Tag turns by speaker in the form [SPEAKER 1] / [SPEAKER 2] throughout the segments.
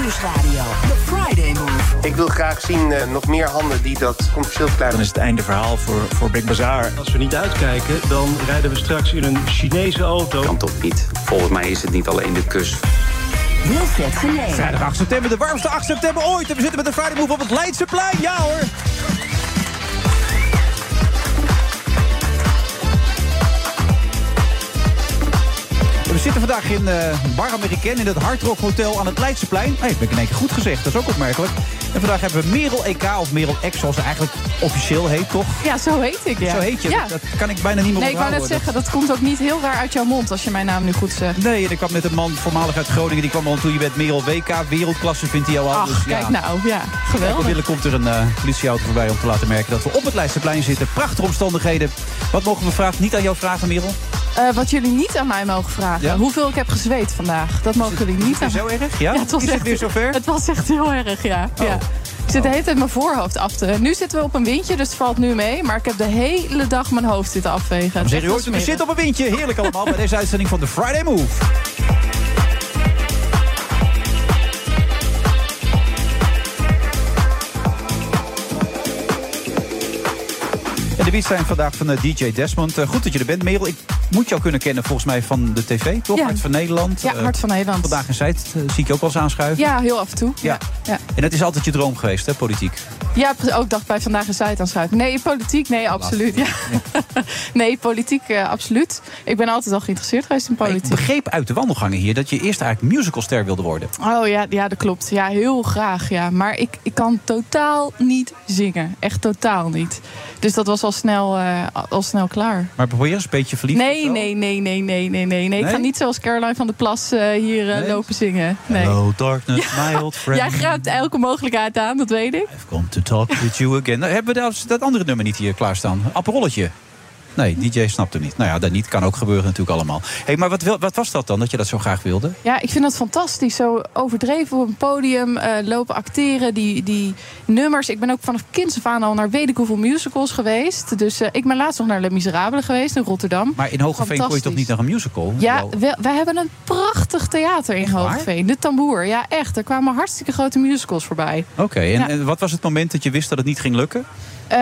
[SPEAKER 1] Nieuwsradio. The Friday Move.
[SPEAKER 2] Ik wil graag zien eh, nog meer handen die dat commercieel
[SPEAKER 3] Dan
[SPEAKER 2] bedrijf
[SPEAKER 3] is het einde verhaal voor, voor Big Bazaar.
[SPEAKER 4] Als we niet uitkijken, dan rijden we straks in een Chinese auto.
[SPEAKER 5] kan toch niet? Volgens mij is het niet alleen de kus.
[SPEAKER 1] Wilfred Genee.
[SPEAKER 6] Vrijdag 8 september, de warmste 8 september ooit. En we zitten met een Friday Move op het Leidseplein. Ja hoor. We zitten vandaag in eh Bar American in het Hard Rock Hotel aan het Leidseplein. Nee, ben ik in één keer goed gezegd. Dat is ook opmerkelijk. En vandaag hebben we Merel EK, of Merel X, zoals ze eigenlijk officieel heet, toch?
[SPEAKER 7] Ja, zo heet ik. Ja.
[SPEAKER 6] Zo heet je.
[SPEAKER 7] Ja.
[SPEAKER 6] Dat kan ik bijna niet meer
[SPEAKER 7] Nee, ik wou
[SPEAKER 6] onthouden.
[SPEAKER 7] net zeggen, dat komt ook niet heel raar uit jouw mond als je mijn naam nu goed zegt.
[SPEAKER 6] Nee, en er kwam net een man voormalig uit Groningen. Die kwam al toe. Je bent Merel WK, wereldklasse vindt hij jou al. Dus
[SPEAKER 7] Ach,
[SPEAKER 6] ja.
[SPEAKER 7] kijk nou, ja,
[SPEAKER 6] Kijk,
[SPEAKER 7] geweldig.
[SPEAKER 6] onmiddellijk komt er een eh, politieauto voorbij om te laten merken dat we op het Leidseplein zitten. Prachtige omstandigheden. Wat mogen we vragen? Niet aan jou vragen, Merel.
[SPEAKER 7] Eh, wat jullie niet aan mij mogen vragen,
[SPEAKER 6] Ja?
[SPEAKER 7] hoeveel ik heb gezweet vandaag, dat mogen jullie niet aan
[SPEAKER 6] Zo erg? Ja?
[SPEAKER 7] Ja, het was
[SPEAKER 6] Is het
[SPEAKER 7] echt-
[SPEAKER 6] weer zover? Oh.
[SPEAKER 7] Het was echt heel erg, ja. ja. Ik zit de hele tijd mijn voorhoofd af te... Nu zitten we op een windje, dus het valt nu mee. Maar ik heb de hele dag mijn hoofd zitten afvegen. Het is
[SPEAKER 6] Zeg
[SPEAKER 7] echt
[SPEAKER 6] je ooit, we
[SPEAKER 7] smerig.
[SPEAKER 6] zitten op een windje. Heerlijk allemaal bij deze uitzending van de Friday Move. En de beats zijn vandaag van eh, DJ Desmond. Eh, goed dat je er bent, Merel. Ik moet jou kunnen kennen volgens mij van de tv, toch?
[SPEAKER 7] Ja.
[SPEAKER 6] Hart van Nederland.
[SPEAKER 7] Ja,
[SPEAKER 6] Eh,
[SPEAKER 7] Hart van Nederland.
[SPEAKER 6] Vandaag in Zuid eh, zie ik je ook wel eens aanschuiven.
[SPEAKER 7] Ja, heel af en toe.
[SPEAKER 6] Ja.
[SPEAKER 7] ja.
[SPEAKER 6] En dat is altijd je droom geweest, hè, politiek?
[SPEAKER 7] Ja, pre- ook dacht bij Vandaag in Zuid aanschuiven. Nee, politiek, nee, absoluut. Ja. nee, politiek, eh, absoluut. Ik ben altijd al geïnteresseerd geweest in
[SPEAKER 6] Ik
[SPEAKER 7] politiek.
[SPEAKER 6] begreep uit de wandelgangen hier dat je eerst eigenlijk musicalster wilde worden.
[SPEAKER 7] Oh ja, ja, dat klopt. Ja, heel graag. Ja. Maar ik, ik kan totaal niet zingen. Echt totaal niet. Dus dat was al snel, eh, al snel klaar.
[SPEAKER 6] Maar probeer eens een beetje verliefd of
[SPEAKER 7] Nee,
[SPEAKER 6] zo?
[SPEAKER 7] nee, nee, nee, nee, nee, nee, nee. Ik
[SPEAKER 6] Nee?
[SPEAKER 7] ga niet zoals Caroline van der Plas eh, hier eh,
[SPEAKER 6] Nee?
[SPEAKER 7] lopen zingen. Nee.
[SPEAKER 6] Hello darkness, my old friend.
[SPEAKER 7] Jij graapt elke mogelijkheid aan, dat weet ik.
[SPEAKER 6] I've come to talk with you again. Nou, hebben we dat, dat andere nummer niet hier klaarstaan? Aperolletje. Nee, DJ snapt hem niet. Nou ja, dat niet. Kan ook gebeuren natuurlijk allemaal. hey, maar wat, wil- wat was dat dan, dat je dat zo graag wilde?
[SPEAKER 7] Ja, ik vind dat fantastisch. Zo overdreven op een podium, eh, lopen acteren, die, die nummers. Ik ben ook vanaf kinds af aan al naar weet ik hoeveel musicals geweest. Dus eh, ik ben laatst nog naar Les Miserables geweest in Rotterdam.
[SPEAKER 6] Maar in Hogeveen kon je toch
[SPEAKER 7] Fantastisch.
[SPEAKER 6] niet naar een musical?
[SPEAKER 7] Ja,
[SPEAKER 6] Wel,
[SPEAKER 7] we- wij hebben een prachtig theater in
[SPEAKER 6] Echt waar?
[SPEAKER 7] Hoogveen. De Tamboer. Ja, echt. Er kwamen hartstikke grote musicals voorbij.
[SPEAKER 6] Oké, en,
[SPEAKER 7] Ja.
[SPEAKER 6] en wat was het moment dat je wist dat het niet ging lukken?
[SPEAKER 7] Eh,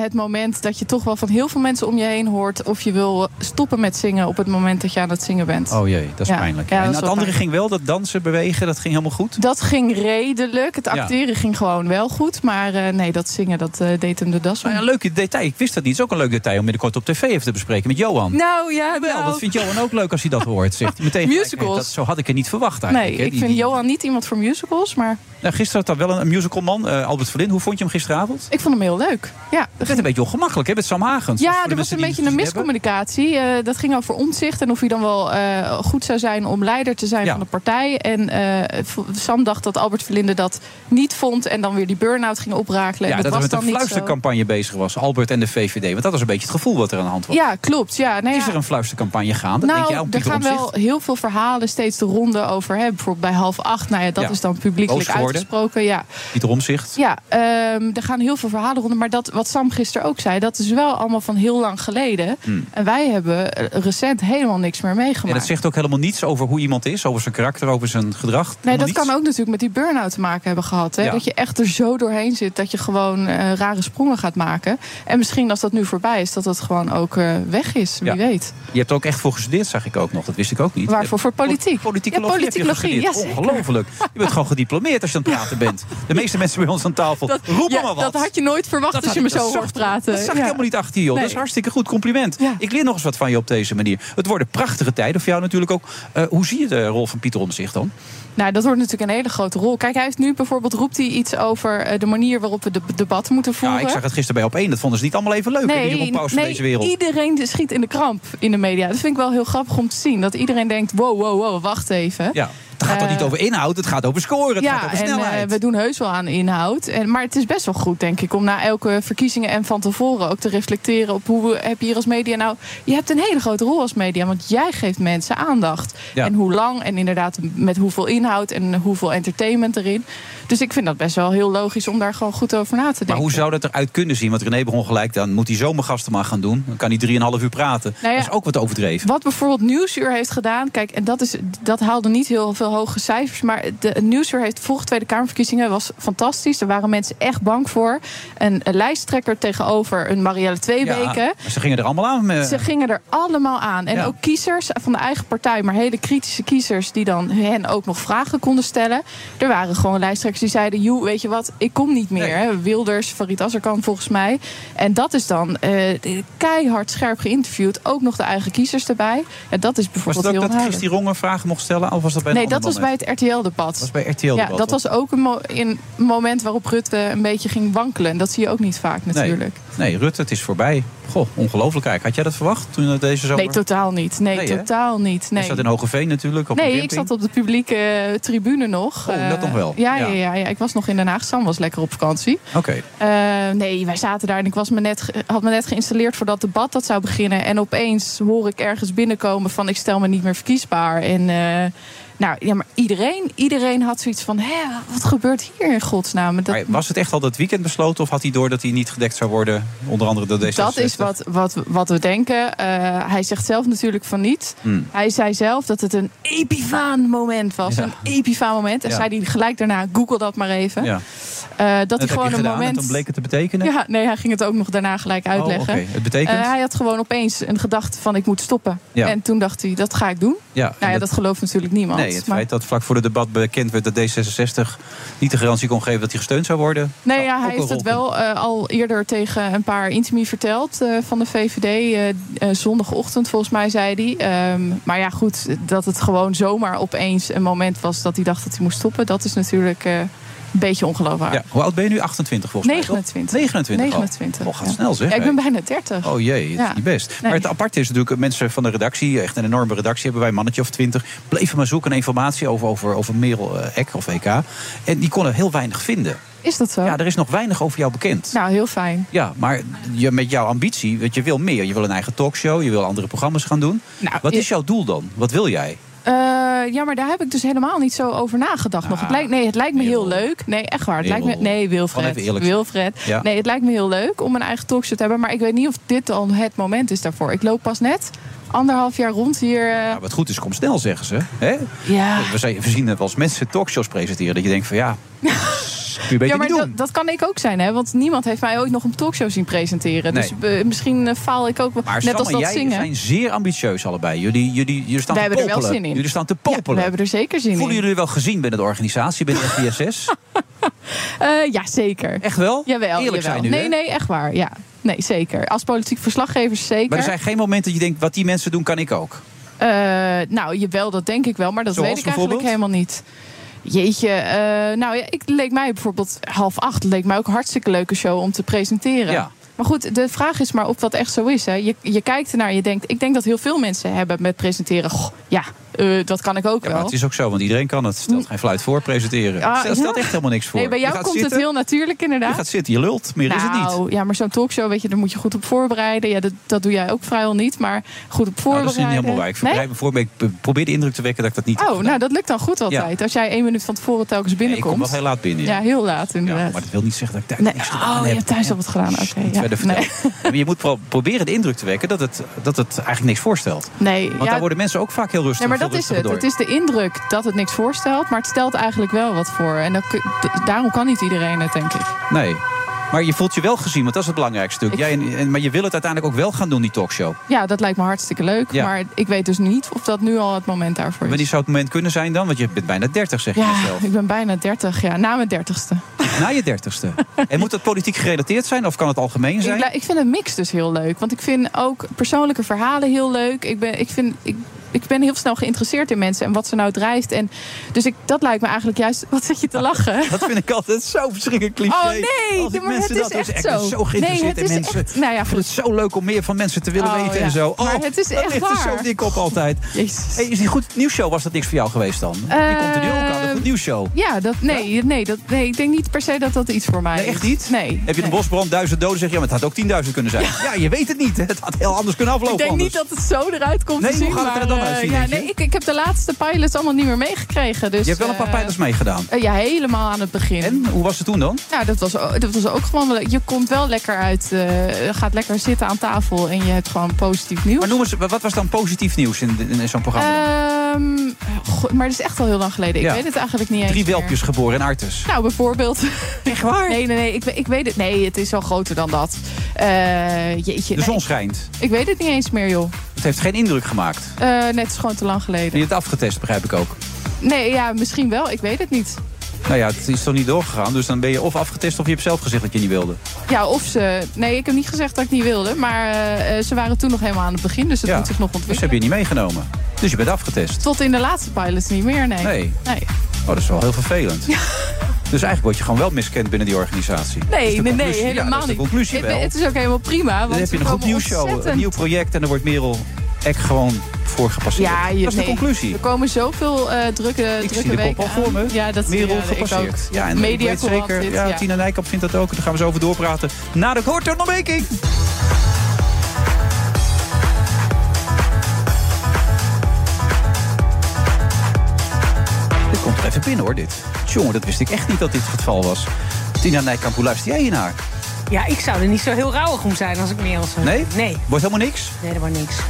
[SPEAKER 7] het moment dat je toch wel van heel veel mensen om je heen hoort... of je wil stoppen met zingen op het moment dat je aan het zingen bent.
[SPEAKER 6] Oh jee, dat is
[SPEAKER 7] Ja.
[SPEAKER 6] pijnlijk.
[SPEAKER 7] Ja, dat
[SPEAKER 6] en
[SPEAKER 7] is
[SPEAKER 6] het
[SPEAKER 7] wel
[SPEAKER 6] andere
[SPEAKER 7] pijnlijk.
[SPEAKER 6] ging wel, dat dansen, bewegen, dat ging helemaal goed?
[SPEAKER 7] Dat ging redelijk. Het
[SPEAKER 6] Ja.
[SPEAKER 7] acteren ging gewoon wel goed. Maar eh, nee, dat zingen, dat eh, deed hem de das om.
[SPEAKER 6] Nou ja, leuk detail. Ik wist dat niet. Het is ook een leuk detail om binnenkort op tv even te bespreken met Johan.
[SPEAKER 7] Nou ja,
[SPEAKER 6] Wel,
[SPEAKER 7] nou.
[SPEAKER 6] dat vindt Johan ook leuk als hij dat hoort. Zegt hij meteen. gelijk,
[SPEAKER 7] Musicals.
[SPEAKER 6] nee, Dat, zo had ik het niet verwacht eigenlijk.
[SPEAKER 7] Nee,
[SPEAKER 6] hè,
[SPEAKER 7] ik
[SPEAKER 6] die-
[SPEAKER 7] vind
[SPEAKER 6] die-
[SPEAKER 7] Johan niet iemand voor musicals, maar
[SPEAKER 6] Nou, gisteren had daar wel een, een musicalman, eh, Albert Verlin. Hoe vond je hem gisteravond?
[SPEAKER 7] ik vond hem heel leuk. Ja,
[SPEAKER 6] Het werd een beetje ongemakkelijk hè, met Sam Hagens. Voor
[SPEAKER 7] Ja,
[SPEAKER 6] de
[SPEAKER 7] er was
[SPEAKER 6] mensen
[SPEAKER 7] een
[SPEAKER 6] die
[SPEAKER 7] beetje
[SPEAKER 6] het
[SPEAKER 7] een
[SPEAKER 6] niet hebben.
[SPEAKER 7] miscommunicatie. Eh, dat ging over omzicht en of hij dan wel eh, goed zou zijn om leider te zijn
[SPEAKER 6] Ja.
[SPEAKER 7] van de partij. En eh, v- Sam dacht dat Albert Verlinde dat niet vond en dan weer die burn-out ging oprakelen.
[SPEAKER 6] Ja,
[SPEAKER 7] en dat,
[SPEAKER 6] dat
[SPEAKER 7] was
[SPEAKER 6] er met
[SPEAKER 7] dan
[SPEAKER 6] een
[SPEAKER 7] niet zo.
[SPEAKER 6] fluistercampagne bezig was. Albert en de VVD. Want dat was een beetje het gevoel wat er aan de hand was.
[SPEAKER 7] Ja, klopt. Ja, nee,
[SPEAKER 6] Is er een fluistercampagne gaande?
[SPEAKER 7] nou,
[SPEAKER 6] denk jij, op
[SPEAKER 7] er
[SPEAKER 6] Pieter
[SPEAKER 7] gaan wel
[SPEAKER 6] Omtzigt?
[SPEAKER 7] heel veel verhalen steeds de ronde over. Hè? Bijvoorbeeld bij half acht, nou ja, dat
[SPEAKER 6] Ja.
[SPEAKER 7] is dan publiekelijk
[SPEAKER 6] Boos geworden.
[SPEAKER 7] uitgesproken. Ja,
[SPEAKER 6] Pieter Omtzigt.
[SPEAKER 7] ja ehm, er gaan heel veel verhalen rond. Maar dat, wat Sam gisteren ook zei, dat is wel allemaal van heel lang geleden.
[SPEAKER 6] Hmm.
[SPEAKER 7] En wij hebben eh, recent helemaal niks meer meegemaakt.
[SPEAKER 6] En dat zegt ook helemaal niets over hoe iemand is. Over zijn karakter, over zijn gedrag.
[SPEAKER 7] Nee,
[SPEAKER 6] Helemaal
[SPEAKER 7] dat
[SPEAKER 6] niets.
[SPEAKER 7] kan ook natuurlijk met die burn-out te maken hebben gehad. Hè?
[SPEAKER 6] Ja.
[SPEAKER 7] Dat je echt er zo doorheen zit dat je gewoon eh, rare sprongen gaat maken. En misschien als dat nu voorbij is, dat dat gewoon ook eh, weg is. Wie
[SPEAKER 6] Ja.
[SPEAKER 7] weet.
[SPEAKER 6] Je hebt er ook echt voor gestudeerd, zag ik ook nog. Dat wist ik ook niet.
[SPEAKER 7] Waarvoor? Voor politiek.
[SPEAKER 6] Politieke
[SPEAKER 7] Ja,
[SPEAKER 6] logie heb je
[SPEAKER 7] politicologie,
[SPEAKER 6] gestudeerd.
[SPEAKER 7] ja, zeker.
[SPEAKER 6] Ongelooflijk. Je bent gewoon gediplomeerd als je aan het praten bent. De meeste mensen bij ons aan tafel roepen
[SPEAKER 7] Ja,
[SPEAKER 6] maar wat.
[SPEAKER 7] Dat had je nooit verwacht
[SPEAKER 6] Dat
[SPEAKER 7] als je
[SPEAKER 6] had
[SPEAKER 7] me
[SPEAKER 6] ik- dat
[SPEAKER 7] zo
[SPEAKER 6] zag-
[SPEAKER 7] hoort praten.
[SPEAKER 6] Dat zag ik
[SPEAKER 7] Ja.
[SPEAKER 6] helemaal niet achter je, joh. Dat is
[SPEAKER 7] Nee.
[SPEAKER 6] hartstikke goed. Compliment.
[SPEAKER 7] Ja.
[SPEAKER 6] Ik leer nog eens wat van je op deze manier. Het worden prachtige tijden voor jou natuurlijk ook. Eh, hoe zie je de rol van Pieter Omtzigt dan?
[SPEAKER 7] Nou, dat wordt natuurlijk een hele grote rol. Kijk, hij heeft nu bijvoorbeeld roept hij iets over eh, de manier waarop we de debatten moeten voeren.
[SPEAKER 6] Ja, Nou, ik zag het gisteren bij op één. Dat vonden ze niet allemaal even leuk. hè, die Jeroen Pauws van
[SPEAKER 7] nee,
[SPEAKER 6] deze wereld.
[SPEAKER 7] iedereen schiet in de kramp in de media. Dat vind ik wel heel grappig om te zien. Dat iedereen denkt, wow, wow, wow, wacht even.
[SPEAKER 6] Ja. Het gaat toch
[SPEAKER 7] Eh,
[SPEAKER 6] niet over inhoud, het gaat over scoren, het gaat
[SPEAKER 7] Ja,
[SPEAKER 6] over
[SPEAKER 7] en eh,
[SPEAKER 6] snelheid.
[SPEAKER 7] we doen heus wel aan inhoud. En, maar het is best wel goed, denk ik, om na elke verkiezingen en van tevoren ook te reflecteren op hoe we- heb je hier als media nou. Je hebt een hele grote rol als media, want jij geeft mensen aandacht.
[SPEAKER 6] Ja.
[SPEAKER 7] En hoe lang en inderdaad met hoeveel inhoud en hoeveel entertainment erin. Dus ik vind dat best wel heel logisch om daar gewoon goed over na te denken.
[SPEAKER 6] Maar hoe zou dat eruit kunnen zien? Want René begon gelijk, dan moet hij zomergasten maar gaan doen. Dan kan hij 3,5 uur praten.
[SPEAKER 7] Nou ja,
[SPEAKER 6] dat is ook wat overdreven.
[SPEAKER 7] Wat bijvoorbeeld Nieuwsuur heeft gedaan, kijk, en dat, is, dat haalde niet heel veel hoge cijfers. Maar de Nieuwsuur heeft vorige Tweede Kamerverkiezingen was fantastisch. Daar waren mensen echt bang voor. Een, een lijsttrekker tegenover een Marielle Tweebeke.
[SPEAKER 6] Ja, maar ze gingen er allemaal aan. eh,
[SPEAKER 7] Ze gingen er allemaal aan. En
[SPEAKER 6] Ja.
[SPEAKER 7] ook kiezers van de eigen partij, maar hele kritische kiezers... die dan hen ook nog vragen konden stellen. Er waren gewoon lijsttrekkers die zeiden... joe, weet je wat, ik kom niet meer.
[SPEAKER 6] Nee.
[SPEAKER 7] Hè. Wilders, Farid Azarkan volgens mij. En dat is dan eh, keihard scherp geïnterviewd. Ook nog de eigen kiezers erbij. Ja, dat is
[SPEAKER 6] was
[SPEAKER 7] bijvoorbeeld
[SPEAKER 6] het
[SPEAKER 7] heel
[SPEAKER 6] ook dat
[SPEAKER 7] onhoudelijk.
[SPEAKER 6] Chris die Ronger vragen mocht stellen? Of was dat bij een
[SPEAKER 7] Nee,
[SPEAKER 6] ander
[SPEAKER 7] dat was bij
[SPEAKER 6] moment?
[SPEAKER 7] het RTL-debat.
[SPEAKER 6] Dat was bij RTL.
[SPEAKER 7] ja, dat
[SPEAKER 6] debat, toch?
[SPEAKER 7] was ook een, mo- in een moment waarop Rutte een beetje ging wankelen. En dat zie je ook niet vaak natuurlijk.
[SPEAKER 6] Nee, Rutte, het is voorbij. Goh, ongelooflijk eigenlijk. Had jij dat verwacht toen eh, deze zomer?
[SPEAKER 7] Nee, totaal niet. Nee,
[SPEAKER 6] Nee, hè?
[SPEAKER 7] totaal niet. Nee.
[SPEAKER 6] Je zat in Hogeveen natuurlijk, op
[SPEAKER 7] nee,
[SPEAKER 6] een
[SPEAKER 7] ik
[SPEAKER 6] camping.
[SPEAKER 7] zat op de publieke eh, tribune nog.
[SPEAKER 6] Oh, dat
[SPEAKER 7] Eh,
[SPEAKER 6] nog wel.
[SPEAKER 7] Ja ja.
[SPEAKER 6] Ja.
[SPEAKER 7] Ja, ja, ik was nog in Den Haag. Sam was lekker op vakantie.
[SPEAKER 6] Oké,
[SPEAKER 7] Eh, nee, wij zaten daar en ik was me net, ge- had me net geïnstalleerd voor dat debat dat zou beginnen. En opeens hoor ik ergens binnenkomen van ik stel me niet meer verkiesbaar. En eh, nou, ja, maar iedereen, iedereen had zoiets van, hè, wat gebeurt hier in godsnaam? En Dat,
[SPEAKER 6] maar was het echt al dat weekend besloten? Of had hij door dat hij niet gedekt zou worden? Onder andere door deze
[SPEAKER 7] Dat is wat, wat, wat we denken. Eh, hij zegt zelf natuurlijk van niet. Hij zei zelf dat het een epifaan moment was.
[SPEAKER 6] Hmm. Ja.
[SPEAKER 7] Een epifaan moment. En
[SPEAKER 6] Ja.
[SPEAKER 7] zei hij gelijk daarna, google dat maar even.
[SPEAKER 6] Ja.
[SPEAKER 7] Eh, dat hij
[SPEAKER 6] Dat heb je
[SPEAKER 7] gewoon een
[SPEAKER 6] gedaan en
[SPEAKER 7] moment...
[SPEAKER 6] toen bleek het te betekenen?
[SPEAKER 7] Ja, nee, hij ging het ook nog daarna gelijk uitleggen.
[SPEAKER 6] Oh, oké. Het betekent?
[SPEAKER 7] Eh, hij had gewoon opeens een gedachte van ik moet stoppen.
[SPEAKER 6] Ja.
[SPEAKER 7] En toen dacht hij, dat ga ik doen.
[SPEAKER 6] Ja, en
[SPEAKER 7] nou ja,
[SPEAKER 6] dat-
[SPEAKER 7] dat, gelooft natuurlijk niemand.
[SPEAKER 6] Nee, het
[SPEAKER 7] maar-
[SPEAKER 6] feit dat vlak voor het debat bekend werd dat D66 niet de garantie kon geven dat hij gesteund zou worden.
[SPEAKER 7] Nee,
[SPEAKER 6] zou
[SPEAKER 7] ja,
[SPEAKER 6] ook
[SPEAKER 7] hij
[SPEAKER 6] een
[SPEAKER 7] heeft
[SPEAKER 6] rol
[SPEAKER 7] het wel eh, al eerder tegen een paar intimi verteld eh, van de VVD. eh, eh, zondagochtend volgens mij zei hij. Ehm, maar ja, goed, dat het gewoon zomaar opeens een moment was dat hij dacht dat hij moest stoppen. Dat is natuurlijk eh, een beetje ongeloofwaardig.
[SPEAKER 6] Ja, hoe oud ben je nu? 28 volgens mij. toch?
[SPEAKER 7] 29.
[SPEAKER 6] 29. al.
[SPEAKER 7] 29.
[SPEAKER 6] Oh, gaat
[SPEAKER 7] ja.
[SPEAKER 6] snel zeg.
[SPEAKER 7] Ja, ik ben
[SPEAKER 6] hè?
[SPEAKER 7] bijna 30.
[SPEAKER 6] Oh jee, het
[SPEAKER 7] Ja.
[SPEAKER 6] is niet best. Maar
[SPEAKER 7] Nee.
[SPEAKER 6] het aparte is natuurlijk, mensen van de redactie, echt een enorme redactie, hebben wij een mannetje of twintig, bleven maar zoeken naar informatie over, over, over Merel eh, Ek of EK. En die konden heel weinig vinden.
[SPEAKER 7] Is dat zo?
[SPEAKER 6] Ja, er is nog weinig over jou bekend.
[SPEAKER 7] Nou, heel fijn.
[SPEAKER 6] Ja, maar je, met jouw ambitie, want je wil meer. Je wil een eigen talkshow, je wil andere programma's gaan doen.
[SPEAKER 7] Nou,
[SPEAKER 6] Wat
[SPEAKER 7] je-
[SPEAKER 6] is jouw doel dan? Wat wil jij?
[SPEAKER 7] Eh, ja, maar daar heb ik dus helemaal niet zo over nagedacht nog.
[SPEAKER 6] Ah,
[SPEAKER 7] Het lijkt, nee, het lijkt me heel
[SPEAKER 6] Merel.
[SPEAKER 7] leuk. Nee, echt waar. Het
[SPEAKER 6] Merel.
[SPEAKER 7] lijkt me, nee,
[SPEAKER 6] Gewoon
[SPEAKER 7] Wilfred.
[SPEAKER 6] even eerlijk zijn.
[SPEAKER 7] Wilfred.
[SPEAKER 6] Ja.
[SPEAKER 7] Nee, het lijkt me heel leuk om een eigen talkshow te hebben. Maar ik weet niet of dit dan het moment is daarvoor. Ik loop pas net anderhalf jaar rond hier. eh,
[SPEAKER 6] Ja, wat goed is, kom snel, zeggen ze. Hè?
[SPEAKER 7] ja.
[SPEAKER 6] We, zijn, we zien dat als mensen talkshows presenteren, dat je denkt van ja, kun je beter
[SPEAKER 7] Ja, maar
[SPEAKER 6] niet
[SPEAKER 7] dat,
[SPEAKER 6] doen.
[SPEAKER 7] dat kan ik ook zijn, hè? Want niemand heeft mij ooit nog een talkshow zien presenteren. Dus eh, misschien eh, faal ik ook wel.
[SPEAKER 6] Maar
[SPEAKER 7] Net
[SPEAKER 6] Sam
[SPEAKER 7] als
[SPEAKER 6] en
[SPEAKER 7] dat
[SPEAKER 6] jij
[SPEAKER 7] zingen.
[SPEAKER 6] zijn zeer ambitieus allebei. Jullie, jullie, jullie staan
[SPEAKER 7] Wij
[SPEAKER 6] te
[SPEAKER 7] hebben er wel
[SPEAKER 6] popelen.
[SPEAKER 7] zin in.
[SPEAKER 6] Jullie staan te
[SPEAKER 7] Ja,
[SPEAKER 6] popelen.
[SPEAKER 7] we hebben er zeker zin
[SPEAKER 6] Voelen
[SPEAKER 7] in.
[SPEAKER 6] jullie wel gezien binnen de organisatie, binnen FDSS?
[SPEAKER 7] Eh, ja, zeker.
[SPEAKER 6] Echt wel?
[SPEAKER 7] Jawel,
[SPEAKER 6] Eerlijk
[SPEAKER 7] jawel.
[SPEAKER 6] zijn nu,
[SPEAKER 7] Nee,
[SPEAKER 6] hè?
[SPEAKER 7] nee, echt waar. Ja. Nee, zeker. Als politiek verslaggevers zeker.
[SPEAKER 6] Maar er zijn geen momenten dat je denkt, wat die mensen doen, kan ik ook.
[SPEAKER 7] Eh, nou, jawel, dat denk ik wel, maar dat
[SPEAKER 6] Zoals
[SPEAKER 7] weet ik eigenlijk helemaal
[SPEAKER 6] bijvoorbeeld?
[SPEAKER 7] niet. Jeetje, eh, nou ja, ik leek mij bijvoorbeeld half acht, leek mij ook een hartstikke leuke show om te presenteren.
[SPEAKER 6] Ja.
[SPEAKER 7] Maar goed, de vraag is maar of dat echt zo is. Hè. Je, je kijkt ernaar, je denkt, ik denk dat heel veel mensen hebben met presenteren. Goh, ja, eh, dat kan ik ook
[SPEAKER 6] Ja, maar
[SPEAKER 7] wel. Mm.
[SPEAKER 6] het is ook zo, want iedereen kan het. Stelt geen fluit voor presenteren.
[SPEAKER 7] Ah,
[SPEAKER 6] Stel- stelt
[SPEAKER 7] ja.
[SPEAKER 6] echt helemaal niks voor.
[SPEAKER 7] nee, bij
[SPEAKER 6] Je
[SPEAKER 7] jou
[SPEAKER 6] gaat
[SPEAKER 7] komt
[SPEAKER 6] zitten,
[SPEAKER 7] het heel natuurlijk inderdaad.
[SPEAKER 6] Je gaat zitten, je lult. Meer is het niet.
[SPEAKER 7] nou, ja, maar zo'n talkshow, weet je, daar moet je goed op voorbereiden. Ja, dat, dat doe jij ook vrijwel niet, maar goed op
[SPEAKER 6] Nou,
[SPEAKER 7] voorbereiden.
[SPEAKER 6] dat is niet helemaal waar. Ik
[SPEAKER 7] Nee?
[SPEAKER 6] verbreid me voor, maar ik p- probeer de indruk te wekken dat ik dat niet heb
[SPEAKER 7] Oh, nou dat lukt dan goed altijd. Als jij één minuut van tevoren telkens
[SPEAKER 6] Nee, ik
[SPEAKER 7] binnenkomt.
[SPEAKER 6] kom wel heel laat binnen.
[SPEAKER 7] Ja, heel laat
[SPEAKER 6] Ja,
[SPEAKER 7] inderdaad.
[SPEAKER 6] maar dat wil niet zeggen dat ik daar
[SPEAKER 7] nee.
[SPEAKER 6] niks gedaan
[SPEAKER 7] Oh, je
[SPEAKER 6] heb.
[SPEAKER 7] hebt thuis al wat gedaan. Oké.
[SPEAKER 6] Niet
[SPEAKER 7] ja.
[SPEAKER 6] verder vertellen. Maar je moet pro- proberen de indruk te wekken dat het, dat het eigenlijk niks voorstelt.
[SPEAKER 7] Nee, nee,
[SPEAKER 6] Want
[SPEAKER 7] ja,
[SPEAKER 6] daar worden mensen ook vaak heel rustig
[SPEAKER 7] nee, maar
[SPEAKER 6] veel
[SPEAKER 7] dat is het.
[SPEAKER 6] rustiger
[SPEAKER 7] Het is
[SPEAKER 6] door.
[SPEAKER 7] de indruk dat het niks voorstelt, maar het stelt eigenlijk wel wat voor. En dat, kun- d- daarom kan niet iedereen het, denk ik.
[SPEAKER 6] Nee. Maar je voelt je wel gezien, want dat is het belangrijkste stuk.
[SPEAKER 7] Ik-
[SPEAKER 6] Jij en, en- maar je wil het uiteindelijk ook wel gaan doen, die talkshow.
[SPEAKER 7] Ja, dat lijkt me hartstikke leuk.
[SPEAKER 6] Ja.
[SPEAKER 7] Maar ik weet dus niet of dat nu al het moment daarvoor
[SPEAKER 6] Wanneer
[SPEAKER 7] is.
[SPEAKER 6] zou het moment kunnen zijn dan? Want je bent bijna 30, zeg je
[SPEAKER 7] Ja,
[SPEAKER 6] zelf.
[SPEAKER 7] ik ben bijna 30, ja, na mijn 30ste.
[SPEAKER 6] Na je 30ste. En moet dat politiek gerelateerd zijn of kan het algemeen
[SPEAKER 7] Ik,
[SPEAKER 6] zijn?
[SPEAKER 7] li- ik vind een mix dus heel leuk. Want ik vind ook persoonlijke verhalen heel leuk. Ik, ben, ik, vind, ik ik ben heel snel geïnteresseerd in mensen en wat ze nou drijft. En, dus ik, dat lijkt me eigenlijk juist. Wat zit je te lachen?
[SPEAKER 6] Dat vind ik altijd zo verschrikkelijk Ah, cliché.
[SPEAKER 7] Oh, nee,
[SPEAKER 6] Als ik
[SPEAKER 7] maar het
[SPEAKER 6] mensen
[SPEAKER 7] is
[SPEAKER 6] dat dus
[SPEAKER 7] echt
[SPEAKER 6] ik ben
[SPEAKER 7] zo.
[SPEAKER 6] geïnteresseerd
[SPEAKER 7] Nee, het
[SPEAKER 6] in
[SPEAKER 7] is
[SPEAKER 6] mensen.
[SPEAKER 7] echt- nou ja,
[SPEAKER 6] ik vind het zo leuk om meer van mensen te willen
[SPEAKER 7] Oh,
[SPEAKER 6] weten en
[SPEAKER 7] ja.
[SPEAKER 6] zo. Oh,
[SPEAKER 7] Maar het is
[SPEAKER 6] dat
[SPEAKER 7] echt
[SPEAKER 6] ligt er zo
[SPEAKER 7] waar.
[SPEAKER 6] dik op altijd.
[SPEAKER 7] Jezus. Eh,
[SPEAKER 6] Hey, is die goed nieuwsshow was dat niks voor jou geweest dan? die komt er nu ook aan, de goed nieuwsshow.
[SPEAKER 7] ehm, Ja, dat, nee, nee, dat, nee, ik denk niet per se dat dat iets voor mij
[SPEAKER 6] Nee,
[SPEAKER 7] is.
[SPEAKER 6] echt niet?
[SPEAKER 7] Nee.
[SPEAKER 6] Heb je een
[SPEAKER 7] nee.
[SPEAKER 6] bosbrand, duizend doden, zeg je, ja, maar het had ook 10.000 kunnen zijn. Ja. je weet het niet. hè. Het had heel anders kunnen aflopen.
[SPEAKER 7] Ik denk niet
[SPEAKER 6] anders.
[SPEAKER 7] dat het zo eruit komt
[SPEAKER 6] Nee,
[SPEAKER 7] te
[SPEAKER 6] hoe
[SPEAKER 7] zien.
[SPEAKER 6] gaat het er
[SPEAKER 7] maar,
[SPEAKER 6] dan
[SPEAKER 7] eh,
[SPEAKER 6] uitzien,
[SPEAKER 7] ja,
[SPEAKER 6] denk je?
[SPEAKER 7] nee, ik, ik heb de laatste pilots allemaal niet meer meegekregen. Dus,
[SPEAKER 6] Je hebt wel een paar
[SPEAKER 7] eh,
[SPEAKER 6] pijlers meegedaan.
[SPEAKER 7] eh, ja, helemaal aan het begin.
[SPEAKER 6] En, hoe was het toen dan?
[SPEAKER 7] Ja, Nou, dat was, o- dat was ook gewoon wel leuk. Je komt wel lekker uit, eh, gaat lekker zitten aan tafel en je hebt gewoon positief nieuws.
[SPEAKER 6] Maar noem eens, wat was dan positief nieuws in, in, in zo'n programma? dan?
[SPEAKER 7] Ehm, goh, maar dat is echt al heel lang geleden. Ik
[SPEAKER 6] Ja.
[SPEAKER 7] weet het eigenlijk niet eens
[SPEAKER 6] Drie
[SPEAKER 7] meer.
[SPEAKER 6] welpjes geboren in Artes.
[SPEAKER 7] Nou, bijvoorbeeld.
[SPEAKER 6] Echt waar?
[SPEAKER 7] Nee, nee, nee. Ik, we- ik weet het. Nee, het is wel groter dan dat. Eh, jeetje.
[SPEAKER 6] De
[SPEAKER 7] nee,
[SPEAKER 6] zon schijnt.
[SPEAKER 7] ik, ik weet het niet eens meer, joh.
[SPEAKER 6] Het heeft geen indruk gemaakt.
[SPEAKER 7] Eh, nee, het is gewoon te lang
[SPEAKER 6] En
[SPEAKER 7] geleden.
[SPEAKER 6] je hebt afgetest, begrijp ik ook.
[SPEAKER 7] Nee, ja, misschien wel. Ik weet het niet.
[SPEAKER 6] Nou ja, het is toch niet doorgegaan. Dus dan ben je of afgetest of je hebt zelf gezegd dat je niet wilde.
[SPEAKER 7] Ja, of ze... Nee, ik heb niet gezegd dat ik niet wilde. Maar eh, eh, ze waren toen nog helemaal aan het begin. Dus het
[SPEAKER 6] ja.
[SPEAKER 7] moet zich nog
[SPEAKER 6] Dus heb
[SPEAKER 7] ontwikkelen.
[SPEAKER 6] je niet meegenomen. Dus je bent afgetest.
[SPEAKER 7] Tot in de laatste pilots niet meer, nee.
[SPEAKER 6] Nee.
[SPEAKER 7] Nee,
[SPEAKER 6] Oh, dat is wel heel vervelend. Dus eigenlijk word je gewoon wel miskend binnen die organisatie. Dat is
[SPEAKER 7] nee, nee,
[SPEAKER 6] de
[SPEAKER 7] nee,
[SPEAKER 6] conclusie. Ja,
[SPEAKER 7] helemaal
[SPEAKER 6] dat is de
[SPEAKER 7] niet.
[SPEAKER 6] conclusie
[SPEAKER 7] Het-
[SPEAKER 6] wel.
[SPEAKER 7] Het is ook helemaal prima. Want
[SPEAKER 6] Dan heb je
[SPEAKER 7] ze
[SPEAKER 6] een goed
[SPEAKER 7] komen
[SPEAKER 6] nieuwsshow, een
[SPEAKER 7] ontzettend-
[SPEAKER 6] nieuw project... en dan wordt Merel Eck gewoon voor gepasseerd.
[SPEAKER 7] Ja, je,
[SPEAKER 6] dat is de
[SPEAKER 7] nee,
[SPEAKER 6] conclusie.
[SPEAKER 7] Er komen zoveel eh, drukke,
[SPEAKER 6] Ik
[SPEAKER 7] drukke
[SPEAKER 6] zie de
[SPEAKER 7] weken
[SPEAKER 6] kop al voor
[SPEAKER 7] aan.
[SPEAKER 6] me.
[SPEAKER 7] Ja, dat
[SPEAKER 6] Merel
[SPEAKER 7] ja, Ik ook.
[SPEAKER 6] gepasseerd. Ja, en
[SPEAKER 7] Media
[SPEAKER 6] ik weet zeker,
[SPEAKER 7] dit,
[SPEAKER 6] ja,
[SPEAKER 7] ja.
[SPEAKER 6] Tina Nijkamp vindt dat ook. Daar gaan we zo over doorpraten. Na de korte onderbreking. Dit komt er even binnen hoor, dit. Jongen, dat wist ik echt niet dat dit het geval was. Tina Nijkamp, hoe luister jij hiernaar?
[SPEAKER 8] Ja, ik zou er niet zo heel rauwig om zijn als ik meer was.
[SPEAKER 6] Nee?
[SPEAKER 8] Nee.
[SPEAKER 6] Wordt helemaal niks?
[SPEAKER 8] Nee, dat wordt niks.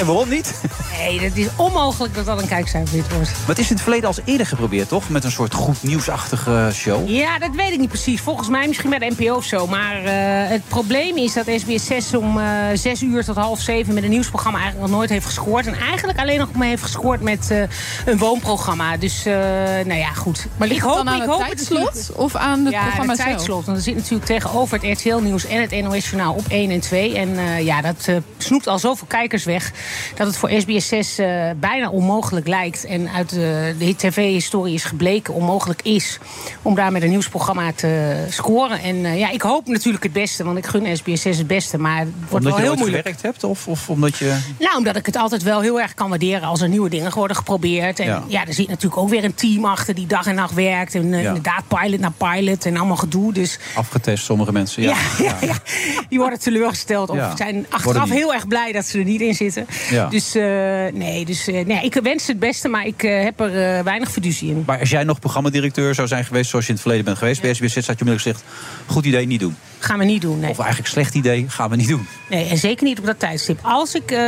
[SPEAKER 6] En waarom niet?
[SPEAKER 8] Nee, dat is onmogelijk dat dat een kijkcijferwit wordt.
[SPEAKER 6] Maar het is in het verleden al eens eerder geprobeerd, toch? Met een soort goed nieuwsachtige show.
[SPEAKER 8] Ja, dat weet ik niet precies. Volgens mij misschien bij de NPO of zo. Maar eh, het probleem is dat SBS 6 om eh 6 uur tot half 7 met een nieuwsprogramma eigenlijk nog nooit heeft gescoord. En eigenlijk alleen nog maar heeft gescoord met eh, een woonprogramma. Dus eh, nou ja, goed.
[SPEAKER 7] Maar ligt
[SPEAKER 8] ik hoop,
[SPEAKER 7] het dan aan
[SPEAKER 8] ik
[SPEAKER 7] het
[SPEAKER 8] hoop
[SPEAKER 7] tijdslot of aan het
[SPEAKER 8] ja,
[SPEAKER 7] programma
[SPEAKER 8] de
[SPEAKER 7] zelf?
[SPEAKER 8] tijdslot. Want er zit natuurlijk tegenover het RTL-nieuws en het NOS-journaal op 1 en 2. En eh, ja, dat eh, snoept al zoveel kijkers weg dat het voor SBS6 eh, bijna onmogelijk lijkt. En uit de, de tv-historie is gebleken onmogelijk is om daar met een nieuwsprogramma te scoren. En eh, ja, ik hoop natuurlijk het beste, want ik gun SBS6 het beste. Maar het wordt
[SPEAKER 6] Omdat
[SPEAKER 8] wel
[SPEAKER 6] je
[SPEAKER 8] heel
[SPEAKER 6] nooit
[SPEAKER 8] moeilijk.
[SPEAKER 6] gewerkt hebt? Of, of omdat je...
[SPEAKER 8] Nou, omdat ik het altijd wel heel erg kan waarderen als er nieuwe dingen worden geprobeerd. En
[SPEAKER 6] Ja.
[SPEAKER 8] ja, er zit natuurlijk ook weer een team achter die dag en nacht werkt. En eh,
[SPEAKER 6] Ja.
[SPEAKER 8] inderdaad, pilot na pilot en allemaal gedoe. Dus
[SPEAKER 6] Afgetest, sommige mensen,
[SPEAKER 8] ja, ja, ja. Die worden teleurgesteld of
[SPEAKER 6] Ja.
[SPEAKER 8] zijn
[SPEAKER 6] Worden
[SPEAKER 8] achteraf
[SPEAKER 6] niet.
[SPEAKER 8] heel erg blij dat ze er niet in zitten.
[SPEAKER 6] Ja.
[SPEAKER 8] Dus eh, nee, dus, eh, nee, ik wens het beste, maar ik eh, heb er eh, weinig fiducie in.
[SPEAKER 6] Maar als jij nog programmadirecteur zou zijn geweest zoals je in het verleden bent geweest bij SBS6, had je onmiddellijk gezegd: goed idee, niet doen.
[SPEAKER 8] Gaan we niet doen, nee.
[SPEAKER 6] Of eigenlijk slecht idee, gaan we niet doen.
[SPEAKER 8] nee. En zeker niet op dat tijdstip. Als ik eh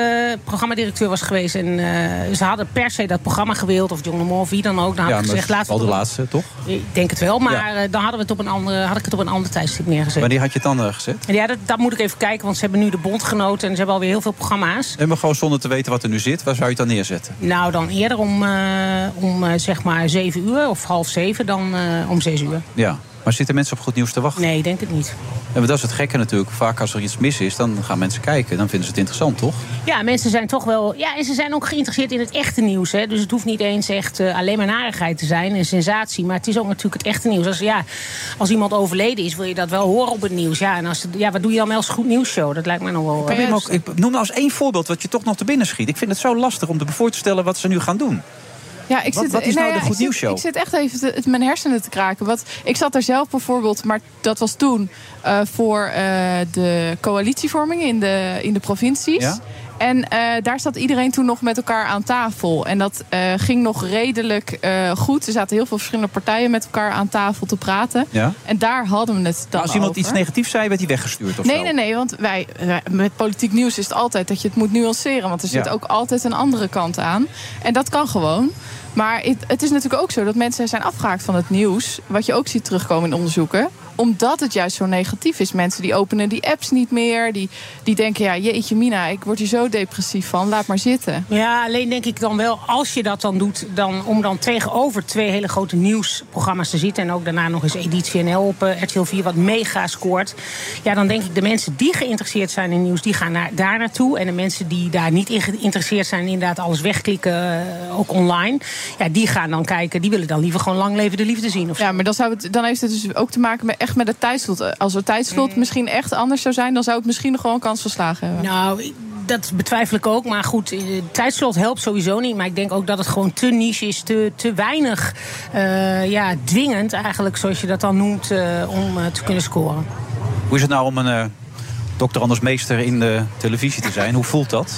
[SPEAKER 8] programmadirecteur was geweest en eh, ze hadden per se dat programma gewild... of John de Mol, of wie dan ook, dan had ik
[SPEAKER 6] maar
[SPEAKER 8] gezegd... Laten
[SPEAKER 6] al
[SPEAKER 8] we
[SPEAKER 6] de
[SPEAKER 8] het op-
[SPEAKER 6] laatste, toch?
[SPEAKER 8] Ik denk het wel, maar
[SPEAKER 6] Ja.
[SPEAKER 8] eh, dan hadden we het op een andere, had ik het op een ander tijdstip neergezet.
[SPEAKER 6] Wanneer had je het dan eh, gezet?
[SPEAKER 8] Ja, dat, dat moet ik even kijken, want ze hebben nu de bondgenoten... en ze hebben alweer heel veel programma's.
[SPEAKER 6] En maar gewoon zonder te weten wat er nu zit, waar zou je het dan neerzetten?
[SPEAKER 8] Nou, dan eerder om, eh, om eh, zeg maar zeven uur of half zeven dan eh, om zes uur.
[SPEAKER 6] Ja. Maar zitten mensen op goed nieuws te wachten?
[SPEAKER 8] Nee, ik denk het niet.
[SPEAKER 6] En dat is het gekke natuurlijk. Vaak als er iets mis is, dan gaan mensen kijken. Dan vinden ze het interessant, toch?
[SPEAKER 8] Ja, mensen zijn toch wel. Ja, en ze zijn ook geïnteresseerd in het echte nieuws. Hè? Dus het hoeft niet eens echt eh, alleen maar narigheid te zijn en sensatie. Maar het is ook natuurlijk het echte nieuws. Als, ja, als iemand overleden is, wil je dat wel horen op het nieuws. Ja, en als, het- ja, wat doe je dan wel als goed nieuwsshow? Dat lijkt mij nog wel. eh,
[SPEAKER 6] Probeer me ook, ik noem nou eens één voorbeeld wat je toch nog te binnen schiet. Ik vind het zo lastig om te voor te stellen wat ze nu gaan doen.
[SPEAKER 7] Ja, ik
[SPEAKER 6] Wat-
[SPEAKER 7] zit,
[SPEAKER 6] wat is nou de
[SPEAKER 7] ja,
[SPEAKER 6] goed
[SPEAKER 7] ik zit-
[SPEAKER 6] nieuwsshow?
[SPEAKER 7] Ik zit echt even te- het- mijn hersenen te kraken. Wat, ik zat er zelf bijvoorbeeld, maar dat was toen eh, voor eh, de coalitievorming in de, in de provincies.
[SPEAKER 6] Ja.
[SPEAKER 7] En eh, daar zat iedereen toen nog met elkaar aan tafel. En dat eh, ging nog redelijk eh, goed. Er zaten heel veel verschillende partijen met elkaar aan tafel te praten.
[SPEAKER 6] Ja.
[SPEAKER 7] En daar hadden we het dan
[SPEAKER 6] Maar als iemand
[SPEAKER 7] over.
[SPEAKER 6] iets negatiefs zei, werd hij weggestuurd of
[SPEAKER 7] Nee,
[SPEAKER 6] zo.
[SPEAKER 7] nee, nee, want wij, wij- met politiek nieuws is het altijd dat je het moet nuanceren. Want er zit
[SPEAKER 6] Ja.
[SPEAKER 7] ook altijd een andere kant aan. En dat kan gewoon. Maar het, het is natuurlijk ook zo dat mensen zijn afgehaakt van het nieuws. Wat je ook ziet terugkomen in onderzoeken. Omdat het juist zo negatief is. Mensen die openen die apps niet meer. Die, die denken, ja, jeetje mina, ik word hier zo depressief van. Laat maar zitten.
[SPEAKER 8] Ja, alleen denk ik dan wel, als je dat dan doet, dan, om dan tegenover twee hele grote nieuwsprogramma's te zitten. En ook daarna nog eens Editie NL op eh, RTL 4, wat mega scoort. Ja, dan denk ik de mensen die geïnteresseerd zijn in nieuws, die gaan naar, daar naartoe. En de mensen die daar niet in geïnteresseerd zijn, inderdaad alles wegklikken, eh, ook online. Ja, die gaan dan kijken, die willen dan liever gewoon lang leven de liefde zien. Of zo.
[SPEAKER 7] Ja, maar dan, zou het, dan heeft het dus ook te maken met, echt met het tijdslot. Als het
[SPEAKER 8] Mm.
[SPEAKER 7] tijdslot misschien echt anders zou zijn, dan zou het misschien nog wel een kans verslagen hebben.
[SPEAKER 8] Nou, ik- dat betwijfel ik ook. Maar goed, eh, tijdslot helpt sowieso niet. Maar ik denk ook dat het gewoon te niche is, te, te weinig eh, ja, dwingend eigenlijk, zoals je dat dan noemt, eh, om eh, te kunnen scoren.
[SPEAKER 6] Hoe is het nou om een eh dokter Anders Meester in de televisie te zijn? Hoe voelt dat?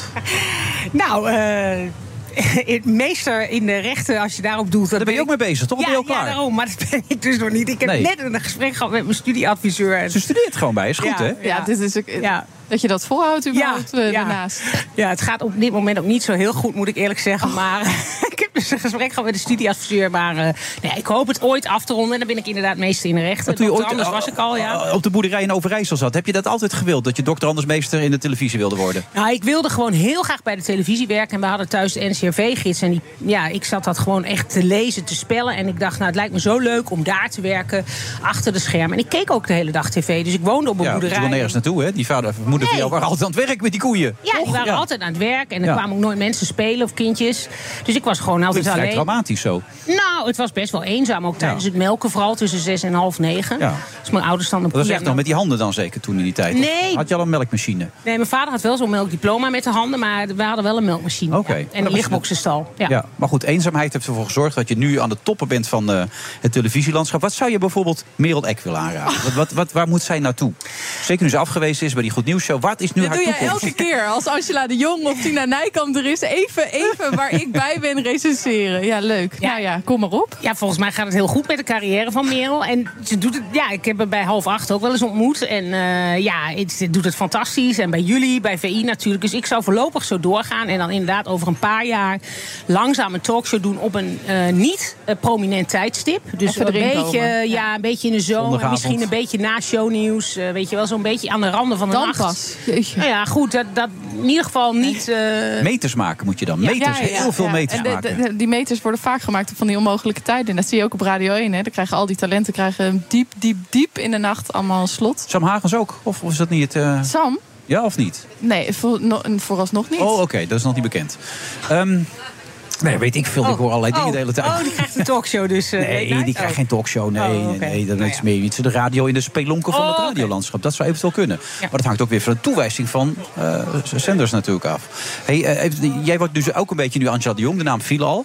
[SPEAKER 8] Nou, eh, meester in de rechten, als je daarop doet... Daar
[SPEAKER 6] ben je ook mee bezig, toch?
[SPEAKER 8] Ja,
[SPEAKER 6] Ben je al klaar?
[SPEAKER 8] ja, daarom. Maar dat ben ik dus nog niet. Ik heb
[SPEAKER 6] Nee.
[SPEAKER 8] net een gesprek gehad met mijn studieadviseur.
[SPEAKER 6] Ze studeert gewoon bij, is goed,
[SPEAKER 8] Ja.
[SPEAKER 6] hè?
[SPEAKER 7] Ja, dit is ook,
[SPEAKER 8] Ja.
[SPEAKER 7] dat je dat volhoudt überhaupt
[SPEAKER 8] Ja,
[SPEAKER 7] eh,
[SPEAKER 8] ja.
[SPEAKER 7] daarnaast. Oh.
[SPEAKER 8] Ja, het gaat op dit moment ook niet zo heel goed, moet ik eerlijk zeggen. Maar ik heb dus een gesprek gehad met de studieadviseur. Maar eh, nee, ik hoop het ooit af te ronden. En dan ben ik inderdaad meester in de rechten.
[SPEAKER 6] Maar toen je
[SPEAKER 8] Dokter
[SPEAKER 6] ooit,
[SPEAKER 8] Anders was ik al, ja.
[SPEAKER 6] eh, Op de boerderij in Overijssel zat. Heb je dat altijd gewild? Dat je dokter Anders Meester in de televisie wilde worden?
[SPEAKER 8] Nou, ik wilde gewoon heel graag bij de televisie werken. En we hadden thuis de NCRV-gids. En die, ja, ik zat dat gewoon echt te lezen, te spellen. En ik dacht, nou, het lijkt me zo leuk om daar te werken. Achter de schermen. En ik keek ook de hele dag tv. Dus ik woonde op een
[SPEAKER 6] Ja, want je
[SPEAKER 8] boerderij.
[SPEAKER 6] wil nergens naartoe, hè? Die vader of moeder van
[SPEAKER 8] Nee.
[SPEAKER 6] jou waren altijd aan het werk met die koeien.
[SPEAKER 8] Ja,
[SPEAKER 6] toch?
[SPEAKER 8] die waren
[SPEAKER 6] Ja.
[SPEAKER 8] altijd aan het werk. En er
[SPEAKER 6] Ja.
[SPEAKER 8] kwamen ook nooit mensen spelen of kindjes. Dus ik was gewoon
[SPEAKER 6] Dat
[SPEAKER 8] altijd
[SPEAKER 6] is vrij
[SPEAKER 8] alleen.
[SPEAKER 6] dramatisch zo.
[SPEAKER 8] Nou, het was best wel eenzaam. Ook tijdens
[SPEAKER 6] Ja.
[SPEAKER 8] het melken, vooral tussen zes en half negen.
[SPEAKER 6] Ja.
[SPEAKER 8] Dus mijn ouders dan een
[SPEAKER 6] Dat was
[SPEAKER 8] poeja
[SPEAKER 6] echt nog nou met die handen dan zeker toen in die tijd? Of
[SPEAKER 8] Nee.
[SPEAKER 6] Had je al een melkmachine?
[SPEAKER 8] Nee, mijn vader had wel zo'n melkdiploma met de handen, maar we hadden wel een melkmachine.
[SPEAKER 6] Oké. Oh,
[SPEAKER 8] Ja.
[SPEAKER 6] Dat
[SPEAKER 8] En een
[SPEAKER 6] was-
[SPEAKER 8] lichtboxenstal. Ja.
[SPEAKER 6] Ja. Maar goed, eenzaamheid heeft ervoor gezorgd dat je nu aan de toppen bent van eh, het televisielandschap. Wat zou je bijvoorbeeld Merel Eck willen aanraden? Wat, wat, wat, waar moet zij naartoe? Zeker nu ze afgewezen is bij die Goed Nieuws Show. Wat is nu
[SPEAKER 7] Dit
[SPEAKER 6] haar
[SPEAKER 7] doe je
[SPEAKER 6] toekomst?
[SPEAKER 7] elke keer. Als Angela de Jong of Tina Nijkamp er is. Even, even waar ik bij ben recenseren. Ja, leuk.
[SPEAKER 8] Ja.
[SPEAKER 7] Nou ja, kom maar op.
[SPEAKER 8] Ja, volgens mij gaat het heel goed met de carrière van Merel. En ze doet het, ja, ik heb haar bij half acht ook wel eens ontmoet. En eh, ja, het- ze doet het fantastisch. En bij jullie, bij VI natuurlijk. Dus ik zou voorlopig zo doorgaan. En dan inderdaad over een paar jaar langzaam een talkshow doen op een eh, niet eh, prominent tijdstip. Dus
[SPEAKER 7] Even
[SPEAKER 8] een
[SPEAKER 7] erin
[SPEAKER 8] beetje,
[SPEAKER 7] komen.
[SPEAKER 8] ja, een beetje in de zomer.
[SPEAKER 6] Zondagavond.
[SPEAKER 8] Misschien een beetje na shownieuws. eh, weet je wel, zo'n beetje aan de randen van de
[SPEAKER 7] Dan
[SPEAKER 8] nacht.
[SPEAKER 7] pas. Jeetje.
[SPEAKER 8] Nou ja, goed, dat, dat in ieder geval niet... eh,
[SPEAKER 6] Meters maken moet je dan. Meters,
[SPEAKER 7] Ja, ja, ja.
[SPEAKER 6] heel veel
[SPEAKER 7] Ja.
[SPEAKER 6] meters
[SPEAKER 7] En de-
[SPEAKER 6] maken.
[SPEAKER 7] de- die meters worden vaak gemaakt van die onmogelijke tijden. En dat zie je ook op Radio 1. Hè. Dan krijgen al die talenten krijgen diep, diep, diep in de nacht allemaal een slot.
[SPEAKER 6] Sam Hagens ook? Of, of is dat niet het... eh,
[SPEAKER 7] Sam?
[SPEAKER 6] ja of niet?
[SPEAKER 7] Nee, voor, no- vooralsnog niet.
[SPEAKER 6] Oh, oké. dat is nog niet bekend. Ehm, nee, weet ik veel. Ik hoor allerlei dingen de hele tijd.
[SPEAKER 8] Oh, die krijgt een talkshow dus. eh, late
[SPEAKER 6] Nee,
[SPEAKER 8] night.
[SPEAKER 6] die
[SPEAKER 8] Oh.
[SPEAKER 6] krijgt geen talkshow. Nee,
[SPEAKER 8] Oh, oké.
[SPEAKER 6] nee, nee dan
[SPEAKER 8] Nou
[SPEAKER 6] is
[SPEAKER 8] ja.
[SPEAKER 6] meer iets de radio in de spelonken van
[SPEAKER 8] Oh,
[SPEAKER 6] het
[SPEAKER 8] oké.
[SPEAKER 6] radiolandschap. Dat zou eventueel kunnen. Maar dat hangt ook weer van de toewijzing van eh, zenders natuurlijk af. Hey, eh, even- jij wordt dus ook een beetje nu Angela de Jong, de naam viel al.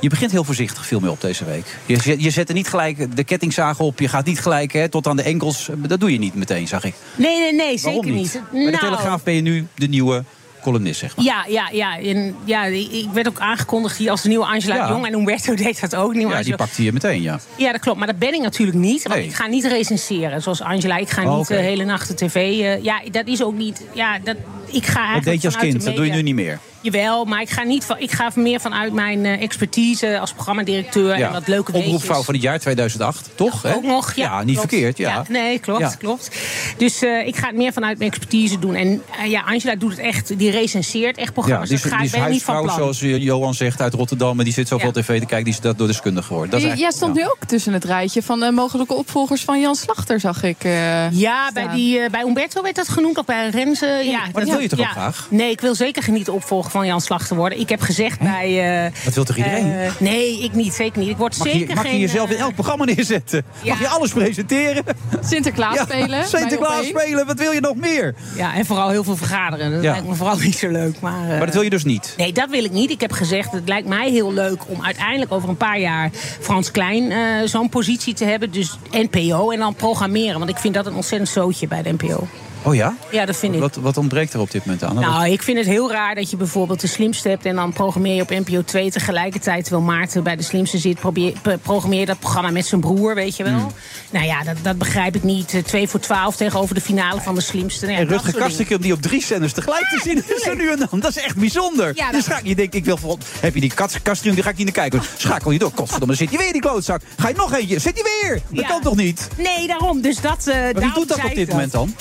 [SPEAKER 6] Je begint heel voorzichtig veel meer op deze week. Je zet, je zet er niet gelijk de kettingzaag op. Je gaat niet gelijk hè, tot aan de enkels. Dat doe je niet meteen, zag ik.
[SPEAKER 8] Nee, nee, nee,
[SPEAKER 6] Waarom
[SPEAKER 8] zeker niet.
[SPEAKER 6] Bij de
[SPEAKER 8] Nou,
[SPEAKER 6] Telegraaf ben je nu de nieuwe columnist, zeg maar.
[SPEAKER 8] Ja, ja, ja. En, ja ik ik werd ook aangekondigd hier als de nieuwe Angela
[SPEAKER 6] Ja.
[SPEAKER 8] de Jong. En Humberto deed dat ook. Nieuwe
[SPEAKER 6] Ja, die
[SPEAKER 8] Angela-
[SPEAKER 6] pakte je meteen, ja.
[SPEAKER 8] ja, dat klopt. Maar dat ben ik natuurlijk niet. Want
[SPEAKER 6] Nee.
[SPEAKER 8] ik ga niet recenseren. Zoals Angela, ik ga
[SPEAKER 6] Oh,
[SPEAKER 8] niet
[SPEAKER 6] oké.
[SPEAKER 8] de hele nacht de tv. eh, ja, dat is ook niet... Ja, dat, ik ga eigenlijk
[SPEAKER 6] Dat deed je als
[SPEAKER 8] vanuit de
[SPEAKER 6] kind, dat doe je nu
[SPEAKER 8] media-
[SPEAKER 6] niet meer.
[SPEAKER 8] Jawel, maar ik ga, niet van, ik ga meer vanuit mijn eh, expertise als programmadirecteur. En dat leuke
[SPEAKER 6] Omroepvrouw
[SPEAKER 8] weetjes.
[SPEAKER 6] van het jaar 2008, toch? hè?
[SPEAKER 8] Ook nog, ja.
[SPEAKER 6] niet
[SPEAKER 8] klopt.
[SPEAKER 6] verkeerd, ja.
[SPEAKER 8] Nee, klopt,
[SPEAKER 6] Ja.
[SPEAKER 8] klopt. Dus eh, ik ga het meer vanuit mijn expertise doen. En eh, ja, Angela doet het echt, die recenseert echt
[SPEAKER 6] Ja, dus-
[SPEAKER 8] programma's.
[SPEAKER 6] die is,
[SPEAKER 8] dat ga
[SPEAKER 6] die is
[SPEAKER 8] ik ben ik niet van
[SPEAKER 6] huisvrouw,
[SPEAKER 8] plan.
[SPEAKER 6] zoals eh, Johan zegt, uit Rotterdam. Maar die zit zoveel
[SPEAKER 8] Ja.
[SPEAKER 6] tv te kijken, die is daardoor deskundig geworden. Dat is
[SPEAKER 7] J- Jij
[SPEAKER 6] eigenlijk-
[SPEAKER 7] stond nu ook tussen het rijtje van eh, mogelijke opvolgers van Jan Slachter, zag ik. eh.
[SPEAKER 8] Ja, bij,
[SPEAKER 7] staan.
[SPEAKER 8] die, eh, bij Umberto werd dat genoemd, of bij Renze. Ja,
[SPEAKER 6] dat wil je toch ook
[SPEAKER 8] ja.
[SPEAKER 6] graag?
[SPEAKER 8] Nee, ik wil zeker geen niet de opvolger van Jan Slachter worden. Ik heb gezegd bij... eh,
[SPEAKER 6] Dat wil toch iedereen?
[SPEAKER 8] eh, nee, ik niet, zeker niet. Ik word
[SPEAKER 6] Mag
[SPEAKER 8] zeker
[SPEAKER 6] je, mag je
[SPEAKER 8] geen,
[SPEAKER 6] jezelf in
[SPEAKER 8] eh,
[SPEAKER 6] elk programma neerzetten?
[SPEAKER 8] ja.
[SPEAKER 6] Mag je alles presenteren?
[SPEAKER 7] Sinterklaas
[SPEAKER 6] Ja,
[SPEAKER 7] spelen. bij
[SPEAKER 6] Sinterklaas
[SPEAKER 7] Opeen.
[SPEAKER 6] spelen, wat wil je nog meer?
[SPEAKER 8] Ja, en vooral heel veel vergaderen. Dat
[SPEAKER 6] Ja.
[SPEAKER 8] lijkt me vooral niet zo leuk. Maar, eh,
[SPEAKER 6] Maar dat wil je dus niet.
[SPEAKER 8] Nee, dat wil ik niet. Ik heb gezegd, het lijkt mij heel leuk om uiteindelijk over een paar jaar Frans Klein eh, zo'n positie te hebben. Dus NPO en dan programmeren. Want ik vind dat een ontzettend zootje bij de NPO.
[SPEAKER 6] Oké, Oh ja?
[SPEAKER 8] Ja, dat vind ik.
[SPEAKER 6] Wat, wat ontbreekt er op dit moment aan?
[SPEAKER 8] Nou, ik vind het heel raar dat je bijvoorbeeld de slimste hebt... en dan programmeer je op NPO 2 tegelijkertijd... terwijl Maarten bij de slimste zit, probeer, pro- programmeer je dat programma met zijn broer, weet je wel.
[SPEAKER 6] Hmm.
[SPEAKER 8] Nou ja, dat, dat begrijp ik niet. Eh, 2 voor 12 tegenover de finale van de slimste. Nou ja,
[SPEAKER 6] En
[SPEAKER 8] dat
[SPEAKER 6] Rutger
[SPEAKER 8] soort dingen.
[SPEAKER 6] Kastrikum die op drie zenders tegelijk te zien is er nu en dan. Dat is echt bijzonder.
[SPEAKER 8] Ja, dat-
[SPEAKER 6] dus ga, je denkt, ik wil vol- heb je die Kast- Kastrikum, die ga ik niet naar kijken. Schakel je door, godverdomme, dan zit je weer in die klootzak. Ga je nog eentje, zit je weer. Dat
[SPEAKER 8] Ja.
[SPEAKER 6] kan toch niet?
[SPEAKER 8] Nee, daarom. Dus dat, eh
[SPEAKER 6] Maar wie doet dat op dit moment dan?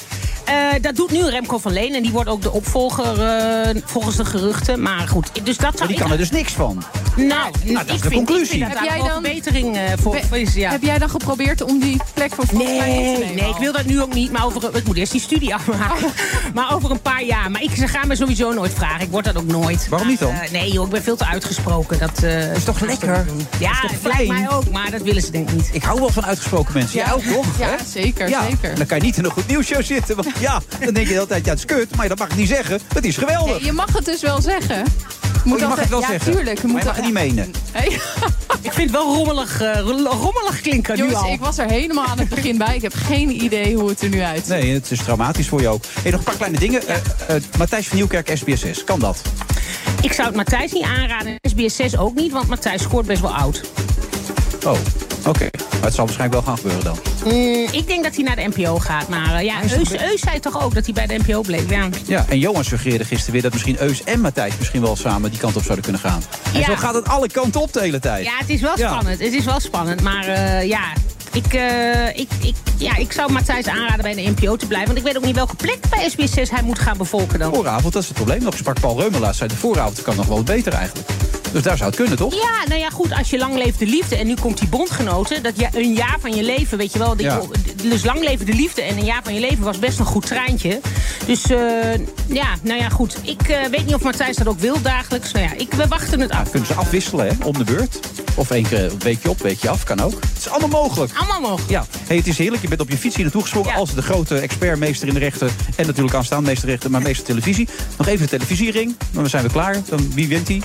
[SPEAKER 8] Eh, dat doet nu Remco van Leen. En die wordt ook de opvolger eh, volgens de geruchten. Maar goed, dus dat
[SPEAKER 6] Maar
[SPEAKER 8] zou
[SPEAKER 6] die
[SPEAKER 8] ik...
[SPEAKER 6] kan er dus niks van.
[SPEAKER 8] Nou,
[SPEAKER 6] dat
[SPEAKER 8] ik
[SPEAKER 6] is de
[SPEAKER 8] vind-
[SPEAKER 6] conclusie.
[SPEAKER 8] Ik vind dat
[SPEAKER 7] Heb
[SPEAKER 8] daar
[SPEAKER 7] jij
[SPEAKER 8] wel
[SPEAKER 7] dan-
[SPEAKER 8] verbetering eh, voor, voor is. Ja.
[SPEAKER 7] Heb jij dan geprobeerd om die plek voor volgens mij in te
[SPEAKER 8] Nee,
[SPEAKER 7] nemen?
[SPEAKER 8] nee, ik wil dat nu ook niet. Maar over, ik moet eerst die studie afmaken. maar over een paar jaar. Maar ik, ze gaan me sowieso nooit vragen. Ik word dat ook nooit.
[SPEAKER 6] Waarom niet dan?
[SPEAKER 8] Maar, eh, nee joh, ik ben veel te uitgesproken. Dat is
[SPEAKER 6] toch lekker?
[SPEAKER 8] Ja,
[SPEAKER 6] Dat is toch
[SPEAKER 8] dat lijkt
[SPEAKER 6] fijn?
[SPEAKER 8] mij ook. Maar dat willen ze denk ik niet.
[SPEAKER 6] Ik hou wel van uitgesproken mensen. Jij ook, toch?
[SPEAKER 7] Ja,
[SPEAKER 6] Hè?
[SPEAKER 7] zeker,
[SPEAKER 6] Ja,
[SPEAKER 7] zeker.
[SPEAKER 6] dan kan je niet in een goed nieuwsshow zitten. Want ja, dan denk je de hele tijd, ja, het is kut. Maar dat mag ik niet zeggen. Het is geweldig.
[SPEAKER 7] Nee, je mag het dus wel zeggen.
[SPEAKER 6] Oh,
[SPEAKER 7] Moet
[SPEAKER 6] je mag
[SPEAKER 7] altijd-
[SPEAKER 6] het wel
[SPEAKER 7] ja,
[SPEAKER 6] zeggen.
[SPEAKER 7] Tuurlijk,
[SPEAKER 6] maar je mag het niet menen.
[SPEAKER 7] Hey,
[SPEAKER 8] Ik vind het wel rommelig, eh, rommelig klinken nu al.
[SPEAKER 7] jongens, ik was er helemaal aan het begin bij. Ik heb geen idee hoe het er nu uitziet.
[SPEAKER 6] Nee, het is traumatisch voor je ook. Hey, nog een paar kleine dingen. Eh, eh, Matthijs van Nieuwkerk, SBSS. Kan dat?
[SPEAKER 8] Ik zou het Matthijs niet aanraden. en SBS6 ook niet, want Matthijs scoort best wel oud.
[SPEAKER 6] Oh, oké. Maar het zal waarschijnlijk wel gaan gebeuren dan.
[SPEAKER 8] Mm, ik denk dat hij naar de NPO gaat. Maar eh, ja,
[SPEAKER 6] is
[SPEAKER 8] Eus,
[SPEAKER 6] een
[SPEAKER 8] Eus zei toch ook dat hij bij de NPO bleef. Ja.
[SPEAKER 6] Ja, en Johan suggereerde gisteren weer dat misschien Eus en Matthijs misschien wel samen die kant op zouden kunnen gaan. En
[SPEAKER 8] Ja.
[SPEAKER 6] zo gaat het alle kanten op de hele tijd.
[SPEAKER 8] ja, het is wel
[SPEAKER 6] Ja.
[SPEAKER 8] spannend. Het is wel spannend. Maar eh, ja, ik, eh, ik, ik, ja, ik zou Matthijs aanraden bij de NPO te blijven. Want ik weet ook niet welke plek bij SBS6 hij moet gaan bevolken dan.
[SPEAKER 6] Vooravond, dat is het probleem. Dat sprak Paul Reumer laatst. Zei de vooravond kan nog wel wat beter eigenlijk. Dus daar zou het kunnen, toch?
[SPEAKER 8] Ja, nou ja, goed, als je lang leeft de liefde en nu komt die bondgenoten. Dat je een jaar van je leven, weet je wel. dat
[SPEAKER 6] Ja.
[SPEAKER 8] je- dus lang leven de liefde en een jaar van je leven was best een goed treintje. Dus eh, ja, nou ja, goed. Ik eh, weet niet of Matthijs dat ook wil dagelijks. Nou ja, ik, we wachten het af.
[SPEAKER 6] Kunnen ze afwisselen, hè? Om de beurt. Of één keer een weekje op, weekje af. Kan ook. Het is allemaal mogelijk.
[SPEAKER 8] Allemaal mogelijk.
[SPEAKER 6] Ja, hey, het is heerlijk. Je bent op je fiets hier naartoe gesprongen.
[SPEAKER 8] Ja.
[SPEAKER 6] Als de grote expert, meester in de rechten. En natuurlijk aanstaande meester rechten, maar meester televisie. Nog even de televisiering. Dan zijn we klaar. Dan, wie wint die?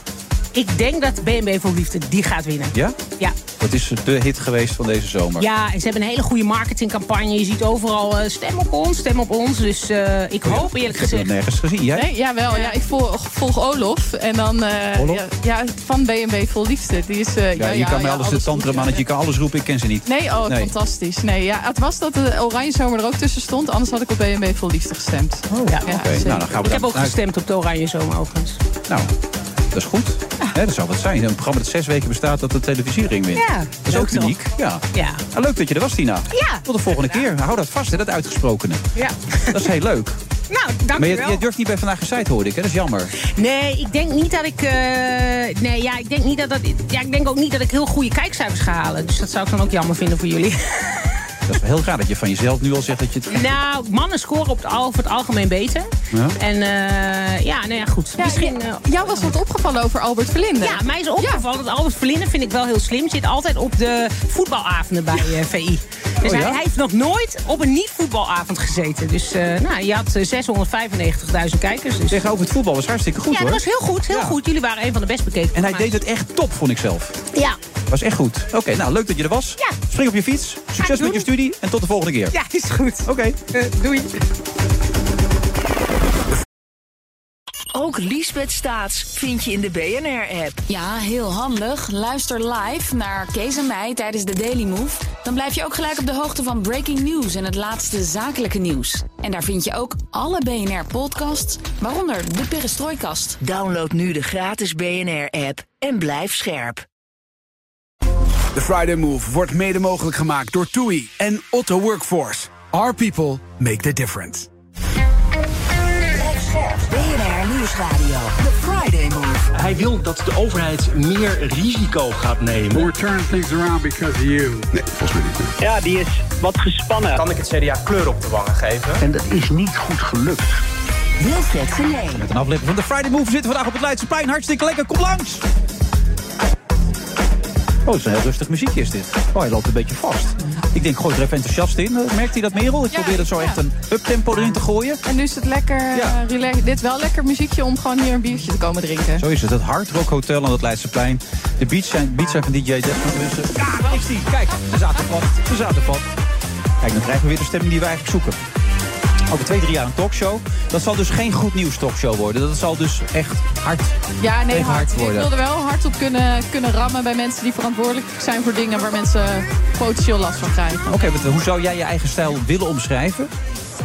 [SPEAKER 8] Ik denk dat BNB voor Liefde die gaat winnen.
[SPEAKER 6] Ja?
[SPEAKER 8] Ja.
[SPEAKER 6] Dat is de hit geweest van deze zomer.
[SPEAKER 8] Ja, en ze hebben een hele goede marketingcampagne. Je ziet overal eh, stem op ons, stem op ons. Dus eh, ik hoop eerlijk
[SPEAKER 6] Ik heb
[SPEAKER 8] gezegd.
[SPEAKER 6] het nergens gezien. Oh Jij?
[SPEAKER 7] Nee, jawel. Ja, ik volg, volg Olof. En dan eh,
[SPEAKER 6] Olof?
[SPEAKER 7] Ja, ja, van BNB Vol Liefde. Die is, eh,
[SPEAKER 6] Ja, je kan mij alles de
[SPEAKER 7] goed,
[SPEAKER 6] tantrum
[SPEAKER 7] ja.
[SPEAKER 6] aan, je kan alles roepen, ik ken ze niet.
[SPEAKER 7] Nee, oh,
[SPEAKER 6] Nee.
[SPEAKER 7] fantastisch. Nee, ja, het was dat de Oranje Zomer er ook tussen stond. Anders had ik op BNB Vol Liefde gestemd. Oh, ja,
[SPEAKER 6] Oké,
[SPEAKER 7] zeker.
[SPEAKER 6] nou dan gaan we
[SPEAKER 8] Ik heb
[SPEAKER 6] dan
[SPEAKER 8] ook
[SPEAKER 6] uit.
[SPEAKER 8] gestemd op de Oranje Zomer overigens.
[SPEAKER 6] Nou, dat is goed.
[SPEAKER 8] Ah.
[SPEAKER 6] Hè, dat zou wat zijn. Een programma dat zes weken bestaat dat de televisiering wint.
[SPEAKER 8] Ja,
[SPEAKER 6] dat is
[SPEAKER 8] leuk
[SPEAKER 6] ook
[SPEAKER 8] toch?
[SPEAKER 6] uniek. Ja.
[SPEAKER 8] Ja.
[SPEAKER 6] Nou, leuk dat je er was, Tina.
[SPEAKER 8] Ja.
[SPEAKER 6] Tot de volgende keer. Hou dat vast, hè, dat uitgesprokene.
[SPEAKER 8] Ja.
[SPEAKER 6] Dat is heel leuk.
[SPEAKER 8] Nou, dank
[SPEAKER 6] Maar
[SPEAKER 8] je
[SPEAKER 6] je,
[SPEAKER 8] wel.
[SPEAKER 6] je durft niet bij Vandaag Gezeid, hoorde ik. Hè? Dat is jammer.
[SPEAKER 8] Nee, ik denk niet dat ik. eh, nee, ja, ik denk niet dat dat. Ja, ik denk ook niet dat ik heel goede kijkcijfers ga halen. Dus dat zou ik dan ook jammer vinden voor jullie.
[SPEAKER 6] Dat is wel heel raar dat je van jezelf nu al zegt dat je het...
[SPEAKER 8] nou, mannen scoren op het, al, over het algemeen beter.
[SPEAKER 6] Ja.
[SPEAKER 8] En eh, ja, nou ja, goed.
[SPEAKER 7] Ja,
[SPEAKER 8] Misschien.
[SPEAKER 7] j-
[SPEAKER 8] eh,
[SPEAKER 7] jou was wat opgevallen over Albert Verlinde.
[SPEAKER 8] ja, mij is opgevallen dat Albert Verlinde vind ik wel heel slim. Zit altijd op de voetbalavonden bij eh, VI. Dus
[SPEAKER 6] Oh,
[SPEAKER 8] hij,
[SPEAKER 6] ja?
[SPEAKER 8] hij heeft nog nooit op een niet-voetbalavond gezeten. Dus eh, nou, je had eh, 695.000 kijkers. Dus. Ja,
[SPEAKER 6] Tegenover het voetbal was hartstikke goed,
[SPEAKER 8] dat
[SPEAKER 6] hoor.
[SPEAKER 8] was heel goed, heel
[SPEAKER 6] Ja.
[SPEAKER 8] goed. Jullie waren een van de best bekeken.
[SPEAKER 6] En hij deed
[SPEAKER 8] programma's.
[SPEAKER 6] het echt top, vond ik zelf.
[SPEAKER 8] Ja.
[SPEAKER 6] Was echt goed. Oké, nou, leuk dat je er was.
[SPEAKER 8] Ja.
[SPEAKER 6] Spring op je fiets.
[SPEAKER 8] Ga ik
[SPEAKER 6] Succes
[SPEAKER 8] doen.
[SPEAKER 6] met je studie. En tot de volgende keer.
[SPEAKER 8] Ja, is goed.
[SPEAKER 6] Oké.
[SPEAKER 7] Eh,
[SPEAKER 8] doei.
[SPEAKER 1] Ook Liesbeth Staats vind je in de BNR-app.
[SPEAKER 9] Ja, heel handig. Luister live naar Kees en mij tijdens de Daily Move. Dan blijf je ook gelijk op de hoogte van breaking news en het laatste zakelijke nieuws. En daar vind je ook alle BNR-podcasts, waaronder de Perestrooikast.
[SPEAKER 1] Download nu de gratis BNR-app en blijf scherp.
[SPEAKER 10] De Friday Move wordt mede mogelijk gemaakt door TUI en Otto Workforce. Our people make the difference.
[SPEAKER 1] Blijf scherp. BNR Nieuwsradio. The Friday Move.
[SPEAKER 4] Hij wil dat de overheid meer risico gaat nemen.
[SPEAKER 3] Ja, die is wat gespannen.
[SPEAKER 2] Kan ik het CDA kleur op de wangen geven?
[SPEAKER 1] Wilfred Genee.
[SPEAKER 6] Een aflevering van de Friday Move. We zitten vandaag op het Leidseplein. Hartstikke lekker. Kom langs. Oh, het is een heel rustig muziekje is dit. Oh, hij loopt een beetje vast. Ik denk, gooi er even enthousiast in. Eh, Merkt hij dat, Merel? Ik
[SPEAKER 7] Ja,
[SPEAKER 6] probeer het zo
[SPEAKER 7] ja.
[SPEAKER 6] echt een uptempo erin te gooien.
[SPEAKER 7] En nu is het lekker
[SPEAKER 6] Ja.
[SPEAKER 7] eh, relax- Dit wel lekker muziekje om gewoon hier een biertje te komen drinken.
[SPEAKER 6] Zo is het. Het Hard Rock Hotel aan het Leidseplein. De beats zijn, beats zijn van DJ Deftones. Ja, daar is die. Kijk, we zaten vast. We zaten vast. Kijk, dan krijgen we weer de stemming die we eigenlijk zoeken. Over twee, drie jaar een talkshow. Dat zal dus geen goed nieuws talkshow worden. Dat zal dus echt hard,
[SPEAKER 7] Ja, nee,
[SPEAKER 6] echt
[SPEAKER 7] hard.
[SPEAKER 6] hard
[SPEAKER 7] Ik
[SPEAKER 6] worden.
[SPEAKER 7] wil er wel hard op kunnen, kunnen rammen bij mensen die verantwoordelijk zijn voor dingen waar mensen potentieel last van krijgen.
[SPEAKER 6] Oké, want hoe zou jij je eigen stijl willen omschrijven?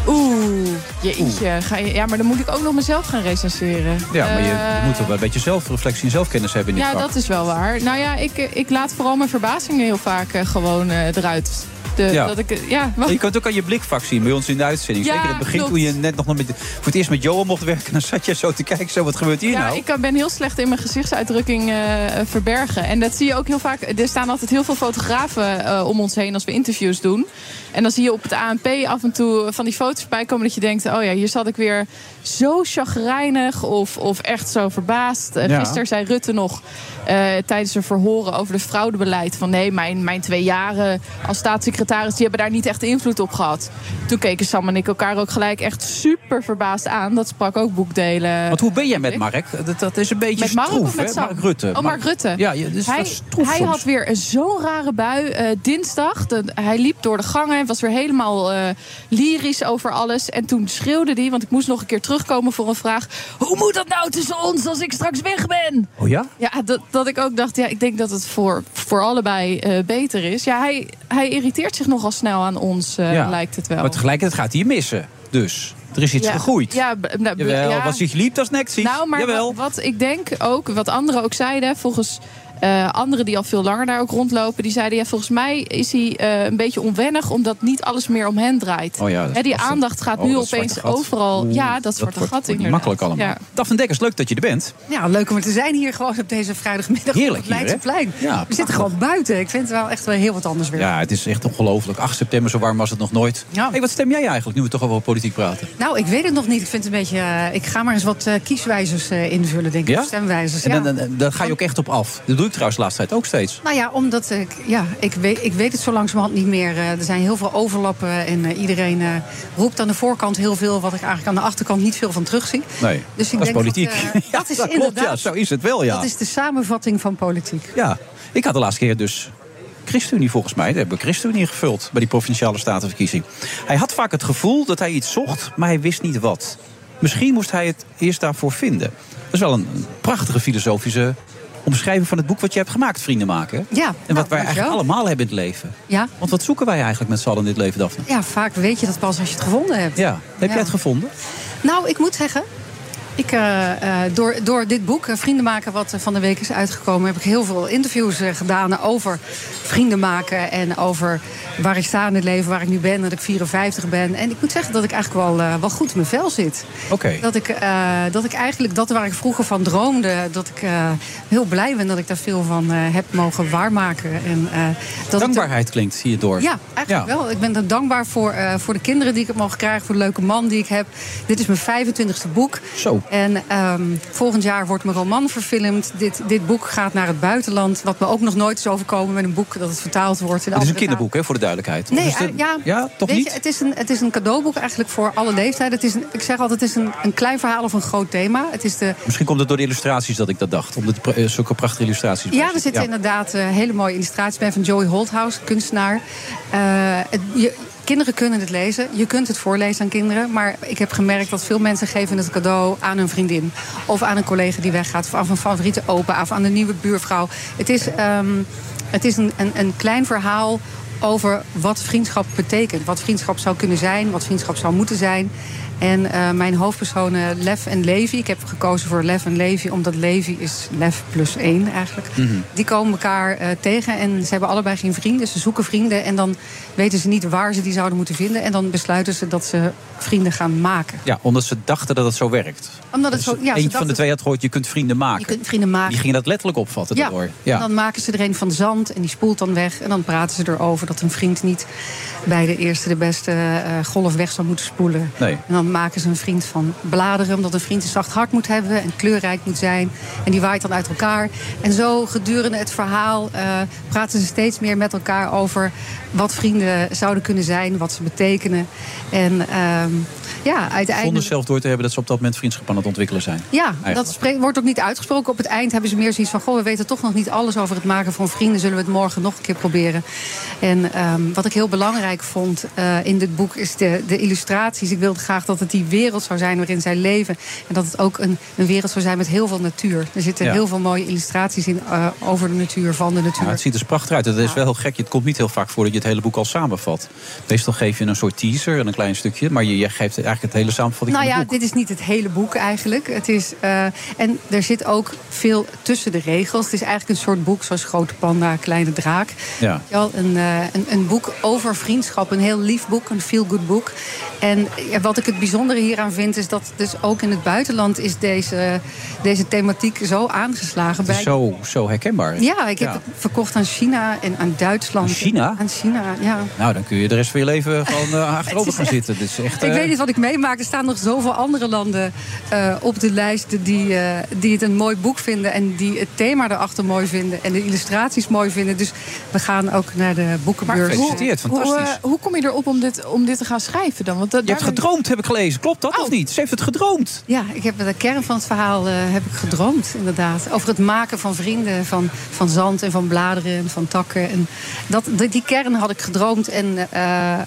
[SPEAKER 7] Oeh, jeetje. Ga je, ja, maar dan moet ik ook nog mezelf gaan recenseren.
[SPEAKER 6] Ja, maar je
[SPEAKER 7] Eh,
[SPEAKER 6] moet toch wel een beetje zelfreflectie en zelfkennis hebben in dit
[SPEAKER 7] Ja,
[SPEAKER 6] vak.
[SPEAKER 7] dat is wel waar. Nou ja, ik, ik laat vooral mijn verbazingen heel vaak eh, gewoon eh, eruit. De,
[SPEAKER 6] Ja.
[SPEAKER 7] dat ik, eh, ja,
[SPEAKER 6] Maar
[SPEAKER 7] want-
[SPEAKER 6] Je kunt ook aan je blikvak zien bij ons in de uitzending.
[SPEAKER 7] Ja,
[SPEAKER 6] Zeker in het begin
[SPEAKER 7] klopt.
[SPEAKER 6] toen je net nog met, voor het eerst met Johan mocht werken. Dan zat je zo te kijken, zo, wat gebeurt hier
[SPEAKER 7] ja,
[SPEAKER 6] nou?
[SPEAKER 7] ik eh, ben heel slecht in mijn gezichtsuitdrukking eh, eh, verbergen. En dat zie je ook heel vaak. Er staan altijd heel veel fotografen eh, om ons heen als we interviews doen. En dan zie je op het ANP af en toe van die foto's bijkomen dat je denkt... oh ja, hier zat ik weer zo chagrijnig of, of echt zo verbaasd. Eh,
[SPEAKER 11] Ja.
[SPEAKER 7] Gisteren zei Rutte nog eh, tijdens een verhoren over het fraudebeleid... van nee, mijn, mijn twee jaren als staatssecretaris... die hebben daar niet echt invloed op gehad. Toen keken Sam en ik elkaar ook gelijk echt super verbaasd aan. Dat sprak ook boekdelen.
[SPEAKER 6] Want hoe ben jij met Mark? Dat, dat is een beetje
[SPEAKER 7] Met Mark
[SPEAKER 6] stroef,
[SPEAKER 7] of met
[SPEAKER 6] hè?
[SPEAKER 7] Sam?
[SPEAKER 6] Mark Rutte.
[SPEAKER 7] Oh, Mark Rutte.
[SPEAKER 6] Ja, ja, dat is
[SPEAKER 7] hij
[SPEAKER 6] wat stroef
[SPEAKER 7] hij
[SPEAKER 6] soms.
[SPEAKER 7] had weer een zo'n rare bui eh, dinsdag. De- hij liep door de gangen en was weer helemaal eh, lyrisch over alles. En toen schreeuwde hij, want ik moest nog een keer terugkomen voor een vraag. Hoe moet dat nou tussen ons als ik straks weg ben?
[SPEAKER 6] Oh ja?
[SPEAKER 7] Ja, dat, dat ik ook dacht, ja, ik denk dat het voor, voor allebei eh, beter is. Ja, hij, hij irriteert zich nogal snel aan ons, eh,
[SPEAKER 6] Ja.
[SPEAKER 7] lijkt het wel.
[SPEAKER 6] Maar tegelijkertijd gaat hij je missen. Dus, er is iets
[SPEAKER 7] Ja.
[SPEAKER 6] gegroeid.
[SPEAKER 7] Ja, b- nou, b-
[SPEAKER 6] Jawel,
[SPEAKER 7] ja.
[SPEAKER 6] was hij geliefd als Nexie?
[SPEAKER 7] Nou, maar
[SPEAKER 6] Jawel.
[SPEAKER 7] Wat, wat ik denk ook, wat anderen ook zeiden, volgens eh, anderen die al veel langer daar ook rondlopen, die zeiden ja, volgens mij is hij eh, een beetje onwennig omdat niet alles meer om hen draait.
[SPEAKER 6] Oh ja, dat is
[SPEAKER 7] Hè, die
[SPEAKER 6] lastig.
[SPEAKER 7] aandacht gaat
[SPEAKER 6] Oh,
[SPEAKER 7] nu
[SPEAKER 6] dat zwarte
[SPEAKER 7] opeens
[SPEAKER 6] gat.
[SPEAKER 7] overal.
[SPEAKER 6] Oeh,
[SPEAKER 7] ja, dat
[SPEAKER 6] wordt-
[SPEAKER 7] zwort een gat
[SPEAKER 6] wordt niet
[SPEAKER 7] inderdaad.
[SPEAKER 6] makkelijk allemaal.
[SPEAKER 7] Ja.
[SPEAKER 6] Daphne Dekkers, leuk dat je er bent.
[SPEAKER 12] Ja, leuk om er te zijn hier gewoon op deze vrijdagmiddag
[SPEAKER 6] Heerlijk
[SPEAKER 12] op het
[SPEAKER 6] hier, hè?
[SPEAKER 12] Leidseplein.
[SPEAKER 6] Ja,
[SPEAKER 12] We
[SPEAKER 6] prachtig.
[SPEAKER 12] zitten gewoon buiten. Ik vind het wel echt wel heel wat anders weer.
[SPEAKER 6] Ja, het is echt ongelooflijk. 8 september, zo warm was het nog nooit. Hey, wat stem jij eigenlijk, nu we toch al over politiek praten?
[SPEAKER 12] Nou, ik weet het nog niet. Ik vind het een beetje... eh, ik ga maar eens wat eh, kieswijzers eh, invullen, denk ik.
[SPEAKER 6] Ja?
[SPEAKER 12] Of stemwijzers,
[SPEAKER 6] En
[SPEAKER 12] ja.
[SPEAKER 6] dan, dan, dan, ga je ook echt op af. Dat doe ik trouwens de laatste tijd ook steeds.
[SPEAKER 12] Nou ja, omdat ik, ja, ik, weet, ik weet het zo langzamerhand niet meer. Eh, er zijn heel veel overlappen en eh, iedereen eh, roept aan de voorkant heel veel... wat ik eigenlijk aan de achterkant niet veel van terugzie.
[SPEAKER 6] Nee,
[SPEAKER 12] Dus ik
[SPEAKER 6] dat
[SPEAKER 12] denk
[SPEAKER 6] is politiek.
[SPEAKER 12] Dat, eh,
[SPEAKER 6] Ja,
[SPEAKER 12] dat is
[SPEAKER 6] klopt,
[SPEAKER 12] inderdaad...
[SPEAKER 6] ja, zo is het wel, ja.
[SPEAKER 12] Dat is de samenvatting van politiek.
[SPEAKER 6] Ja, ik had de laatste keer dus ChristenUnie volgens mij. Daar hebben we ChristenUnie gevuld bij die provinciale statenverkiezing. Hij had vaak het gevoel dat hij iets zocht, maar hij wist niet wat. Misschien moest hij het eerst daarvoor vinden. Dat is wel een prachtige filosofische omschrijving van het boek wat je hebt gemaakt, Vrienden maken.
[SPEAKER 12] Ja, nou,
[SPEAKER 6] En wat wij eigenlijk
[SPEAKER 12] dankjewel.
[SPEAKER 6] allemaal hebben in het leven.
[SPEAKER 12] Ja.
[SPEAKER 6] Want wat zoeken wij eigenlijk met z'n allen in dit leven, Daphne?
[SPEAKER 12] ja, vaak weet je dat pas als je het gevonden hebt.
[SPEAKER 6] Ja, heb jij
[SPEAKER 12] Ja.
[SPEAKER 6] het gevonden?
[SPEAKER 12] Nou, ik moet zeggen. Ik, eh, eh, door, door dit boek, eh, Vrienden maken, wat eh, van de week is uitgekomen, heb ik heel veel interviews eh, gedaan over vrienden maken en over waar ik sta in het leven, waar ik nu ben, dat ik 54 ben. En ik moet zeggen dat ik eigenlijk wel, eh, wel goed in mijn vel zit.
[SPEAKER 6] Oké.
[SPEAKER 12] Dat, ik, eh, dat ik eigenlijk dat waar ik vroeger van droomde, dat ik eh, heel blij ben dat ik daar veel van eh, heb mogen waarmaken. En, eh, dat ik er-
[SPEAKER 6] Dankbaarheid klinkt hierdoor.
[SPEAKER 12] ja, eigenlijk wel. Ik ben er dankbaar voor, eh, voor de kinderen die ik heb mogen krijgen, voor de leuke man die ik heb. Dit is mijn 25e boek.
[SPEAKER 6] Zo.
[SPEAKER 12] En ehm, volgend jaar wordt mijn roman verfilmd. Dit, dit boek gaat naar het buitenland. Wat me ook nog nooit is overkomen met een boek dat het vertaald wordt. in
[SPEAKER 6] Het is
[SPEAKER 12] andere
[SPEAKER 6] een kinderboek, hè, voor de duidelijkheid.
[SPEAKER 12] Nee,
[SPEAKER 6] Dus de-
[SPEAKER 12] eigenlijk- ja,
[SPEAKER 6] ja, toch
[SPEAKER 12] weet
[SPEAKER 6] niet?
[SPEAKER 12] Je, het, is een, het is een cadeauboek eigenlijk voor alle leeftijden. Het is een, ik zeg altijd, het is een, een klein verhaal of een groot thema. Het is de
[SPEAKER 6] Misschien komt het door de illustraties dat ik dat dacht. Omdat er pra- eh, zulke prachtige illustraties bij
[SPEAKER 12] Ja, er zitten inderdaad eh, hele mooie illustraties bij van Joey Holthouse, kunstenaar. Eh, het, je, kinderen kunnen het lezen. Je kunt het voorlezen aan kinderen. Maar ik heb gemerkt dat veel mensen geven het cadeau aan hun vriendin. Of aan een collega die weggaat. Of aan een favoriete opa. Of aan een nieuwe buurvrouw. Het is, ehm, het is een, een, een klein verhaal over wat vriendschap betekent. Wat vriendschap zou kunnen zijn, wat vriendschap zou moeten zijn. En eh, mijn hoofdpersonen Lef en Levi. Ik heb gekozen voor Lef en Levi, omdat Levi is Lef plus één eigenlijk.
[SPEAKER 13] Mhm.
[SPEAKER 12] Die komen elkaar eh, tegen en ze hebben allebei geen vrienden. Ze zoeken vrienden en dan weten ze niet waar ze die zouden moeten vinden. En dan besluiten ze dat ze vrienden gaan maken.
[SPEAKER 6] Ja, omdat ze dachten dat het zo werkt.
[SPEAKER 12] Omdat het zo, ja, ze
[SPEAKER 6] Eentje Dus van de
[SPEAKER 12] dachten-
[SPEAKER 6] twee had gehoord, je kunt vrienden maken.
[SPEAKER 12] Je kunt vrienden maken.
[SPEAKER 6] Die gingen dat letterlijk opvatten
[SPEAKER 12] Ja,
[SPEAKER 6] daardoor.
[SPEAKER 12] en dan maken ze er een van zand en die spoelt dan weg. En dan praten ze erover dat een vriend niet bij de eerste de beste eh, golf weg zou moeten spoelen.
[SPEAKER 6] Nee.
[SPEAKER 12] En dan maken ze een vriend van bladeren, omdat een vriend een zacht hart moet hebben en kleurrijk moet zijn. En die waait dan uit elkaar. En zo gedurende het verhaal eh, praten ze steeds meer met elkaar over wat vrienden zouden kunnen zijn, wat ze betekenen. En ehm, Ja,
[SPEAKER 6] Zonder
[SPEAKER 12] uiteindelijk.
[SPEAKER 6] zelf door te hebben dat ze op dat moment vriendschap aan het ontwikkelen zijn.
[SPEAKER 12] Ja, dat
[SPEAKER 6] Eigenlijk.
[SPEAKER 12] spreekt- wordt ook niet uitgesproken. Op het eind hebben ze meer zoiets van: Goh, we weten toch nog niet alles over het maken van vrienden. Zullen we het morgen nog een keer proberen? En ehm, wat ik heel belangrijk vond eh, in dit boek is de, de illustraties. Ik wilde graag dat het die wereld zou zijn waarin zij leven. En dat het ook een, een wereld zou zijn met heel veel natuur. Er zitten
[SPEAKER 6] Ja.
[SPEAKER 12] heel veel mooie illustraties in eh, over de natuur, van de natuur.
[SPEAKER 6] Ja, het ziet er dus prachtig uit. Het is wel heel gek. Het komt niet heel vaak voor dat je het hele boek al samenvat. Meestal geef je een soort teaser en een klein stukje. Maar je, je geeft eigenlijk het hele samenvatting
[SPEAKER 12] nou
[SPEAKER 6] van
[SPEAKER 12] ja,
[SPEAKER 6] het boek.
[SPEAKER 12] dit is niet het hele boek eigenlijk. Het is, eh, en er zit ook veel tussen de regels. Het is eigenlijk een soort boek zoals Grote Panda, Kleine Draak.
[SPEAKER 6] Ja.
[SPEAKER 12] Wel een, eh, een, een boek over vriendschap. Een heel lief boek, een feel-good boek. En ja, wat ik het bijzondere hieraan vind... is dat dus ook in het buitenland is deze, deze thematiek zo aangeslagen.
[SPEAKER 6] Het is zo, zo herkenbaar.
[SPEAKER 12] Ja, ik heb het verkocht aan China en aan Duitsland.
[SPEAKER 6] Aan China?
[SPEAKER 12] Aan China, ja.
[SPEAKER 6] Nou, dan kun je de rest van je leven gewoon eh, achterover gaan zitten. Dit is echt,
[SPEAKER 12] Ik
[SPEAKER 6] eh,
[SPEAKER 12] weet niet wat ik meemaak. Er staan nog zoveel andere landen eh, op de lijst die, eh, die het een mooi boek vinden. En die het thema erachter mooi vinden. En de illustraties mooi vinden. Dus we gaan ook naar de boekenbeurs.
[SPEAKER 6] Gefeliciteerd,
[SPEAKER 7] Hoe,
[SPEAKER 6] fantastisch.
[SPEAKER 7] eh, hoe kom je erop om dit, om dit te gaan schrijven dan? Want dat,
[SPEAKER 6] Je hebt gedroomd, heb ik gelezen. Klopt dat
[SPEAKER 12] Oh.
[SPEAKER 6] of niet? Ze heeft het gedroomd.
[SPEAKER 12] Ja, ik heb de kern van het verhaal eh, heb ik gedroomd, inderdaad. Over het maken van vrienden, van, van zand en van bladeren en van takken. En dat, die, die kern had ik gedroomd en eh, eh,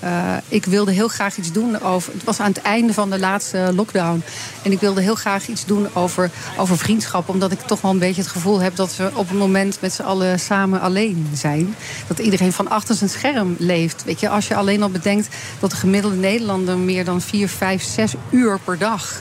[SPEAKER 12] ik wilde heel graag iets doen over... Het was aan het einde van de laatste lockdown. En ik wilde heel graag iets doen over, over vriendschap. Omdat ik toch wel een beetje het gevoel heb dat we op een moment met z'n allen samen alleen zijn. Dat iedereen van achter zijn scherm leeft. Weet je, als je alleen al bedenkt dat de gemiddelde Nederlander meer dan 4, 5, 6 uur per dag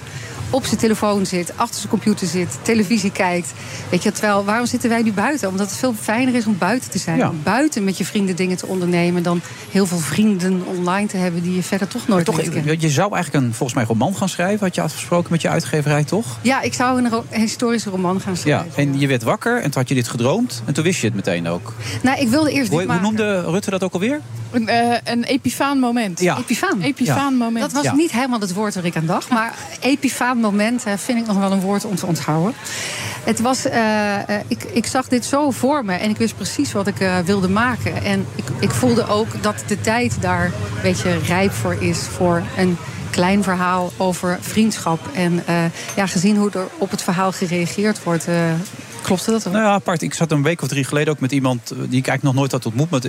[SPEAKER 12] op zijn telefoon zit, achter zijn computer zit, televisie kijkt. Weet je, terwijl waarom zitten wij nu buiten? Omdat het veel fijner is om buiten te zijn.
[SPEAKER 6] Ja.
[SPEAKER 12] Om buiten met je vrienden dingen te ondernemen dan heel veel vrienden online te hebben die je verder toch
[SPEAKER 6] Maar
[SPEAKER 12] nooit
[SPEAKER 6] toch,
[SPEAKER 12] leert kennen.
[SPEAKER 6] je zou eigenlijk een, volgens mij een roman gaan schrijven. Had je afgesproken met je uitgeverij, toch?
[SPEAKER 12] Ja, ik zou een ro- een historische roman gaan schrijven.
[SPEAKER 6] Ja, en je werd wakker en toen had je dit gedroomd. En toen wist je het meteen ook.
[SPEAKER 12] Nou, ik wilde eerst
[SPEAKER 6] Hoe,
[SPEAKER 12] dit
[SPEAKER 6] hoe
[SPEAKER 12] maken.
[SPEAKER 6] noemde Rutte dat ook alweer?
[SPEAKER 7] Een, eh, een epifaan moment.
[SPEAKER 6] Ja.
[SPEAKER 12] Epifaan.
[SPEAKER 7] Epifaan
[SPEAKER 12] Ja.
[SPEAKER 7] moment.
[SPEAKER 12] Dat was
[SPEAKER 6] Ja.
[SPEAKER 12] niet helemaal het woord waar ik aan dacht. Maar epifaan moment eh, vind ik nog wel een woord om te onthouden. Het was, eh, eh, ik, ik zag dit zo voor me en ik wist precies wat ik eh, wilde maken. En ik, ik voelde ook dat de tijd daar een beetje rijp voor is. Voor een klein verhaal over vriendschap. En eh, ja, gezien hoe er op het verhaal gereageerd wordt, eh, klopte dat wel.
[SPEAKER 6] Nou ja, apart. Ik zat een week of drie geleden ook met iemand eh, die ik eigenlijk nog nooit had ontmoet. Maar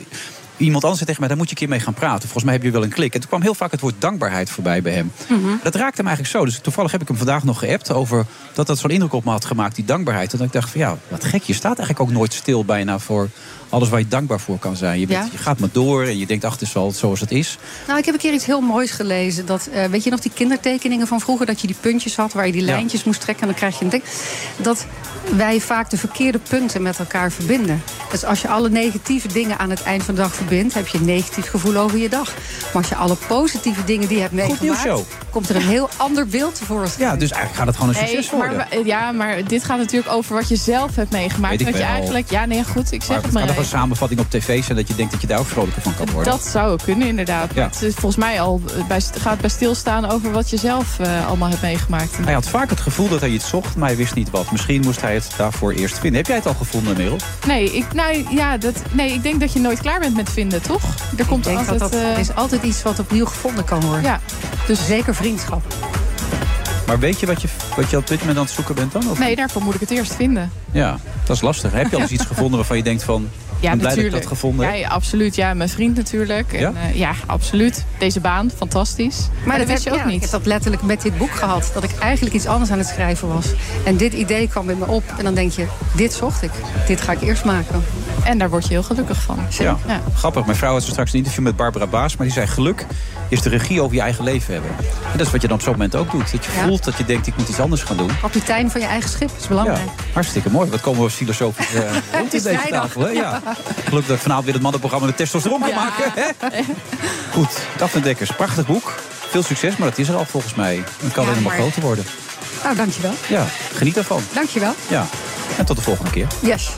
[SPEAKER 6] iemand anders zei tegen mij, daar moet je een keer mee gaan praten. Volgens mij heb je wel een klik. En toen kwam heel vaak het woord dankbaarheid voorbij bij hem.
[SPEAKER 12] Mhm.
[SPEAKER 6] Dat raakte hem eigenlijk zo. Dus toevallig heb ik hem vandaag nog geappt over dat dat zo'n indruk op me had gemaakt, die dankbaarheid. En dat ik dacht van ja, wat gek. Je staat eigenlijk ook nooit stil bijna voor alles waar je dankbaar voor kan zijn. Je, bent,
[SPEAKER 12] Ja.
[SPEAKER 6] je gaat maar door en je denkt, ach, het is wel zoals het is.
[SPEAKER 12] Nou, ik heb een keer iets heel moois gelezen. Dat, eh, weet je nog die kindertekeningen van vroeger? Dat je die puntjes had waar je die
[SPEAKER 6] Ja.
[SPEAKER 12] lijntjes moest trekken en dan krijg je een ding. Dat wij vaak de verkeerde punten met elkaar verbinden. Dus als je alle negatieve dingen aan het eind van de dag verbindt, heb je een negatief gevoel over je dag. Maar als je alle positieve dingen die je hebt
[SPEAKER 6] Goed nieuws,
[SPEAKER 12] meegemaakt, komt er een heel ander beeld tevoorschijn.
[SPEAKER 6] Ja, dus eigenlijk gaat het gewoon een
[SPEAKER 7] Nee,
[SPEAKER 6] succes
[SPEAKER 7] maar,
[SPEAKER 6] worden.
[SPEAKER 7] we- ja, maar dit gaat natuurlijk over wat je zelf hebt meegemaakt.
[SPEAKER 6] Weet ik
[SPEAKER 7] wat je
[SPEAKER 6] wel.
[SPEAKER 7] eigenlijk. Ja, nee, goed, ik zeg
[SPEAKER 6] Maar
[SPEAKER 7] het
[SPEAKER 6] het kan
[SPEAKER 7] maar.
[SPEAKER 6] nog een
[SPEAKER 7] even.
[SPEAKER 6] samenvatting op tv zijn dat je denkt dat je daar ook vrolijker van kan worden.
[SPEAKER 7] Dat zou ook kunnen, inderdaad.
[SPEAKER 6] Ja.
[SPEAKER 7] Maar Het is volgens mij al eh, bij, st- gaat bij stilstaan over wat je zelf eh, allemaal hebt meegemaakt.
[SPEAKER 6] Hij had vaak het gevoel dat hij iets zocht, maar hij wist niet wat. Misschien moest hij het daarvoor eerst vinden. Heb jij het al gevonden, Merel?
[SPEAKER 7] Nee, ik, nou, ja, dat, nee, ik denk dat je nooit klaar bent met vinden, toch? Er komt
[SPEAKER 12] Ik denk
[SPEAKER 7] altijd.
[SPEAKER 12] dat dat
[SPEAKER 7] eh,
[SPEAKER 12] er is altijd iets wat opnieuw gevonden kan worden.
[SPEAKER 7] Ja,
[SPEAKER 12] Dus zeker vriendschap.
[SPEAKER 6] Maar weet je wat, je wat je op dit moment aan het zoeken bent dan? Of?
[SPEAKER 7] nee, daarvoor moet ik het eerst vinden.
[SPEAKER 6] Ja, dat is lastig. Heb je al eens iets gevonden waarvan je denkt van...
[SPEAKER 7] Ja,
[SPEAKER 6] ik ben blij dat ik
[SPEAKER 7] natuurlijk.
[SPEAKER 6] dat gevonden
[SPEAKER 7] ja,
[SPEAKER 6] heb.
[SPEAKER 7] ja, absoluut. Ja, mijn vriend natuurlijk. En,
[SPEAKER 6] Ja?
[SPEAKER 7] ja? ja, absoluut. Deze baan, fantastisch. Maar, dat wist je
[SPEAKER 12] heb-
[SPEAKER 7] ook
[SPEAKER 12] ja, Ik
[SPEAKER 7] niet.
[SPEAKER 12] heb dat letterlijk met dit boek gehad. Dat ik eigenlijk iets anders aan het schrijven was. En dit idee kwam met me op. En dan denk je, dit zocht ik. Dit ga ik eerst maken.
[SPEAKER 7] En daar word je heel gelukkig van.
[SPEAKER 6] Dus Ja. grappig. Mijn vrouw had zo straks een interview met Barbara Baas... maar die zei geluk is de regie over je eigen leven hebben. En dat is wat je dan op zo'n moment ook doet. Dat je
[SPEAKER 12] Ja.
[SPEAKER 6] voelt dat je denkt, ik moet iets anders gaan doen.
[SPEAKER 12] Kapitein van je eigen schip is belangrijk.
[SPEAKER 6] Ja, hartstikke mooi. Wat komen we filosofisch eh, rond in
[SPEAKER 12] is
[SPEAKER 6] deze
[SPEAKER 12] vrijdag.
[SPEAKER 6] tafel. Hè? Ja. Gelukkig dat ik vanavond weer het mannenprogramma met testosteron kan maken. Hè? Goed, Daphne Dekkers, prachtig boek. Veel succes, maar dat is er al volgens mij. Het kan
[SPEAKER 12] Ja,
[SPEAKER 6] helemaal
[SPEAKER 12] maar-
[SPEAKER 6] groter worden.
[SPEAKER 12] Nou, dankjewel.
[SPEAKER 6] Ja, geniet ervan.
[SPEAKER 12] Dankjewel.
[SPEAKER 6] Ja, en tot de volgende keer.
[SPEAKER 12] Yes.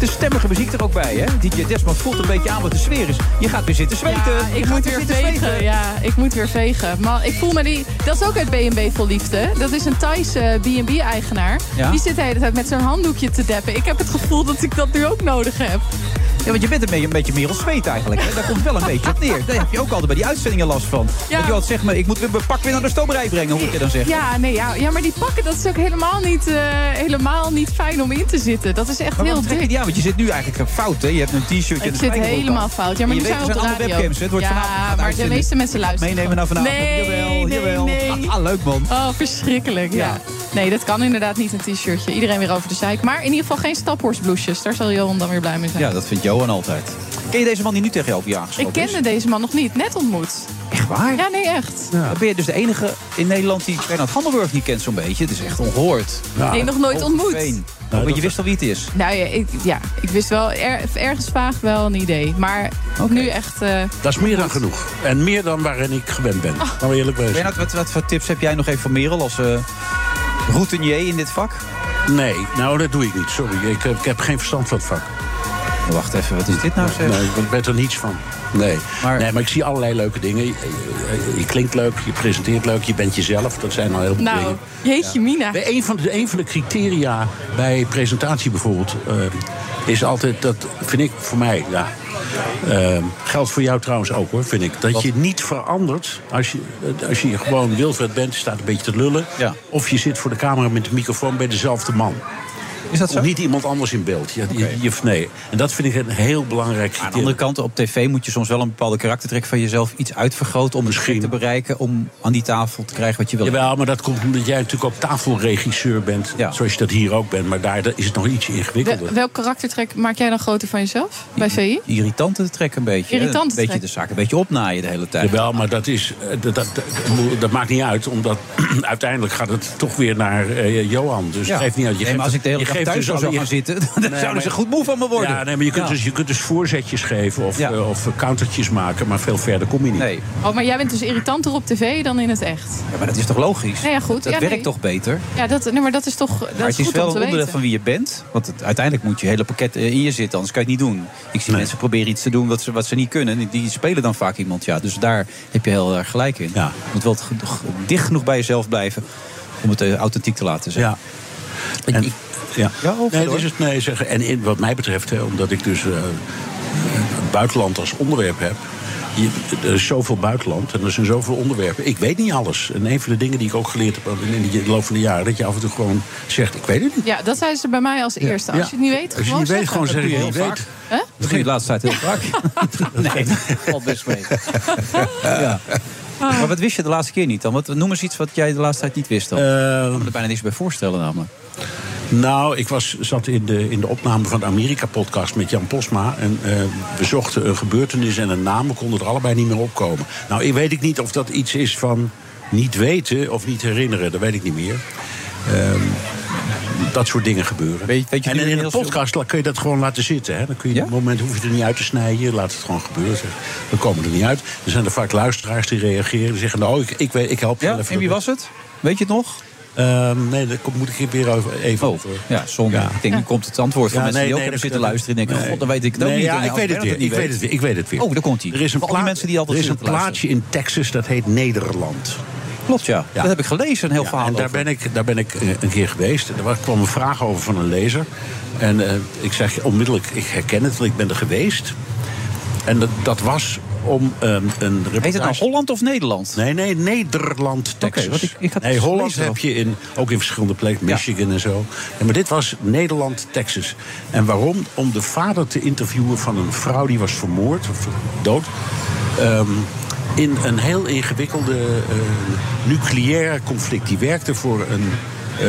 [SPEAKER 6] De stem stemmige muziek er ook bij, hè? DJ Desmond voelt een beetje aan wat de sfeer is. Je gaat weer zitten zweten.
[SPEAKER 7] Ja,
[SPEAKER 6] Je
[SPEAKER 7] ik
[SPEAKER 6] gaat
[SPEAKER 7] moet weer
[SPEAKER 6] zitten
[SPEAKER 7] vegen. Ja, ik moet weer vegen. Maar ik voel me die. Dat is ook uit BNB vol liefde. Dat is een Thaise BNB-eigenaar.
[SPEAKER 6] Ja.
[SPEAKER 7] Die zit de hele tijd met zo'n handdoekje te deppen. Ik heb het gevoel dat ik dat nu ook nodig heb.
[SPEAKER 6] Ja, want je bent een beetje, een beetje Merel Zweet eigenlijk. Hè? Daar komt wel een beetje op neer. Daar heb je ook altijd bij die uitzendingen last van.
[SPEAKER 7] Ja.
[SPEAKER 6] Dat je altijd zegt, maar ik moet weer mijn pak weer naar de stomerij brengen, hoe moet je dan zeggen.
[SPEAKER 7] Ja, nee, ja, ja, maar die pakken, dat is ook helemaal niet, eh, helemaal niet fijn om in te zitten. Dat is echt
[SPEAKER 6] Maar
[SPEAKER 7] heel
[SPEAKER 6] waarom trek je
[SPEAKER 7] dik.
[SPEAKER 6] die aan? Want je zit nu eigenlijk fout, hè? Je hebt een t-shirtje en
[SPEAKER 7] Ik
[SPEAKER 6] een
[SPEAKER 7] zit
[SPEAKER 6] spijkerbroek aan.
[SPEAKER 7] helemaal fout. Ja, maar
[SPEAKER 6] En
[SPEAKER 7] nu
[SPEAKER 6] je
[SPEAKER 7] zijn
[SPEAKER 6] weet,
[SPEAKER 7] we
[SPEAKER 6] er
[SPEAKER 7] op de
[SPEAKER 6] allemaal
[SPEAKER 7] radio.
[SPEAKER 6] webcams, hè? Het wordt
[SPEAKER 7] ja,
[SPEAKER 6] vanavond gaan
[SPEAKER 7] maar de
[SPEAKER 6] uitzenden.
[SPEAKER 7] meeste mensen
[SPEAKER 6] Gaat
[SPEAKER 7] luisteren.
[SPEAKER 6] meenemen naar
[SPEAKER 7] gewoon.
[SPEAKER 6] vanavond.
[SPEAKER 7] Nee,
[SPEAKER 6] Jawel,
[SPEAKER 7] nee,
[SPEAKER 6] jawel.
[SPEAKER 7] nee.
[SPEAKER 6] Ah, leuk, man.
[SPEAKER 7] Oh, verschrikkelijk, ja.
[SPEAKER 6] Ja.
[SPEAKER 7] Nee, dat kan inderdaad niet, een t-shirtje. Iedereen weer over de zeik. Maar in ieder geval geen staphorstbloesjes. Daar zal Johan dan weer blij mee zijn.
[SPEAKER 6] Ja, dat vindt Johan altijd. Ken je deze man die nu tegen jou op je aangeschoten
[SPEAKER 7] Ik kende deze man nog niet. Net ontmoet.
[SPEAKER 6] Echt waar?
[SPEAKER 7] Ja, nee, echt.
[SPEAKER 6] Dan ben je dus de enige in Nederland die Bernard Handelburg niet kent zo'n beetje. Het is echt ongehoord.
[SPEAKER 7] Nee, nog nooit ontmoet.
[SPEAKER 6] Veen. Want je wist al wie het is.
[SPEAKER 7] Nou ja ik, ja, ik wist wel er- ergens vaag wel een idee. Maar nu echt... eh,
[SPEAKER 11] Dat is meer dan genoeg. En meer dan waarin ik gewend ben. Laten we eerlijk wezen.
[SPEAKER 6] Bernard, wat, wat voor tips heb jij nog even van Merel als eh, routinier in dit vak?
[SPEAKER 11] Nee, nou dat doe ik niet. Sorry, ik, heb- ik heb geen verstand van het vak.
[SPEAKER 6] Wacht even, wat is dit nou zeg?
[SPEAKER 11] Nee, ik ben er niets van. Nee.
[SPEAKER 6] Maar,
[SPEAKER 11] nee, maar ik zie allerlei leuke dingen. Je, je- je klinkt leuk, je presenteert leuk, je bent jezelf. Dat zijn al heel veel
[SPEAKER 7] nou,
[SPEAKER 11] dingen.
[SPEAKER 7] jeetje mina.
[SPEAKER 11] De, een, van de, een van de criteria bij presentatie bijvoorbeeld eh, is altijd, dat vind ik voor mij, ja, eh, geldt voor jou trouwens ook hoor, vind ik. Dat je niet verandert als je, eh, als je gewoon Wilfred bent, je staat een beetje te lullen. Of je zit voor de camera met de microfoon bij dezelfde man.
[SPEAKER 6] Is dat zo?
[SPEAKER 11] Of niet iemand anders in beeld. Je, je- je- nee. En dat vind ik een heel belangrijk
[SPEAKER 6] Aan de andere kant, op tv moet je soms wel een bepaalde karaktertrek van jezelf iets uitvergroten... om een schrik te bereiken, om aan die tafel te krijgen wat je wil.
[SPEAKER 11] Jawel, maar dat komt omdat jij natuurlijk ook tafelregisseur bent. Zoals je dat hier ook bent. Maar daar is het nog iets ingewikkelder.
[SPEAKER 7] Wel- welk karaktertrek maak jij dan groter van jezelf? Bij VI?
[SPEAKER 6] Irritante trek een beetje. hè?
[SPEAKER 7] Irritante
[SPEAKER 6] een beetje
[SPEAKER 7] trek.
[SPEAKER 6] de zaak een beetje opnaaien de hele tijd.
[SPEAKER 11] Jawel, maar dat, is, eh, dat, dat, dat, dat maakt niet uit. Omdat uiteindelijk gaat het toch weer naar eh, Johan. Dus
[SPEAKER 6] Ja.
[SPEAKER 11] het geeft niet uit. Je
[SPEAKER 6] Nee,
[SPEAKER 11] geeft-
[SPEAKER 6] maar als ik de hele
[SPEAKER 11] je
[SPEAKER 6] dag
[SPEAKER 11] geeft
[SPEAKER 6] thuis
[SPEAKER 11] dus
[SPEAKER 6] al
[SPEAKER 11] al-
[SPEAKER 6] zou
[SPEAKER 11] je-
[SPEAKER 6] gaan zitten, dan zouden
[SPEAKER 11] maar-
[SPEAKER 6] ze goed moe van me worden.
[SPEAKER 11] Ja, nee, maar je kunt,
[SPEAKER 6] Ja.
[SPEAKER 11] dus, je kunt dus voorzetjes geven of, eh, of countertjes maken. Maar veel verder kom je niet.
[SPEAKER 6] Nee.
[SPEAKER 7] Oh, maar jij bent dus irritanter op tv dan in het echt.
[SPEAKER 6] Ja, maar dat is toch logisch?
[SPEAKER 7] Nou ja, goed.
[SPEAKER 6] Dat
[SPEAKER 7] Ja,
[SPEAKER 6] werkt
[SPEAKER 7] nee.
[SPEAKER 6] toch beter?
[SPEAKER 7] Ja, dat, nee, maar dat is toch dat
[SPEAKER 6] Maar
[SPEAKER 7] is
[SPEAKER 6] het is
[SPEAKER 7] goed om
[SPEAKER 6] wel
[SPEAKER 7] te
[SPEAKER 6] een onderdeel
[SPEAKER 7] weten.
[SPEAKER 6] van wie je bent. Want het- uiteindelijk moet je hele pakket eh, in je zitten, anders kan je het niet doen. Ik zie mensen proberen iets te doen wat ze, wat ze niet kunnen. en Die spelen dan vaak iemand. Ja. Dus daar heb je heel erg gelijk in. Je moet wel t- g- dicht genoeg bij jezelf blijven om het eh, authentiek te laten zijn.
[SPEAKER 11] Ja. En, ja. nee,
[SPEAKER 6] verder,
[SPEAKER 11] dit is het, nee, zeg, en in, wat mij betreft, hè, omdat ik dus eh, het buitenland als onderwerp heb. Je, er is zoveel buitenland en er zijn zoveel onderwerpen. Ik weet niet alles. En een van de dingen die ik ook geleerd heb in de loop van de jaren... dat je af en toe gewoon zegt, ik weet het niet.
[SPEAKER 7] Ja, dat zeiden ze bij mij als eerste. Als
[SPEAKER 11] Ja.
[SPEAKER 7] je het niet weet,
[SPEAKER 11] Als je
[SPEAKER 7] gewoon
[SPEAKER 11] niet weet, gewoon
[SPEAKER 7] zeggen.
[SPEAKER 11] zeggen, je
[SPEAKER 6] doe je
[SPEAKER 11] niet
[SPEAKER 6] heel
[SPEAKER 11] weet.
[SPEAKER 7] Hè?
[SPEAKER 6] Dat ging de laatste tijd heel vaak. nee, dat valt best mee. ja. Maar wat wist je de laatste keer niet dan? Wat, noem eens iets wat jij de laatste tijd niet wist dan.
[SPEAKER 11] Eh,
[SPEAKER 6] ik kan me er bijna niks bij voorstellen namelijk.
[SPEAKER 11] Ehm, Nou, ik was, zat in de, in de opname van de Amerika-podcast met Jan Posma. En eh, we zochten een gebeurtenis en een naam. We konden er allebei niet meer opkomen. Nou, ik weet ik niet of dat iets is van niet weten of niet herinneren. Dat weet ik niet meer. Ehm, dat soort dingen gebeuren.
[SPEAKER 6] je
[SPEAKER 11] en
[SPEAKER 6] nu
[SPEAKER 11] in een
[SPEAKER 6] inmiddels-
[SPEAKER 11] podcast la- kun je dat gewoon laten zitten. Hè? Dan kun je op het moment hoef je er niet uit te snijden. Laat het gewoon gebeuren. Zeg. We komen er niet uit. Er zijn er vaak luisteraars die reageren. Die zeggen, nou, ik, ik, weet, ik help je wel even.
[SPEAKER 6] En wie was het? Weet je het nog? Oh,
[SPEAKER 11] Ehm, nee, daar kom- moet ik hier weer over- even over.
[SPEAKER 6] Ja, zonde. Ik denk, nu komt het antwoord van
[SPEAKER 11] Ja,
[SPEAKER 6] mensen
[SPEAKER 11] nee,
[SPEAKER 6] die ook
[SPEAKER 11] nee,
[SPEAKER 6] hebben
[SPEAKER 11] dat
[SPEAKER 6] zitten
[SPEAKER 11] kan-
[SPEAKER 6] luisteren. En denken,
[SPEAKER 11] nee.
[SPEAKER 6] god, dan weet ik het ook
[SPEAKER 11] Nee,
[SPEAKER 6] niet.
[SPEAKER 11] ja,
[SPEAKER 6] En
[SPEAKER 11] ik
[SPEAKER 6] als
[SPEAKER 11] weet het
[SPEAKER 6] Bernard
[SPEAKER 11] weer, ik weet het weer, ik weet het weer.
[SPEAKER 6] Oh, daar komt hij.
[SPEAKER 11] Er is een,
[SPEAKER 6] Voor alle
[SPEAKER 11] plaat-
[SPEAKER 6] mensen die altijd
[SPEAKER 11] er is een
[SPEAKER 6] zitten te luisteren.
[SPEAKER 11] plaatsje in Texas dat heet Nederland.
[SPEAKER 6] Klopt, ja. Dat heb ik gelezen, een heel verhaal
[SPEAKER 11] En daar ben, ik, daar ben ik eh, een keer geweest. Er was- kwam een vraag over van een lezer. En eh, ik zeg onmiddellijk, ik herken het, want ik ben er geweest. En dat, dat was om ehm, een reportage...
[SPEAKER 6] Heet het nou Holland of Nederland?
[SPEAKER 11] Nee, nee, Nederland, Texas.
[SPEAKER 6] want ik- ik had
[SPEAKER 11] nee,
[SPEAKER 6] het
[SPEAKER 11] Holland
[SPEAKER 6] gelezen
[SPEAKER 11] heb je in, ook in verschillende plekken, Michigan en zo. En, maar dit was Nederland, Texas. En waarom? Om de vader te interviewen van een vrouw die was vermoord, of dood. ehm, in een heel ingewikkelde eh, nucleair conflict. Die werkte voor een eh,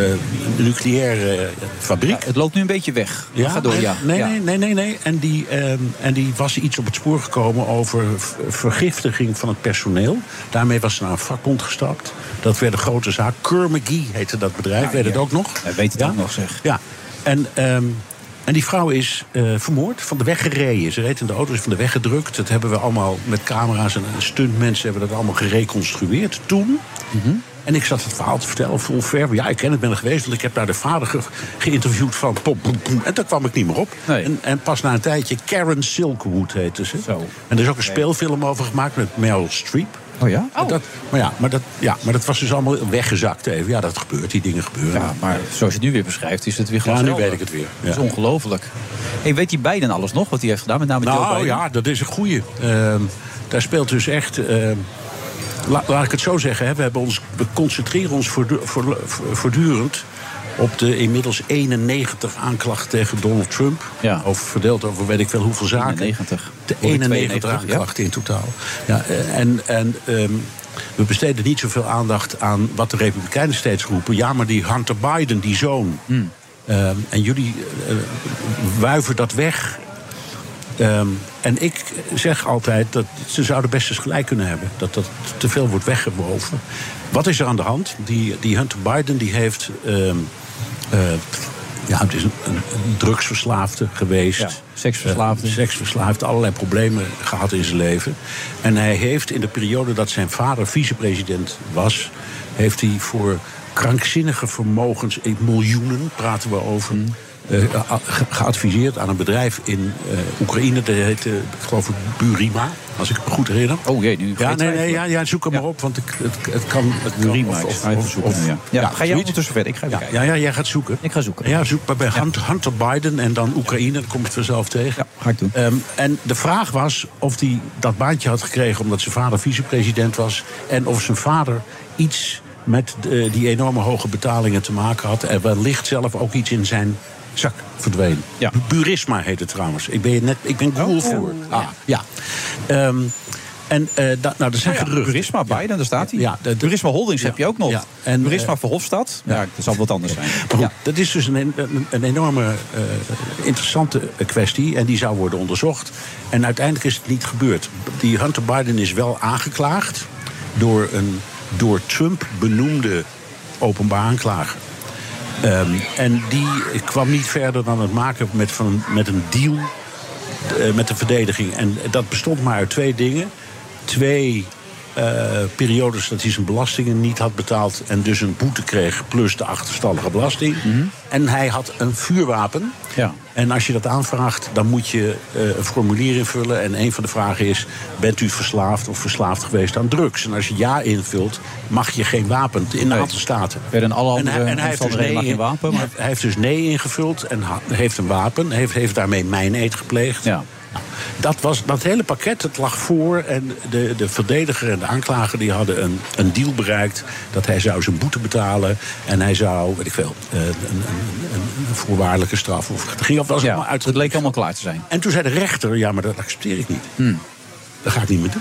[SPEAKER 11] nucleaire eh, fabriek.
[SPEAKER 6] Het loopt nu een beetje weg. Ja? Ga door,
[SPEAKER 11] en-
[SPEAKER 6] ja.
[SPEAKER 11] Nee,
[SPEAKER 6] Ja.
[SPEAKER 11] nee, nee, nee, nee. En die, ehm, en die was iets op het spoor gekomen over v- vergiftiging van het personeel. Daarmee was ze naar een vakbond gestapt. Dat werd een grote zaak. Kerr McGee heette dat bedrijf,
[SPEAKER 6] Ja,
[SPEAKER 11] weet het
[SPEAKER 6] ja.
[SPEAKER 11] ook nog.
[SPEAKER 6] Hij weet het
[SPEAKER 11] Ja?
[SPEAKER 6] ook nog, zeg.
[SPEAKER 11] Ja. En, ehm, en die vrouw is eh, vermoord, van de weg gereden. Ze reed in de auto, is van de weg gedrukt. Dat hebben we allemaal met camera's en stuntmensen hebben dat allemaal gereconstrueerd toen. En ik zat het verhaal te vertellen, vol ver. Ja, ik ken het, ben er geweest, want ik heb daar de vader ge- geïnterviewd van. Pop, pop, pop. en daar kwam ik niet meer op. En, en pas na een tijdje, Karen Silkwood heette ze. En er is ook een speelfilm over gemaakt met Meryl Streep.
[SPEAKER 6] Oh ja?
[SPEAKER 11] Maar Dat, maar, ja, maar, dat, ja, maar dat was dus allemaal weggezakt even. Ja, dat gebeurt, die dingen gebeuren.
[SPEAKER 6] Ja, maar zoals je het nu weer beschrijft, is het weer gewoon.
[SPEAKER 11] Ja, nu weet ik het weer.
[SPEAKER 6] Dat is
[SPEAKER 11] Ja.
[SPEAKER 6] ongelooflijk. Hey, weet die Biden alles nog wat hij heeft gedaan? Met name Joe
[SPEAKER 11] Nou
[SPEAKER 6] Biden?
[SPEAKER 11] ja, dat is een goeie. Ehm, daar speelt dus echt... ehm, la- laat ik het zo zeggen, hè, we, hebben ons, we concentreren ons voortdu- voor- voor- voortdurend... op de inmiddels 91 aanklacht tegen Donald Trump. Over, verdeeld over weet ik veel hoeveel zaken.
[SPEAKER 6] 91.
[SPEAKER 11] De
[SPEAKER 6] Hoor je
[SPEAKER 11] 91
[SPEAKER 6] 92, ja?
[SPEAKER 11] aanklachten in totaal. Ja, eh, en... en ehm, we besteden niet zoveel aandacht aan wat de Republikeinen steeds roepen. Ja, maar die Hunter Biden, die zoon.
[SPEAKER 6] Hmm.
[SPEAKER 11] Ehm, en jullie eh, wuiven dat weg. Ehm, en ik zeg altijd dat ze zouden best eens gelijk kunnen hebben. Dat dat te veel wordt weggewoven. Wat is er aan de hand? Die, die Hunter Biden die heeft... ehm, eh, ja, het is een, een- een drugsverslaafde geweest. seksverslaafde. seksverslaafde, allerlei problemen gehad in zijn leven. En hij heeft in de periode dat zijn vader vicepresident was... heeft hij voor krankzinnige vermogens, in miljoenen praten we over... eh, a- ge- geadviseerd aan een bedrijf in eh, Oekraïne, dat heette, eh, ik geloof ik, Burima, als ik me goed herinner.
[SPEAKER 6] Oh jee, nu
[SPEAKER 11] Ja,
[SPEAKER 6] vergeet
[SPEAKER 11] nee,
[SPEAKER 6] hij
[SPEAKER 11] nee,
[SPEAKER 6] het.
[SPEAKER 11] ja, ja, zoek hem maar op, want ik, het, het kan... Het kan
[SPEAKER 6] Burima, ik ga even zoeken nu, ja. Ja, ga jij
[SPEAKER 11] zoiets.
[SPEAKER 6] ondertussen verder, ik ga even
[SPEAKER 11] ja,
[SPEAKER 6] kijken.
[SPEAKER 11] Ja, ja, jij gaat zoeken.
[SPEAKER 6] Ik ga zoeken.
[SPEAKER 11] Ja, zoek maar bij Hunt- Hunter Biden en dan Oekraïne. Dat komt het vanzelf tegen. Ja,
[SPEAKER 6] ga ik doen.
[SPEAKER 11] en de vraag was of hij dat baantje had gekregen... omdat zijn vader vicepresident was... en of zijn vader iets met eh, die enorme hoge betalingen te maken had... en wellicht zelf ook iets in zijn zak verdween. Ja. Burisma heet het trouwens. Ik ben, je net, ik
[SPEAKER 6] Oh.
[SPEAKER 11] ben Google voor. Ah, ja. Ehm, en eh, da- nou, er zijn geruchten.
[SPEAKER 6] Burisma, Biden, daar staat hij.
[SPEAKER 11] Ja, de- de-
[SPEAKER 6] Burisma Holdings heb je ook nog.
[SPEAKER 11] Ja,
[SPEAKER 6] En,
[SPEAKER 11] en,
[SPEAKER 6] Burisma
[SPEAKER 11] eh,
[SPEAKER 6] Verhofstadt. Ja, dat zal wat anders zijn.
[SPEAKER 11] Maar goed, dat is dus een, een, een enorme eh, interessante kwestie. En die zou worden onderzocht. En uiteindelijk is het niet gebeurd. Die Hunter Biden is wel aangeklaagd door een door Trump benoemde openbaar aanklager. Ehm, en die kwam niet verder dan het maken met, van, met een deal eh, met de verdediging. En dat bestond maar uit twee dingen. Twee eh, periodes dat hij zijn belastingen niet had betaald... en dus een boete kreeg, plus de achterstallige belasting.
[SPEAKER 6] Hmm.
[SPEAKER 11] En hij had een vuurwapen.
[SPEAKER 6] Ja.
[SPEAKER 11] En als je dat aanvraagt, dan moet je eh, een formulier invullen. En een van de vragen is, bent u verslaafd of verslaafd geweest aan drugs? En als je ja invult, mag je geen wapen in een aantal staten.
[SPEAKER 6] Verder in alle
[SPEAKER 11] En hij-
[SPEAKER 6] andere
[SPEAKER 11] en hij heeft dus
[SPEAKER 6] omstandigheden mag
[SPEAKER 11] nee
[SPEAKER 6] je
[SPEAKER 11] in-
[SPEAKER 6] wapen, maar-
[SPEAKER 11] ja, hij heeft dus nee ingevuld en ha- heeft een wapen. Heeft, heeft daarmee mijn eet gepleegd. Nou, Dat, was, dat hele pakket dat lag voor. En de, de verdediger en de aanklager die hadden een, een deal bereikt. Dat hij zou zijn boete betalen. En hij zou, weet ik veel, eh, een, een, een, een voorwaardelijke straf. Of, het, ging, of was allemaal uit, het leek
[SPEAKER 6] helemaal klaar te zijn.
[SPEAKER 11] En toen zei de rechter, ja, maar dat accepteer ik niet.
[SPEAKER 6] Hmm.
[SPEAKER 11] Dat ga ik niet meer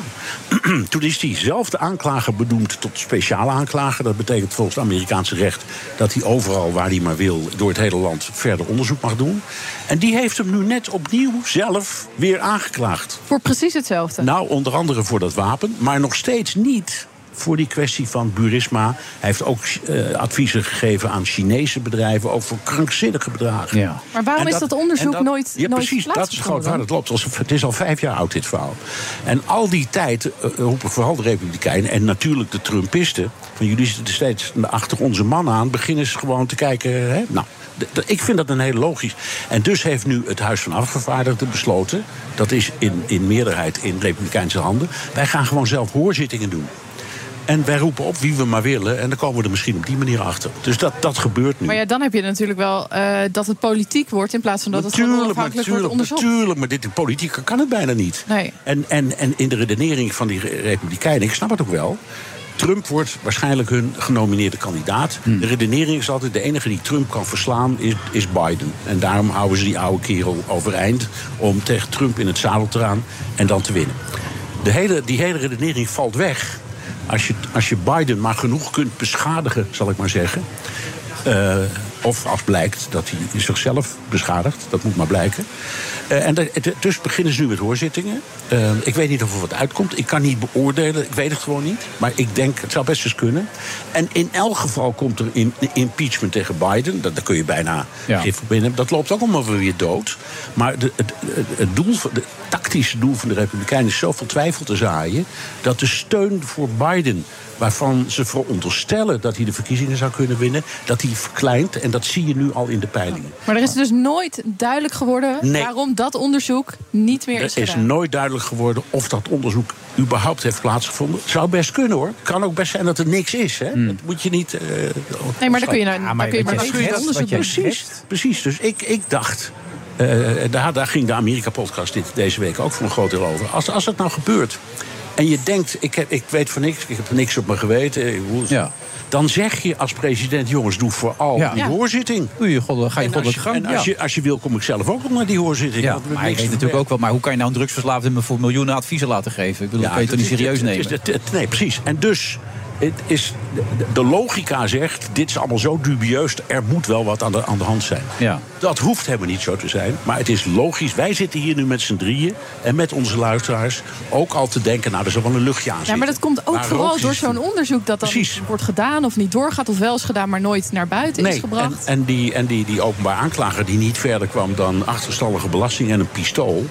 [SPEAKER 11] doen. Toen is diezelfde aanklager benoemd tot speciale aanklager. Dat betekent volgens het Amerikaanse recht dat hij overal waar hij maar wil, door het hele land verder onderzoek mag doen. En die heeft hem nu net opnieuw zelf weer aangeklaagd.
[SPEAKER 7] Voor precies hetzelfde.
[SPEAKER 11] Nou, onder andere voor dat wapen, maar nog steeds niet voor die kwestie van Burisma. Hij heeft ook eh, adviezen gegeven aan Chinese bedrijven, ook voor krankzinnige bedragen.
[SPEAKER 7] Maar waarom
[SPEAKER 11] En
[SPEAKER 7] is dat onderzoek
[SPEAKER 11] en
[SPEAKER 7] nooit-
[SPEAKER 11] Ja,
[SPEAKER 7] nooit
[SPEAKER 11] precies, dat is gewoon
[SPEAKER 7] plaatsgevonden?
[SPEAKER 11] waar het loopt. Alsof- Het is al vijf jaar oud, dit verhaal. En al die tijd eh, roepen vooral de Republikeinen en natuurlijk de Trumpisten... van jullie zitten steeds achter onze man aan, beginnen ze gewoon te kijken... Hè? Nou, d- d- ik vind dat een heel logisch. En dus heeft nu het Huis van Afgevaardigden besloten... dat is in, in meerderheid in Republikeinse handen... wij gaan gewoon zelf hoorzittingen doen. En wij roepen op wie we maar willen... en dan komen we er misschien op die manier achter. Dus dat, dat gebeurt nu.
[SPEAKER 7] Maar ja, dan heb je natuurlijk wel eh, dat het politiek wordt in plaats van dat het gewoon
[SPEAKER 11] Natuurlijk,
[SPEAKER 7] onafhankelijk wordt
[SPEAKER 11] natuurlijk,
[SPEAKER 7] onderzocht.
[SPEAKER 11] natuurlijk, maar dit in politiek kan het bijna niet.
[SPEAKER 7] Nee.
[SPEAKER 11] En, en, en in de redenering van die re- Republikeinen, ik snap het ook wel. Trump wordt waarschijnlijk hun genomineerde kandidaat. De redenering is altijd: de enige die Trump kan verslaan is, is Biden. En daarom houden ze die oude kerel overeind om tegen Trump in het zadel te gaan en dan te winnen. De hele, die hele redenering valt weg als je, als je Biden maar genoeg kunt beschadigen, zal ik maar zeggen. eh, of als blijkt dat hij zichzelf beschadigt, dat moet maar blijken. Eh, en dat- het- dus beginnen ze nu met hoorzittingen. Eh, ik weet niet of er wat uitkomt. Ik kan niet beoordelen, ik weet het gewoon niet. Maar ik denk, het zou best eens kunnen. En in elk geval komt er in, impeachment tegen Biden. Dat, daar kun je bijna
[SPEAKER 6] Ja.
[SPEAKER 11] gif op in hebben. Dat loopt ook allemaal weer dood. Maar de, het, het, het doel van, de tactische doel van de Republikeinen is zoveel twijfel te zaaien. dat de steun voor Biden waarvan ze veronderstellen dat hij de verkiezingen zou kunnen winnen, dat hij verkleint. En dat zie je nu al in de peilingen.
[SPEAKER 7] Maar er is dus nooit duidelijk geworden
[SPEAKER 11] Nee.
[SPEAKER 7] waarom dat onderzoek niet meer is
[SPEAKER 11] Er is
[SPEAKER 7] gedaan.
[SPEAKER 11] nooit duidelijk geworden of dat onderzoek überhaupt heeft plaatsgevonden. Het zou best kunnen hoor. Het kan ook best zijn dat er niks is. Hè? Dat moet je niet. eh,
[SPEAKER 7] Nee, maar dan kun je nou-
[SPEAKER 11] Ja,
[SPEAKER 7] dan kun je maar
[SPEAKER 11] wat
[SPEAKER 7] niet
[SPEAKER 11] kun je dat-
[SPEAKER 7] onderzoek
[SPEAKER 11] wat je-
[SPEAKER 7] doen.
[SPEAKER 11] Precies, precies. Dus ik, ik dacht. eh, en daar, daar ging de Amerika-podcast dit- deze week ook voor een groot deel over. Als, als dat nou gebeurt en je denkt, ik, heb, ik weet van niks, ik heb niks op mijn geweten. eh, hoe- Dan zeg je als president, jongens, doe vooral
[SPEAKER 6] Ja.
[SPEAKER 11] die
[SPEAKER 6] Ja.
[SPEAKER 11] hoorzitting.
[SPEAKER 6] Doe je god, ga je
[SPEAKER 11] En als
[SPEAKER 6] goddelijk
[SPEAKER 11] je-
[SPEAKER 6] gang,
[SPEAKER 11] En als
[SPEAKER 6] ja.
[SPEAKER 11] je, als je wil, kom ik zelf ook nog naar die hoorzitting.
[SPEAKER 6] Ja,
[SPEAKER 11] want we
[SPEAKER 6] maar je
[SPEAKER 11] niks
[SPEAKER 6] weet
[SPEAKER 11] te
[SPEAKER 6] natuurlijk ook wel, maar hoe kan je nou een drugsverslaafde me voor miljoenen adviezen laten geven? Ik bedoel, dat kan je toch niet
[SPEAKER 11] dat is-
[SPEAKER 6] serieus
[SPEAKER 11] dat
[SPEAKER 6] nemen?
[SPEAKER 11] is- dat- dat- nee, precies. En dus het is, de, de logica zegt, dit is allemaal zo dubieus, er moet wel wat aan de, aan de hand zijn.
[SPEAKER 6] Ja.
[SPEAKER 11] Dat hoeft helemaal niet zo te zijn, maar het is logisch. Wij zitten hier nu met z'n drieën en met onze luisteraars ook al te denken, nou, er zal wel een luchtje aan
[SPEAKER 7] Ja,
[SPEAKER 11] zitten.
[SPEAKER 7] maar dat komt ook
[SPEAKER 11] Maar
[SPEAKER 7] vooral
[SPEAKER 11] rookjes-
[SPEAKER 7] door zo'n onderzoek dat dan wordt gedaan of niet doorgaat of wel is gedaan, maar nooit naar buiten is
[SPEAKER 11] en,
[SPEAKER 7] gebracht.
[SPEAKER 11] en, die, en die, die openbaar aanklager die niet verder kwam dan achterstallige belasting en een pistool.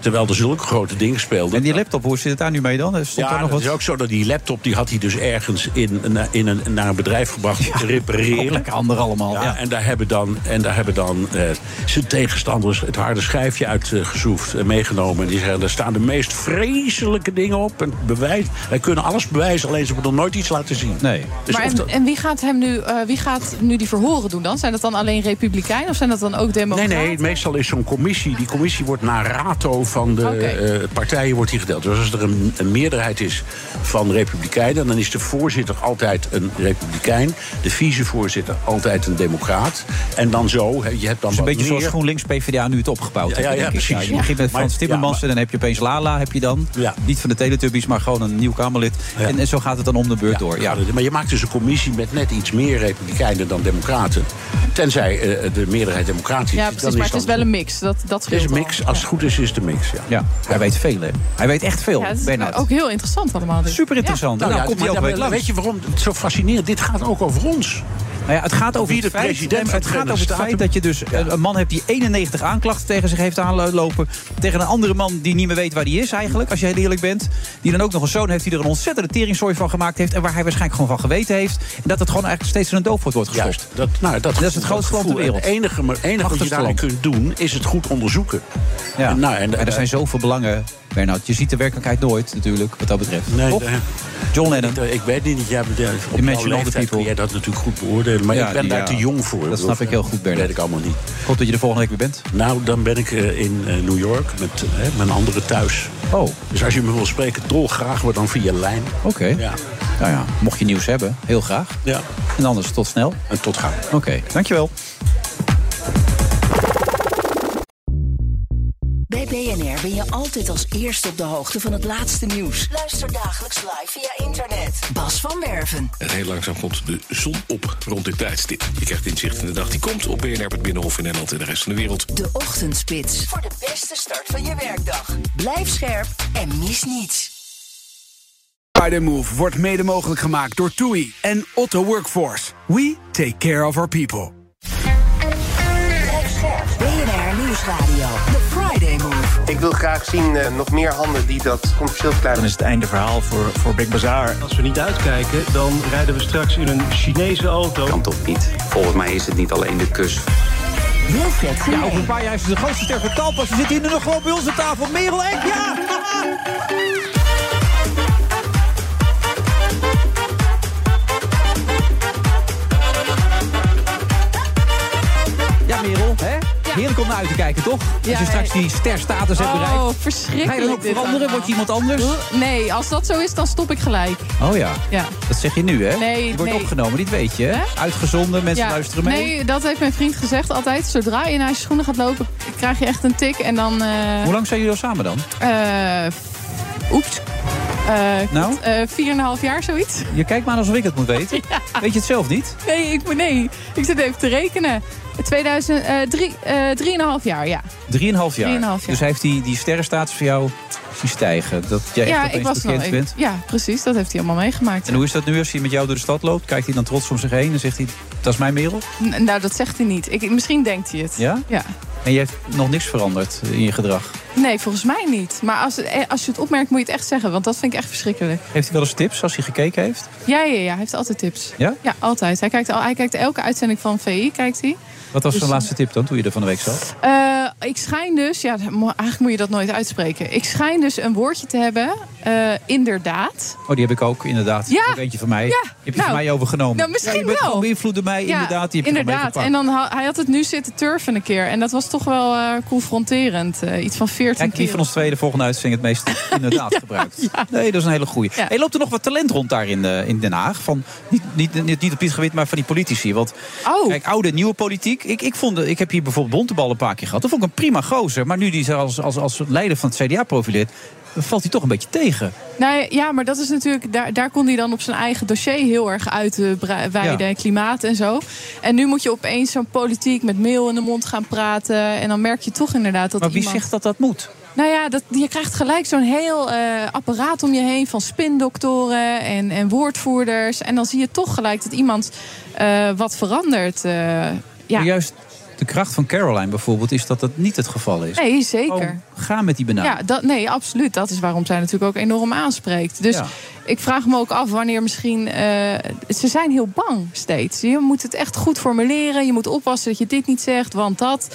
[SPEAKER 11] Terwijl er zulke grote dingen speelden.
[SPEAKER 6] En die laptop, hoe zit het daar nu mee dan? Er Stond
[SPEAKER 11] ja,
[SPEAKER 6] daar nog
[SPEAKER 11] dat
[SPEAKER 6] wat?
[SPEAKER 11] is ook zo dat die laptop die had hij dus ergens in, na- in een, naar een bedrijf gebracht om te repareren.
[SPEAKER 6] Lekker ander allemaal.
[SPEAKER 11] Ja, En daar hebben dan, en daar hebben dan eh, zijn tegenstanders het harde schijfje uitgezoefd en meegenomen. En die zeggen, daar staan de meest vreselijke dingen op. En bewijs, wij kunnen alles bewijzen, alleen ze hebben nog nooit iets laten zien. Nee. Dus
[SPEAKER 7] maar
[SPEAKER 11] of
[SPEAKER 7] en,
[SPEAKER 11] dat-
[SPEAKER 7] en wie, gaat hem nu, eh, wie gaat nu die verhoren doen dan? Zijn dat dan alleen republikeinen of zijn dat dan ook
[SPEAKER 11] Nee,
[SPEAKER 7] democraten?
[SPEAKER 11] nee, meestal is zo'n commissie. Die commissie wordt naar rato van de eh, partijen wordt die gedeeld. Dus als er een, een meerderheid is van republikeinen, dan is de voorzitter altijd een republikein. De vicevoorzitter altijd een democraat. En dan zo, hè, je hebt dan
[SPEAKER 6] Het is Dus een
[SPEAKER 11] wat
[SPEAKER 6] beetje zoals
[SPEAKER 11] meer.
[SPEAKER 6] GroenLinks PvdA nu het opgebouwd
[SPEAKER 11] Ja,
[SPEAKER 6] heeft,
[SPEAKER 11] ja, ja,
[SPEAKER 6] denk ik.
[SPEAKER 11] precies.
[SPEAKER 6] je begint met
[SPEAKER 11] Maar-
[SPEAKER 6] Frans Timmermans en dan heb je opeens Lala. Heb je dan. Niet van de Teletubbies, maar gewoon een nieuw Kamerlid. En, en zo gaat het dan om de beurt door. Ja.
[SPEAKER 11] Maar je maakt dus een commissie met net iets meer republikeinen dan democraten. Tenzij eh, de meerderheid democratisch
[SPEAKER 7] Ja,
[SPEAKER 11] is.
[SPEAKER 7] precies, maar het
[SPEAKER 11] dan
[SPEAKER 7] is wel een mix. Dat, dat
[SPEAKER 11] het is
[SPEAKER 7] scheelt
[SPEAKER 11] een
[SPEAKER 7] wel.
[SPEAKER 11] mix. Als het goed is, is het een mix. Ja.
[SPEAKER 6] Hij weet veel, hè? Hij weet echt veel,
[SPEAKER 7] Ja, het is
[SPEAKER 6] Bernard.
[SPEAKER 7] ook heel interessant allemaal. dit.
[SPEAKER 6] Super interessant.
[SPEAKER 7] Ja.
[SPEAKER 6] Nou,
[SPEAKER 11] ja,
[SPEAKER 6] komt hij
[SPEAKER 11] maar
[SPEAKER 6] elke
[SPEAKER 11] daar-
[SPEAKER 6] week langs.
[SPEAKER 11] Weet je waarom het zo fascinerend? Dit gaat ook over ons.
[SPEAKER 6] Nou ja, het gaat over
[SPEAKER 11] Wie
[SPEAKER 6] het
[SPEAKER 11] de
[SPEAKER 6] feit-
[SPEAKER 11] president
[SPEAKER 6] nee,
[SPEAKER 11] van
[SPEAKER 6] het
[SPEAKER 11] de
[SPEAKER 6] gaat over het
[SPEAKER 11] Verenigde
[SPEAKER 6] feit dat je dus een een man hebt die 91 aanklachten tegen zich heeft aanlopen. Tegen een andere man die niet meer weet waar hij is eigenlijk, als je heel eerlijk bent. Die dan ook nog een zoon heeft die er een ontzettende teringzooi van gemaakt heeft. En waar hij waarschijnlijk gewoon van geweten heeft. En dat het gewoon eigenlijk steeds in een doofpot wordt gestopt.
[SPEAKER 11] dat, nou, dat,
[SPEAKER 6] is het grootste land ter
[SPEAKER 11] gevoel. En
[SPEAKER 6] wereld.
[SPEAKER 11] Het enige, maar- het enige wat je
[SPEAKER 6] Machtigste
[SPEAKER 11] daarmee
[SPEAKER 6] land.
[SPEAKER 11] kunt doen, is het goed onderzoeken.
[SPEAKER 6] Ja.
[SPEAKER 11] En nou, en,
[SPEAKER 6] maar er
[SPEAKER 11] eh,
[SPEAKER 6] zijn zoveel belangen, Bernard. Je ziet de werkelijkheid nooit natuurlijk, wat dat betreft.
[SPEAKER 11] Nee,
[SPEAKER 6] Toch?
[SPEAKER 11] eh,
[SPEAKER 6] John Lennon.
[SPEAKER 11] Ik, ik weet niet, jij bent eh, op
[SPEAKER 6] Imagine
[SPEAKER 11] jouw
[SPEAKER 6] all the
[SPEAKER 11] leeftijd kun
[SPEAKER 6] people.
[SPEAKER 11] jij dat natuurlijk goed beoordelen. Maar
[SPEAKER 6] Ja,
[SPEAKER 11] ik ben
[SPEAKER 6] die,
[SPEAKER 11] daar
[SPEAKER 6] ja.
[SPEAKER 11] te jong voor.
[SPEAKER 6] Dat snap ik heel goed, Bernard.
[SPEAKER 11] Dat weet ik allemaal niet.
[SPEAKER 6] Ik hoop dat je de volgende week weer bent.
[SPEAKER 11] Nou, dan ben ik eh, in eh, New York met eh, mijn andere thuis.
[SPEAKER 6] Oh.
[SPEAKER 11] Dus als je me wil spreken, dolgraag, maar dan via lijn.
[SPEAKER 6] Oké.
[SPEAKER 11] Ja.
[SPEAKER 6] Nou ja, mocht je nieuws hebben, heel graag.
[SPEAKER 11] Ja.
[SPEAKER 6] En anders tot snel.
[SPEAKER 11] En tot gauw.
[SPEAKER 6] Oké, dankjewel.
[SPEAKER 1] Bij BNR ben je altijd als eerste op de hoogte van het laatste nieuws. Luister dagelijks live via internet. Bas van Werven.
[SPEAKER 13] En heel langzaam komt de zon op rond dit tijdstip. Je krijgt inzicht in de dag die komt op BNR, het Binnenhof in Nederland en de rest van de wereld.
[SPEAKER 1] De Ochtendspits. Voor de beste start van je werkdag. Blijf scherp en mis niets.
[SPEAKER 10] Friday Move wordt mede mogelijk gemaakt door TUI en Otto Workforce. We take care of our people.
[SPEAKER 1] BNR Nieuwsradio. The Friday Move.
[SPEAKER 14] Ik wil graag zien eh, nog meer handen die dat commercieel klein.
[SPEAKER 4] Dan is
[SPEAKER 14] het einde verhaal voor, voor Big Bazaar.
[SPEAKER 4] Als we niet uitkijken, dan rijden we straks in een Chinese auto.
[SPEAKER 5] Kan toch niet? Volgens mij is het niet alleen de kus.
[SPEAKER 6] Ja, over een paar jaar is het de grootste ster van Talpas. We zitten hier nu nog gewoon bij onze tafel. Merel Ek, ja! Ja, Merel, hè? Heerlijk om naar uit te kijken, toch? Als je straks die sterstatus hebt
[SPEAKER 7] Oh,
[SPEAKER 6] bereikt. Ga je dan ook
[SPEAKER 7] verschrikkelijk. dit
[SPEAKER 6] veranderen? Word je iemand anders?
[SPEAKER 7] allemaal. Nee, als dat zo is, dan stop ik gelijk.
[SPEAKER 6] Oh ja.
[SPEAKER 7] Ja.
[SPEAKER 6] Dat zeg je nu, hè?
[SPEAKER 7] Nee,
[SPEAKER 6] je wordt
[SPEAKER 7] nee.
[SPEAKER 6] opgenomen, dit weet je. hè? Uitgezonden, mensen
[SPEAKER 7] Ja.
[SPEAKER 6] luisteren mee.
[SPEAKER 7] Nee, dat heeft mijn vriend gezegd altijd. Zodra je naar je schoenen gaat lopen, krijg je echt een tik. En dan... eh,
[SPEAKER 6] Hoe lang zijn jullie al samen dan?
[SPEAKER 7] eh, oeps. Eh,
[SPEAKER 6] Nou?
[SPEAKER 7] eh, 4,5 jaar, zoiets.
[SPEAKER 6] Je kijkt maar alsof ik het moet weten. Weet je het zelf niet?
[SPEAKER 7] Nee, ik, moet- nee, ik zit even te rekenen. 2003, eh 3,5 jaar, ja.
[SPEAKER 6] 3,5 jaar.
[SPEAKER 7] Drieënhalf jaar.
[SPEAKER 6] Dus hij heeft die, die sterrenstatus voor jou zien stijgen. Dat jij echt
[SPEAKER 7] ja,
[SPEAKER 6] opeens
[SPEAKER 7] ik was
[SPEAKER 6] bekend
[SPEAKER 7] nog even-
[SPEAKER 6] bent.
[SPEAKER 7] Ja, precies. Dat heeft hij allemaal meegemaakt.
[SPEAKER 6] En hoe is dat nu als hij met jou door de stad loopt? Kijkt hij dan trots om zich heen en zegt hij, dat is mijn merel?
[SPEAKER 7] N- nou, dat zegt hij niet. Ik, misschien denkt hij het.
[SPEAKER 6] Ja?
[SPEAKER 7] Ja.
[SPEAKER 6] En je hebt nog niks veranderd in je gedrag.
[SPEAKER 7] Nee, volgens mij niet. Maar als, eh, als je het opmerkt, moet je het echt zeggen. Want dat vind ik echt verschrikkelijk.
[SPEAKER 6] Heeft hij wel eens tips als hij gekeken heeft?
[SPEAKER 7] Ja, ja, ja. Hij heeft altijd tips.
[SPEAKER 6] Ja?
[SPEAKER 7] Ja, altijd. Hij kijkt, al, hij kijkt elke uitzending van VI, kijkt hij.
[SPEAKER 6] Wat was
[SPEAKER 7] Dus,
[SPEAKER 6] zijn
[SPEAKER 7] eh,
[SPEAKER 6] laatste tip dan, toen je er van de week zat?
[SPEAKER 7] Eh, ik schijn dus, ja, dat mo- eigenlijk moet je dat nooit uitspreken. Ik schijn dus een woordje te hebben, eh, inderdaad.
[SPEAKER 6] Oh, die heb ik ook, inderdaad.
[SPEAKER 7] Ja.
[SPEAKER 6] Ook eentje van mij.
[SPEAKER 7] Ja.
[SPEAKER 6] Heb je van
[SPEAKER 7] Nou.
[SPEAKER 6] mij overgenomen?
[SPEAKER 7] Nou,
[SPEAKER 6] Ja,
[SPEAKER 7] misschien
[SPEAKER 6] je bent
[SPEAKER 7] wel.
[SPEAKER 6] gewoon beïnvloed door mij,
[SPEAKER 7] Ja,
[SPEAKER 6] inderdaad. Die heb je van mij
[SPEAKER 7] inderdaad.
[SPEAKER 6] gepakt.
[SPEAKER 7] En dan ha- hij had het nu zitten turven een keer. En dat was toch wel eh, confronterend. Eh, iets van 14
[SPEAKER 6] Kijk,
[SPEAKER 7] keer.
[SPEAKER 6] wie van ons twee de volgende uitzending het meest inderdaad gebruikt. Nee, dat is een hele goeie. Hey, loopt er nog wat talent rond daar in, eh, in Den Haag? Van, niet, niet, niet, niet op dit gebied, maar van die politici. Want
[SPEAKER 7] Oh.
[SPEAKER 6] kijk, oude en nieuwe politiek. Ik, ik, vond, ik heb hier bijvoorbeeld Bontebal een paar keer gehad. Dat vond ik een prima gozer. Maar nu die zich als, als, als leider van het CDA profileert... dan valt hij toch een beetje tegen.
[SPEAKER 7] Nou ja, maar dat is natuurlijk, daar, daar kon hij dan op zijn eigen dossier heel erg uitweiden.
[SPEAKER 6] Ja.
[SPEAKER 7] Klimaat en zo. En nu moet je opeens zo'n politiek met meel in de mond gaan praten. En dan merk je toch inderdaad dat
[SPEAKER 6] maar wie
[SPEAKER 7] iemand...
[SPEAKER 6] zegt dat dat moet?
[SPEAKER 7] Nou ja, dat, je krijgt gelijk zo'n heel eh, apparaat om je heen van spindoktoren en, en woordvoerders. En dan zie je toch gelijk dat iemand eh, wat verandert. eh, ja.
[SPEAKER 6] Maar juist de kracht van Caroline bijvoorbeeld... is dat dat niet het geval is.
[SPEAKER 7] Nee, zeker.
[SPEAKER 6] Oh. Ga met die benadering.
[SPEAKER 7] Ja, dat, nee, absoluut. Dat is waarom zij natuurlijk ook enorm aanspreekt. Dus
[SPEAKER 6] Ja.
[SPEAKER 7] ik vraag me ook af wanneer misschien... eh, ze zijn heel bang steeds. Je moet het echt goed formuleren. Je moet oppassen dat je dit niet zegt, want dat.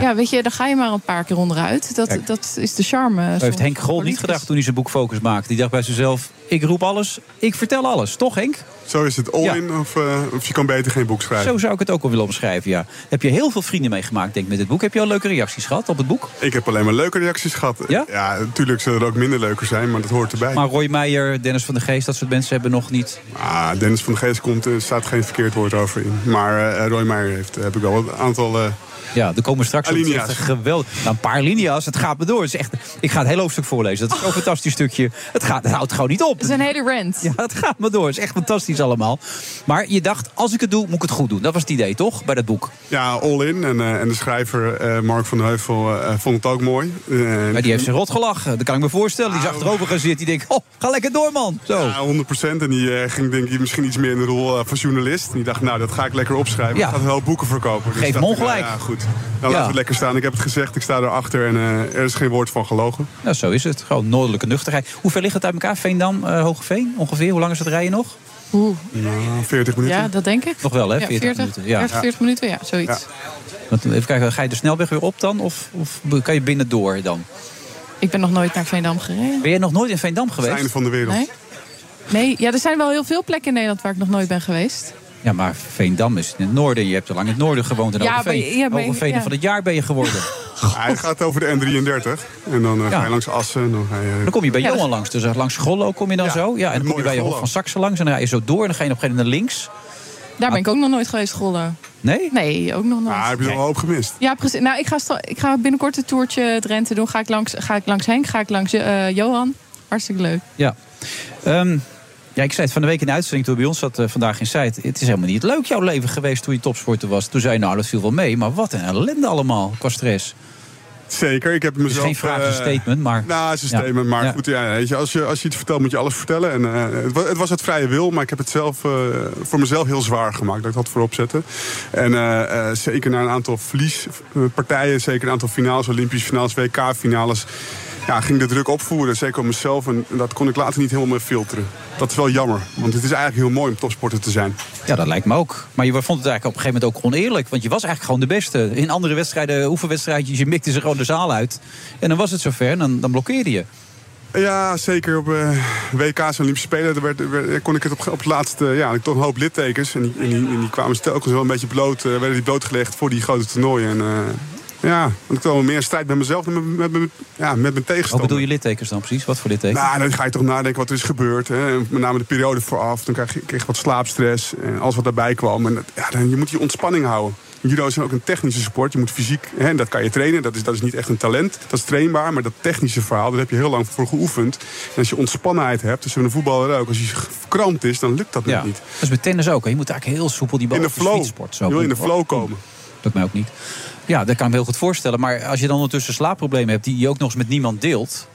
[SPEAKER 7] Ja, weet je, dan ga je maar een paar keer onderuit. Dat,
[SPEAKER 6] Kijk.
[SPEAKER 7] dat is de charme.
[SPEAKER 6] Dat
[SPEAKER 7] Eh, soms
[SPEAKER 6] heeft Henk
[SPEAKER 7] van
[SPEAKER 6] Grol niet
[SPEAKER 7] politici.
[SPEAKER 6] gedacht toen hij zijn boek Focus maakte. Die dacht bij zichzelf, ik roep alles, ik vertel alles. Toch Henk?
[SPEAKER 15] Zo is het all in, of, eh, of je kan beter geen boek schrijven.
[SPEAKER 6] Zo zou ik het ook wel willen omschrijven, ja. Heb je heel veel vrienden meegemaakt, denk ik, met dit boek. Heb je al leuke reacties gehad op het boek?
[SPEAKER 15] Ik heb alleen maar leuke reacties gehad. Ja? natuurlijk zullen er ook minder leuker zijn, maar dat hoort erbij.
[SPEAKER 6] Maar Roy Meijer, Dennis van de Geest, dat soort mensen hebben nog niet...
[SPEAKER 15] Ah, Dennis van de Geest komt, er staat geen verkeerd woord over in. Maar eh Roy Meijer heeft, heb ik wel een aantal... eh,
[SPEAKER 6] Ja, er komen straks op. Het is
[SPEAKER 15] Alinea's.
[SPEAKER 6] echt een geweldig. Nou, een paar linia's, het gaat me door. Het is echt, ik ga het hele hoofdstuk voorlezen. Dat is zo'n fantastisch stukje. Het, gaat, het houdt gewoon niet op.
[SPEAKER 7] Het is een hele rant.
[SPEAKER 6] Ja, het gaat me door. Het is echt fantastisch allemaal. Maar je dacht, als ik het doe, moet ik het goed doen. Dat was het idee, toch? Bij dat boek.
[SPEAKER 15] Ja, all in. En, eh, en de schrijver eh, Mark van de Heuvel eh, vond het ook mooi.
[SPEAKER 6] Maar die heeft zijn rot gelachen. Dat kan ik me voorstellen. Die is achterover gaan zitten. Die denkt, oh, ga lekker door, man. Zo.
[SPEAKER 15] Ja, 100 En die eh, ging denk ik misschien iets meer in de rol eh, van journalist. En die dacht, nou, dat ga ik lekker opschrijven.
[SPEAKER 6] Ja.
[SPEAKER 15] Ik ga wel boeken verkopen.
[SPEAKER 6] Geef
[SPEAKER 15] dacht
[SPEAKER 6] hem
[SPEAKER 15] ik, nou,
[SPEAKER 6] ongelijk.
[SPEAKER 15] ja, goed.
[SPEAKER 6] Ja.
[SPEAKER 15] Nou, laten we het lekker staan. Ik heb het gezegd, ik sta erachter. En eh, er is geen woord van gelogen.
[SPEAKER 6] Nou, zo is het. Gewoon noordelijke nuchterheid. Hoe ver ligt het uit elkaar? Veendam, eh Hogeveen ongeveer? Hoe lang is het rijden nog?
[SPEAKER 7] Oeh,
[SPEAKER 15] 40
[SPEAKER 7] ja, dat denk ik.
[SPEAKER 6] Nog wel, hè?
[SPEAKER 7] Ja,
[SPEAKER 6] 40 minuten, ja.
[SPEAKER 7] 30, 40 minuten, ja, zoiets.
[SPEAKER 6] Want Even kijken, ga je de snelweg weer op dan? Of, of kan je binnen door dan?
[SPEAKER 7] Ik ben nog nooit naar Veendam gereden.
[SPEAKER 6] Ben jij nog nooit in Veendam geweest?
[SPEAKER 15] Einde van de wereld.
[SPEAKER 7] Nee? Nee, ja, er zijn wel heel veel plekken in Nederland waar ik nog nooit ben geweest.
[SPEAKER 6] Ja, maar Veendam is in het noorden. Je hebt al lang in het noorden gewoond. En
[SPEAKER 7] Ja,
[SPEAKER 6] Hogeveen,
[SPEAKER 7] maar- ja, maar-
[SPEAKER 6] Hogeveen
[SPEAKER 7] ja.
[SPEAKER 6] van het jaar ben je geworden.
[SPEAKER 15] Ah, Hij gaat over de N33. En dan eh, ga je langs Assen. En dan, ga je,
[SPEAKER 6] Dan kom je bij
[SPEAKER 15] Ja, dat-
[SPEAKER 6] Johan langs. Dus langs Gollo kom je dan zo. Ja, en dan kom je bij Johan van Saxen langs. En dan ga je zo door. En dan ga je op een gegeven moment naar links.
[SPEAKER 7] Daar ben ik ook nog nooit geweest, Gollen.
[SPEAKER 6] Ah. Nee?
[SPEAKER 7] Nee, ook nog nooit.
[SPEAKER 15] Ah, heb je er al een hoop gemist?
[SPEAKER 7] Ja, precies. Nou, ik ga, stra- ik ga binnenkort een toertje Drenthe doen. Ga ik langs, ga ik langs Henk, ga ik langs eh, Johan. Hartstikke leuk.
[SPEAKER 6] Ja. Ehm, ja, ik zei het van de week in de uitzending toen bij ons zat eh, vandaag in Zuid. Het is helemaal niet leuk jouw leven geweest toen je topsporter was. Toen zei je, nou, dat viel wel mee. Maar wat een ellende allemaal qua stress.
[SPEAKER 15] Zeker, ik heb mezelf...
[SPEAKER 6] Dus geen vraag, het is een
[SPEAKER 15] eh,
[SPEAKER 6] statement, maar-
[SPEAKER 15] Nou, het is een
[SPEAKER 6] Ja.
[SPEAKER 15] statement, maar
[SPEAKER 6] Ja.
[SPEAKER 15] goed. Ja, weet je, als, je, als je iets vertelt, moet je alles vertellen. En, eh, het, wa- het was het vrije wil, maar ik heb het zelf, eh, voor mezelf heel zwaar gemaakt. Dat ik dat voorop zette. En eh, eh, zeker na een aantal verliespartijen, zeker een aantal finales, Olympische finales, WK-finales... Ja, ging de druk opvoeren, zeker op mezelf. En dat kon ik later niet helemaal meer filteren. Dat is wel jammer, want het is eigenlijk heel mooi om topsporter te zijn.
[SPEAKER 6] Ja, dat lijkt me ook. Maar je vond het eigenlijk op een gegeven moment ook oneerlijk. Want je was eigenlijk gewoon de beste. In andere wedstrijden, oefenwedstrijdjes, je mikte ze gewoon de zaal uit. En dan was het zover en dan, dan blokkeerde je.
[SPEAKER 15] Ja, zeker op eh, WK's en Olympische Spelen daar werd, werd- kon ik het op, op het laatste... Ja, had ik toch een hoop littekens. En die, en die, en die kwamen telkens wel een beetje bloot, eh, werden die blootgelegd voor die grote toernooien. En, eh, ja, want ik had wel meer strijd met mezelf dan met, met, met- ja, met mijn
[SPEAKER 6] Wat
[SPEAKER 15] tegenstander.
[SPEAKER 6] bedoel je littekens dan precies? Wat voor littekens?
[SPEAKER 15] Nou, dan ga je toch nadenken wat er is gebeurd. Hè? En Met name de periode vooraf. Dan krijg je kreeg ik wat slaapstress en alles wat daarbij kwam. En dat- ja, dan, je moet die ontspanning houden. Judo is ook een technische sport. Je moet fysiek, hè, en dat kan je trainen. Dat is, dat is niet echt een talent. Dat is trainbaar. Maar dat technische verhaal, daar heb je heel lang voor geoefend. En als je ontspannenheid hebt, dus een voetballer ook. Als hij verkrampt is, dan lukt dat net
[SPEAKER 6] ja.
[SPEAKER 15] niet.
[SPEAKER 6] Dat is met tennis ook. hè. Je moet eigenlijk heel soepel die bal
[SPEAKER 15] In de
[SPEAKER 6] op
[SPEAKER 15] flow.
[SPEAKER 6] fietsport zo
[SPEAKER 15] Je wil in de
[SPEAKER 6] doen.
[SPEAKER 15] flow komen.
[SPEAKER 6] Lukt mij ook niet. Ja, dat kan ik me heel goed voorstellen. Maar als je dan ondertussen slaapproblemen hebt die je ook nog eens met niemand deelt.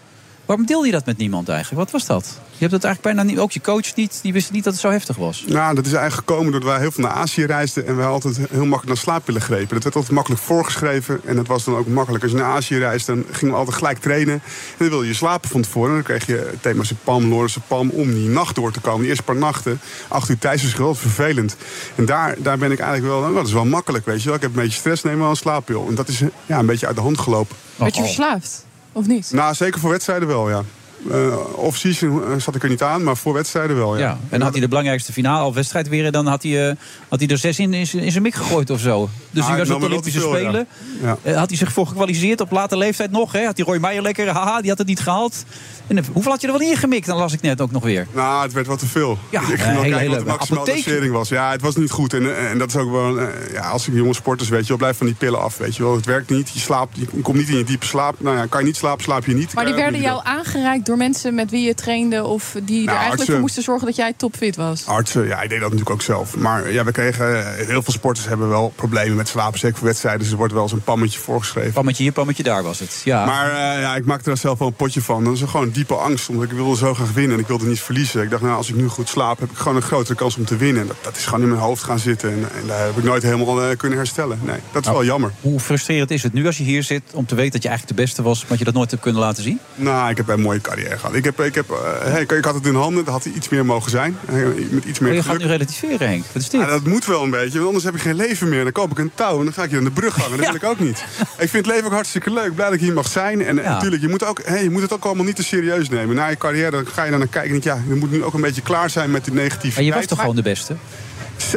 [SPEAKER 6] Waarom deelde je dat met niemand eigenlijk? Wat was dat? Je hebt dat eigenlijk bijna niet. Ook je coach niet. Die wist niet dat het zo heftig was.
[SPEAKER 15] Nou, dat is eigenlijk gekomen doordat wij heel veel naar Azië reisden. En wij altijd heel makkelijk naar slaappillen grepen. Dat werd altijd makkelijk voorgeschreven. En dat was dan ook makkelijk. Als je naar Azië reist, dan gingen we altijd gelijk trainen. En dan wilde je slapen van tevoren. En dan kreeg je thema's Pam, Lorense Pam. Om die nacht door te komen. Die eerste paar nachten. Acht uur tijdsverschil. dat is dus vervelend. En daar, daar ben ik eigenlijk wel. Nou, dat is wel makkelijk, weet je wel. Ik heb een beetje stress, neem wel een slaappil. En dat is ja, een beetje uit de hand gelopen.
[SPEAKER 7] Werd je verslaafd? Of niet?
[SPEAKER 15] Nou, zeker voor wedstrijden wel, ja. Eh Off-season eh, zat ik er niet aan, maar voor wedstrijden wel, ja.
[SPEAKER 6] Ja, en had hij de belangrijkste finale of wedstrijd weer... en dan had hij, eh, had hij er zes in, in, zijn- in zijn mik gegooid of zo. Dus
[SPEAKER 15] Ah,
[SPEAKER 6] hij
[SPEAKER 15] ik
[SPEAKER 6] was op
[SPEAKER 15] nam
[SPEAKER 6] de
[SPEAKER 15] er wel
[SPEAKER 6] Olympische
[SPEAKER 15] te veel, ja.
[SPEAKER 6] Spelen.
[SPEAKER 15] Ja.
[SPEAKER 6] Eh, had hij zich voor gekwalificeerd op late leeftijd nog. Hè? Had hij Roy Meijer lekker, haha, die had het niet gehaald. En, eh, hoeveel had je er wel ingemikt? Dan las ik net ook nog weer.
[SPEAKER 15] Nou, het werd wat te veel.
[SPEAKER 6] Ja,
[SPEAKER 15] ik ging
[SPEAKER 6] eh,
[SPEAKER 15] wel
[SPEAKER 6] hele-
[SPEAKER 15] kijken wat
[SPEAKER 6] hele
[SPEAKER 15] de maximale
[SPEAKER 6] apotheek.
[SPEAKER 15] dosering was. Ja, het was niet goed. En, en dat is ook wel... eh, ja, als ik jonge sporters, weet je wel, blijf van die pillen af, weet je wel. Het werkt niet. Je slaapt, je komt niet in je diepe slaap. Nou ja, kan je niet slapen, slaap je niet.
[SPEAKER 7] Maar die
[SPEAKER 15] Eh,
[SPEAKER 7] werden
[SPEAKER 15] doe je
[SPEAKER 7] jou aangereikt door mensen met wie je trainde... of
[SPEAKER 15] Nou,
[SPEAKER 7] die er eigenlijk voor
[SPEAKER 15] artsen.
[SPEAKER 7] moesten zorgen dat jij topfit was?
[SPEAKER 15] Artsen, ja, ik deed dat natuurlijk ook zelf. Maar ja, we kregen, eh, heel veel sporters hebben wel problemen met slapen. Zeker voor wedstrijden, dus er wordt wel eens een pammetje voorgeschreven.
[SPEAKER 6] Pammetje hier, pammetje daar was het. Ja.
[SPEAKER 15] Maar eh, ja, ik maakte daar zelf wel een potje van. Dat was gewoon diepe angst, omdat ik wilde zo graag winnen. En ik wilde niet verliezen. Ik dacht, nou, als ik nu goed slaap, heb ik gewoon een grotere kans om te winnen. En dat, dat is gewoon in mijn hoofd gaan zitten. En, en daar heb ik nooit helemaal eh, kunnen herstellen. Nee, dat is
[SPEAKER 6] Nou,
[SPEAKER 15] wel jammer.
[SPEAKER 6] Hoe frustrerend is het nu als je hier zit om te weten dat je eigenlijk de beste was... maar dat je dat nooit hebt kunnen laten zien?
[SPEAKER 15] Nou, ik heb een mooie carrière gehad. Ik, heb, ik, heb, eh, hey, ik, ik had het in handen, dat had iets meer mogen zijn. Eh, met iets meer
[SPEAKER 6] Maar je gaat
[SPEAKER 15] geluk.
[SPEAKER 6] nu relativeren, Henk. Wat is dit?
[SPEAKER 15] Ja, dat moet wel een beetje, want anders heb ik geen leven meer. Dan koop ik een touw en dan ga ik hier aan de brug hangen. Dat wil ik ook niet. Ik vind het leven ook hartstikke leuk. Blij dat ik hier mag zijn. En
[SPEAKER 6] Ja.
[SPEAKER 15] natuurlijk, je, moet ook, hey, je moet het ook allemaal niet te serieus nemen. Na je carrière ga je daar naar kijken en denk je, ja, je moet nu ook een beetje klaar zijn met die negatieve.
[SPEAKER 6] Maar je was toch gewoon de beste?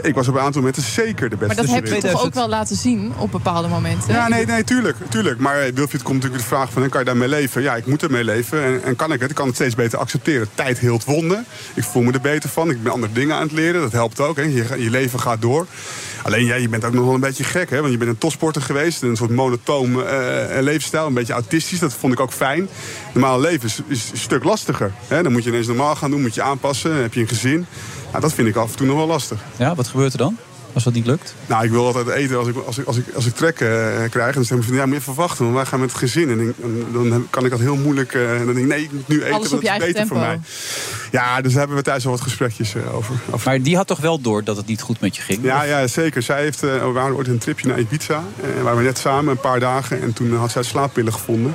[SPEAKER 15] Ik was op een aantal momenten zeker de beste.
[SPEAKER 7] Maar dat
[SPEAKER 15] ter
[SPEAKER 7] heb je
[SPEAKER 15] wereld.
[SPEAKER 7] toch ook wel laten zien op bepaalde momenten?
[SPEAKER 15] Ja, nee, nee, tuurlijk. tuurlijk. Maar eh, Wilfried komt natuurlijk de vraag van, hè, kan je daarmee leven? Ja, ik moet ermee leven. En, en kan ik het? Ik kan het steeds beter accepteren. Tijd heelt wonden. Ik voel me er beter van. Ik ben andere dingen aan het leren. Dat helpt ook. Hè. Je, ga- je leven gaat door. Alleen jij, je bent ook nog wel een beetje gek. Hè? Want je bent een topsporter geweest. Een soort monotoom eh, leefstijl. Een beetje autistisch. Dat vond ik ook fijn. Normaal leven is, is een stuk lastiger. Hè? Dan moet je ineens normaal gaan doen. Moet je aanpassen. Dan heb je een gezin. Nou, dat vind ik af en toe nog wel lastig.
[SPEAKER 6] Ja, wat gebeurt er dan? Als dat niet lukt?
[SPEAKER 15] Nou, ik wil altijd eten als ik, als ik, als ik, als ik trek eh, krijg. En dan zeggen ze, ja, moet je even wachten, want wij gaan met het gezin. En, ik- en dan kan ik dat heel moeilijk... eh, en dan denk ik, nee, ik moet nu eten,
[SPEAKER 7] Alles
[SPEAKER 15] want
[SPEAKER 7] op
[SPEAKER 15] dat
[SPEAKER 7] je
[SPEAKER 15] is beter
[SPEAKER 7] eigen
[SPEAKER 15] voor mij.
[SPEAKER 7] tempo.
[SPEAKER 15] Ja, dus daar hebben we thuis al wat gesprekjes eh, over.
[SPEAKER 6] Maar die had toch wel door dat het niet goed met je ging?
[SPEAKER 15] Ja, ja, zeker. Zij heeft, eh, we waren ooit een tripje naar Ibiza. Eh waren we net samen een paar dagen. En toen eh, had zij slaappillen gevonden.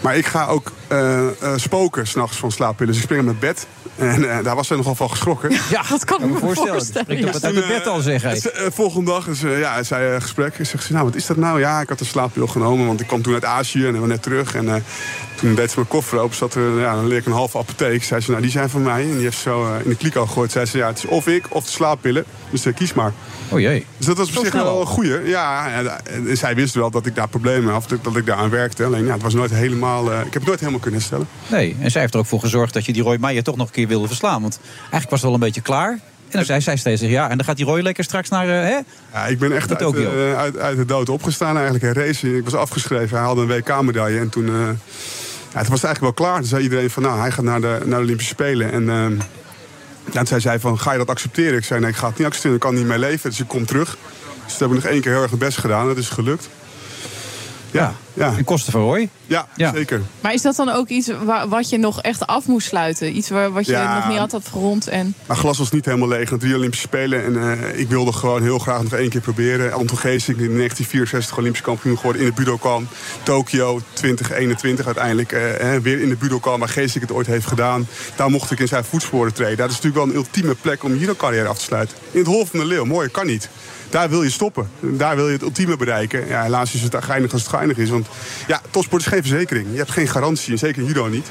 [SPEAKER 15] Maar ik ga ook eh, eh, spoken s'nachts van slaappillen. Dus ik spring in mijn bed. En eh, daar was zij nogal van geschrokken.
[SPEAKER 6] Ja, dat kan ik me voorstellen. Ik heb het uit mijn bed al zeggen.
[SPEAKER 15] Dus, eh, volgende dag is, eh, ja, zij eh, gesprek. Ze zegt, ze, nou, wat is dat nou? Ja, ik had een slaappil genomen, want ik kwam toen uit Azië en ik ben net terug. En eh, toen deed ze mijn koffer open, zat er, ja, dan leer ik een halve apotheek. Zei ze, nou, die zijn van mij. En die heeft ze zo eh, in de kliko gegooid. Zei ze, ja, het is of ik of de slaappillen. Dus eh, kies maar.
[SPEAKER 6] Oh jee.
[SPEAKER 15] Dus dat was
[SPEAKER 6] Zo
[SPEAKER 15] op zich
[SPEAKER 6] snel al.
[SPEAKER 15] wel een goeie. Ja, en, eh, zij wist wel dat ik daar problemen had, of dat- dat ik daar aan werkte. Alleen, ja, het was nooit helemaal, eh, ik heb het nooit helemaal kunnen herstellen.
[SPEAKER 6] Nee, en zij heeft er ook voor gezorgd dat je die Roy Meijer toch nog een keer wilde verslaan. Want eigenlijk was het wel een beetje klaar. En dan zei zij steeds, ja, en dan gaat die Roy lekker straks naar... eh, hè?
[SPEAKER 15] Ja, ik ben echt
[SPEAKER 6] Naar
[SPEAKER 15] uit,
[SPEAKER 6] Tokio.
[SPEAKER 15] de- eh, uit, uit de dood opgestaan eigenlijk. Een race. Ik was afgeschreven. Hij haalde een WK-medaille. En toen, eh, ja, toen was het eigenlijk wel klaar. Toen zei iedereen van, nou, hij gaat naar de, naar de Olympische Spelen. En ehm, ja, toen zei zij van, ga je dat accepteren? Ik zei, nee, ik ga het niet accepteren. Ik kan niet meer leven. Dus ik kom terug. Dus toen heb ik nog één keer heel erg mijn best gedaan. Dat is gelukt. Ja, ja.
[SPEAKER 6] En kosten van Roy.
[SPEAKER 15] Ja, zeker.
[SPEAKER 7] Maar is dat dan ook iets wa- wat je nog echt af moest sluiten? Iets waar, wat je
[SPEAKER 15] Ja.
[SPEAKER 7] nog niet altijd gerond en...
[SPEAKER 15] Maar glas was niet helemaal leeg. Na drie Olympische Spelen. En eh, ik wilde gewoon heel graag nog één keer proberen. Anton Geesink, in 1964 Olympisch kampioen geworden in de Budokan. Tokio 2021 uiteindelijk. eh, hè, weer in de Budokan, waar Geesink het ooit heeft gedaan. Daar mocht ik in zijn voetsporen treden. Dat is natuurlijk wel een ultieme plek om je judo-carrière af te sluiten. In het Hol van de Leeuw, mooi, kan niet. Daar wil je stoppen. Daar wil je het ultieme bereiken. Ja, helaas is het geinig als het geinig is. Want ja, topsport is geen verzekering. Je hebt geen garantie, en zeker in judo niet.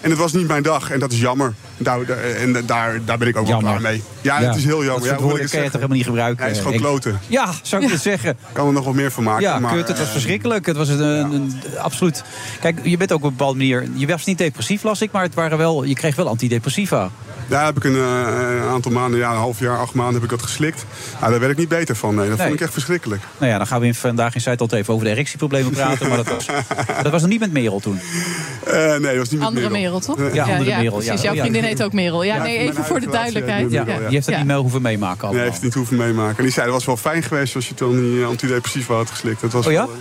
[SPEAKER 15] En het was niet mijn dag en dat is jammer. Daar, daar- en daar, daar ben ik ook
[SPEAKER 6] Jammer.
[SPEAKER 15] wel klaar mee. Ja, het is heel jammer.
[SPEAKER 6] Dat
[SPEAKER 15] Ja,
[SPEAKER 6] soort
[SPEAKER 15] hoe moet
[SPEAKER 6] woorden
[SPEAKER 15] ik
[SPEAKER 6] kan
[SPEAKER 15] het
[SPEAKER 6] je
[SPEAKER 15] zeggen?
[SPEAKER 6] toch helemaal niet gebruiken.
[SPEAKER 15] Hij is gewoon
[SPEAKER 6] Henk?
[SPEAKER 15] kloten.
[SPEAKER 6] eh, Ja, zou ik het zeggen.
[SPEAKER 15] kan er nog wel meer van maken.
[SPEAKER 6] Ja,
[SPEAKER 15] maar,
[SPEAKER 6] kut, het was
[SPEAKER 15] eh,
[SPEAKER 6] verschrikkelijk. Het was een, een- een- absoluut... Kijk, je bent ook op een bepaalde manier... Je was niet depressief, las ik, maar het waren wel, je kreeg wel antidepressiva.
[SPEAKER 15] Daar heb ik een, eh, een aantal maanden, ja, een half jaar, acht maanden heb ik dat geslikt. Ja, daar werd ik niet beter van. Nee, dat
[SPEAKER 6] Nee.
[SPEAKER 15] vond ik echt verschrikkelijk.
[SPEAKER 6] Nou ja, dan gaan we in- vandaag in Zuid even over de erectieproblemen praten. Maar dat was, dat was nog niet met Merel toen.
[SPEAKER 15] Eh, nee, dat was niet
[SPEAKER 7] Andere Merel, toch?
[SPEAKER 6] Ja, andere Merel. ja.
[SPEAKER 7] precies. Jouw
[SPEAKER 6] Oh, ja.
[SPEAKER 7] vriendin heet ook Merel. Ja,
[SPEAKER 15] Ja,
[SPEAKER 7] nee,
[SPEAKER 15] mijn
[SPEAKER 7] even voor de
[SPEAKER 15] huidige
[SPEAKER 7] duidelijkheid.
[SPEAKER 15] relatie
[SPEAKER 7] Ja.
[SPEAKER 15] heet Merel,
[SPEAKER 6] Je hebt dat
[SPEAKER 7] Ja.
[SPEAKER 6] niet mee hoeven meemaken allemaal.
[SPEAKER 15] Nee, heeft het niet hoeven meemaken. En die zei, dat was wel fijn geweest als je dan die antidepressief had geslikt. Dat was oh ja? nee,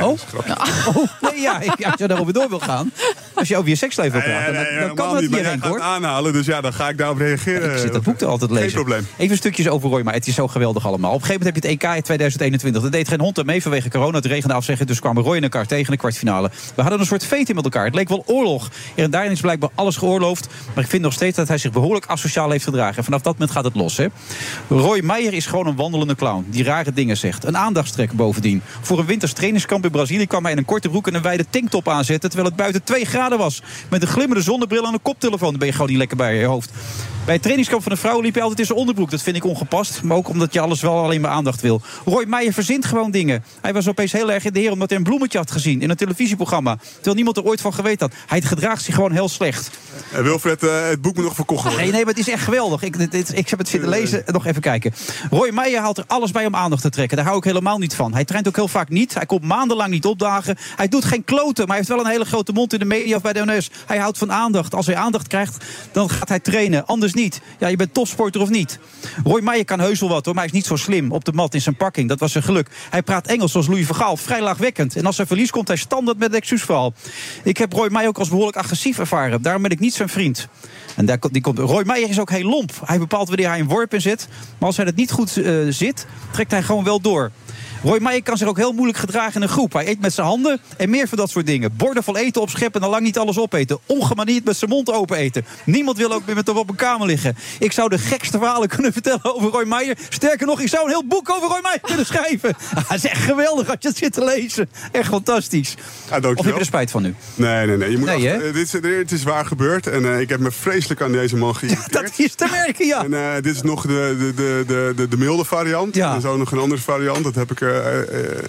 [SPEAKER 15] dat is een grapje.
[SPEAKER 6] Oh, nee, ja, ik- ja, als je daarover door wil gaan. Als je over je seksleven wil praten, dan- dan,
[SPEAKER 15] helemaal
[SPEAKER 6] kan dat
[SPEAKER 15] niet, maar jij
[SPEAKER 6] niet heen,
[SPEAKER 15] gaat
[SPEAKER 6] hoor.
[SPEAKER 15] aanhalen, dus ja, dan ga ik daarop reageren.
[SPEAKER 6] Ik zit dat boek er altijd lezen.
[SPEAKER 15] Geen probleem.
[SPEAKER 6] Even stukjes over Roy, maar het is zo geweldig allemaal. Op een gegeven moment heb je het EK in 2021. Er deed geen hond aan mee vanwege corona. Het regende afzeggen, dus kwamen Roy en elkaar tegen in de kwartfinale. We hadden een soort veten met elkaar. Het leek wel oorlog. Er en daarin is blijkbaar alles geoorloofd. Maar ik vind nog steeds dat hij zich behoorlijk asociaal heeft gedragen. En vanaf dat moment gaat het los, hè. Roy Meijer is gewoon een wandelende clown. Die rare dingen zegt. Een aandachtstrek bovendien. Voor een winters trainingskamp in Brazilië kwam hij in een korte broek en een wijde tanktop aanzetten. Terwijl het buiten 2 graden was. Met een glimmende zonnebril en een koptelefoon. Dan ben je gewoon niet lekker bij je hoofd. Bij het trainingskamp van de vrouwen liep hij altijd in zijn onderbroek. Dat vind ik ongepast. Maar ook omdat je alles wel alleen maar aandacht wil. Roy Meijer verzint gewoon dingen. Hij was opeens heel erg in de heer omdat hij een bloemetje had gezien. In een televisieprogramma. Terwijl niemand er ooit van geweten had. Hij gedraagt zich gewoon heel slecht.
[SPEAKER 15] Eh, Wilfred, het boek moet nog verkocht worden. Eh.
[SPEAKER 6] Nee, nee, maar het is echt geweldig. Ik, dit, dit- ik heb het zitten lezen. Nog even kijken. Roy Meijer haalt er alles bij om aandacht te trekken. Daar hou ik helemaal niet van. Hij traint ook heel vaak niet. Hij komt maandenlang niet opdagen. Hij doet geen kloten, maar hij heeft wel een hele grote mond in de media of bij de NS. Hij houdt van aandacht. Als hij aandacht krijgt, dan gaat hij trainen. Anders niet. Ja, je bent topsporter of niet. Roy Meijer kan heus wel wat hoor, maar hij is niet zo slim op de mat in zijn pakking. Dat was zijn geluk. Hij praat Engels zoals Louis Vergaal, vrij laagwekkend. En als hij verlies komt hij standaard met een excuusverhaal. Ik heb Roy Meijer ook als behoorlijk agressief ervaren. Daarom ben ik niet zijn vriend. En daar, komt- die komt, Roy Meijer is ook heel lomp. Hij bepaalt wanneer hij een worp in zit. Maar als hij dat niet goed eh, zit, trekt hij gewoon wel door. Roy Meijer kan zich ook heel moeilijk gedragen in een groep. Hij eet met zijn handen en meer van dat soort dingen. Borden vol eten opscheppen en dan lang niet alles opeten. Ongemanierd met zijn mond open eten. Niemand wil ook meer met hem op een kamer liggen. Ik zou de gekste verhalen kunnen vertellen over Roy Meijer. Sterker nog, ik zou een heel boek over Roy Meijer kunnen schrijven. Ah, Het is echt geweldig als je het zit te lezen. Echt fantastisch. of heb je er spijt van nu?
[SPEAKER 15] Nee, nee, nee. Je moet
[SPEAKER 6] Nee,
[SPEAKER 15] achter- eh, dit, is- dit is waar gebeurd en eh, ik heb me vreselijk aan deze man geïrriteerd.
[SPEAKER 6] dat is te merken, ja.
[SPEAKER 15] En eh, dit is nog de, de, de, de, de, de milde variant. En zo nog een andere variant. Dat heb ik eh, eh,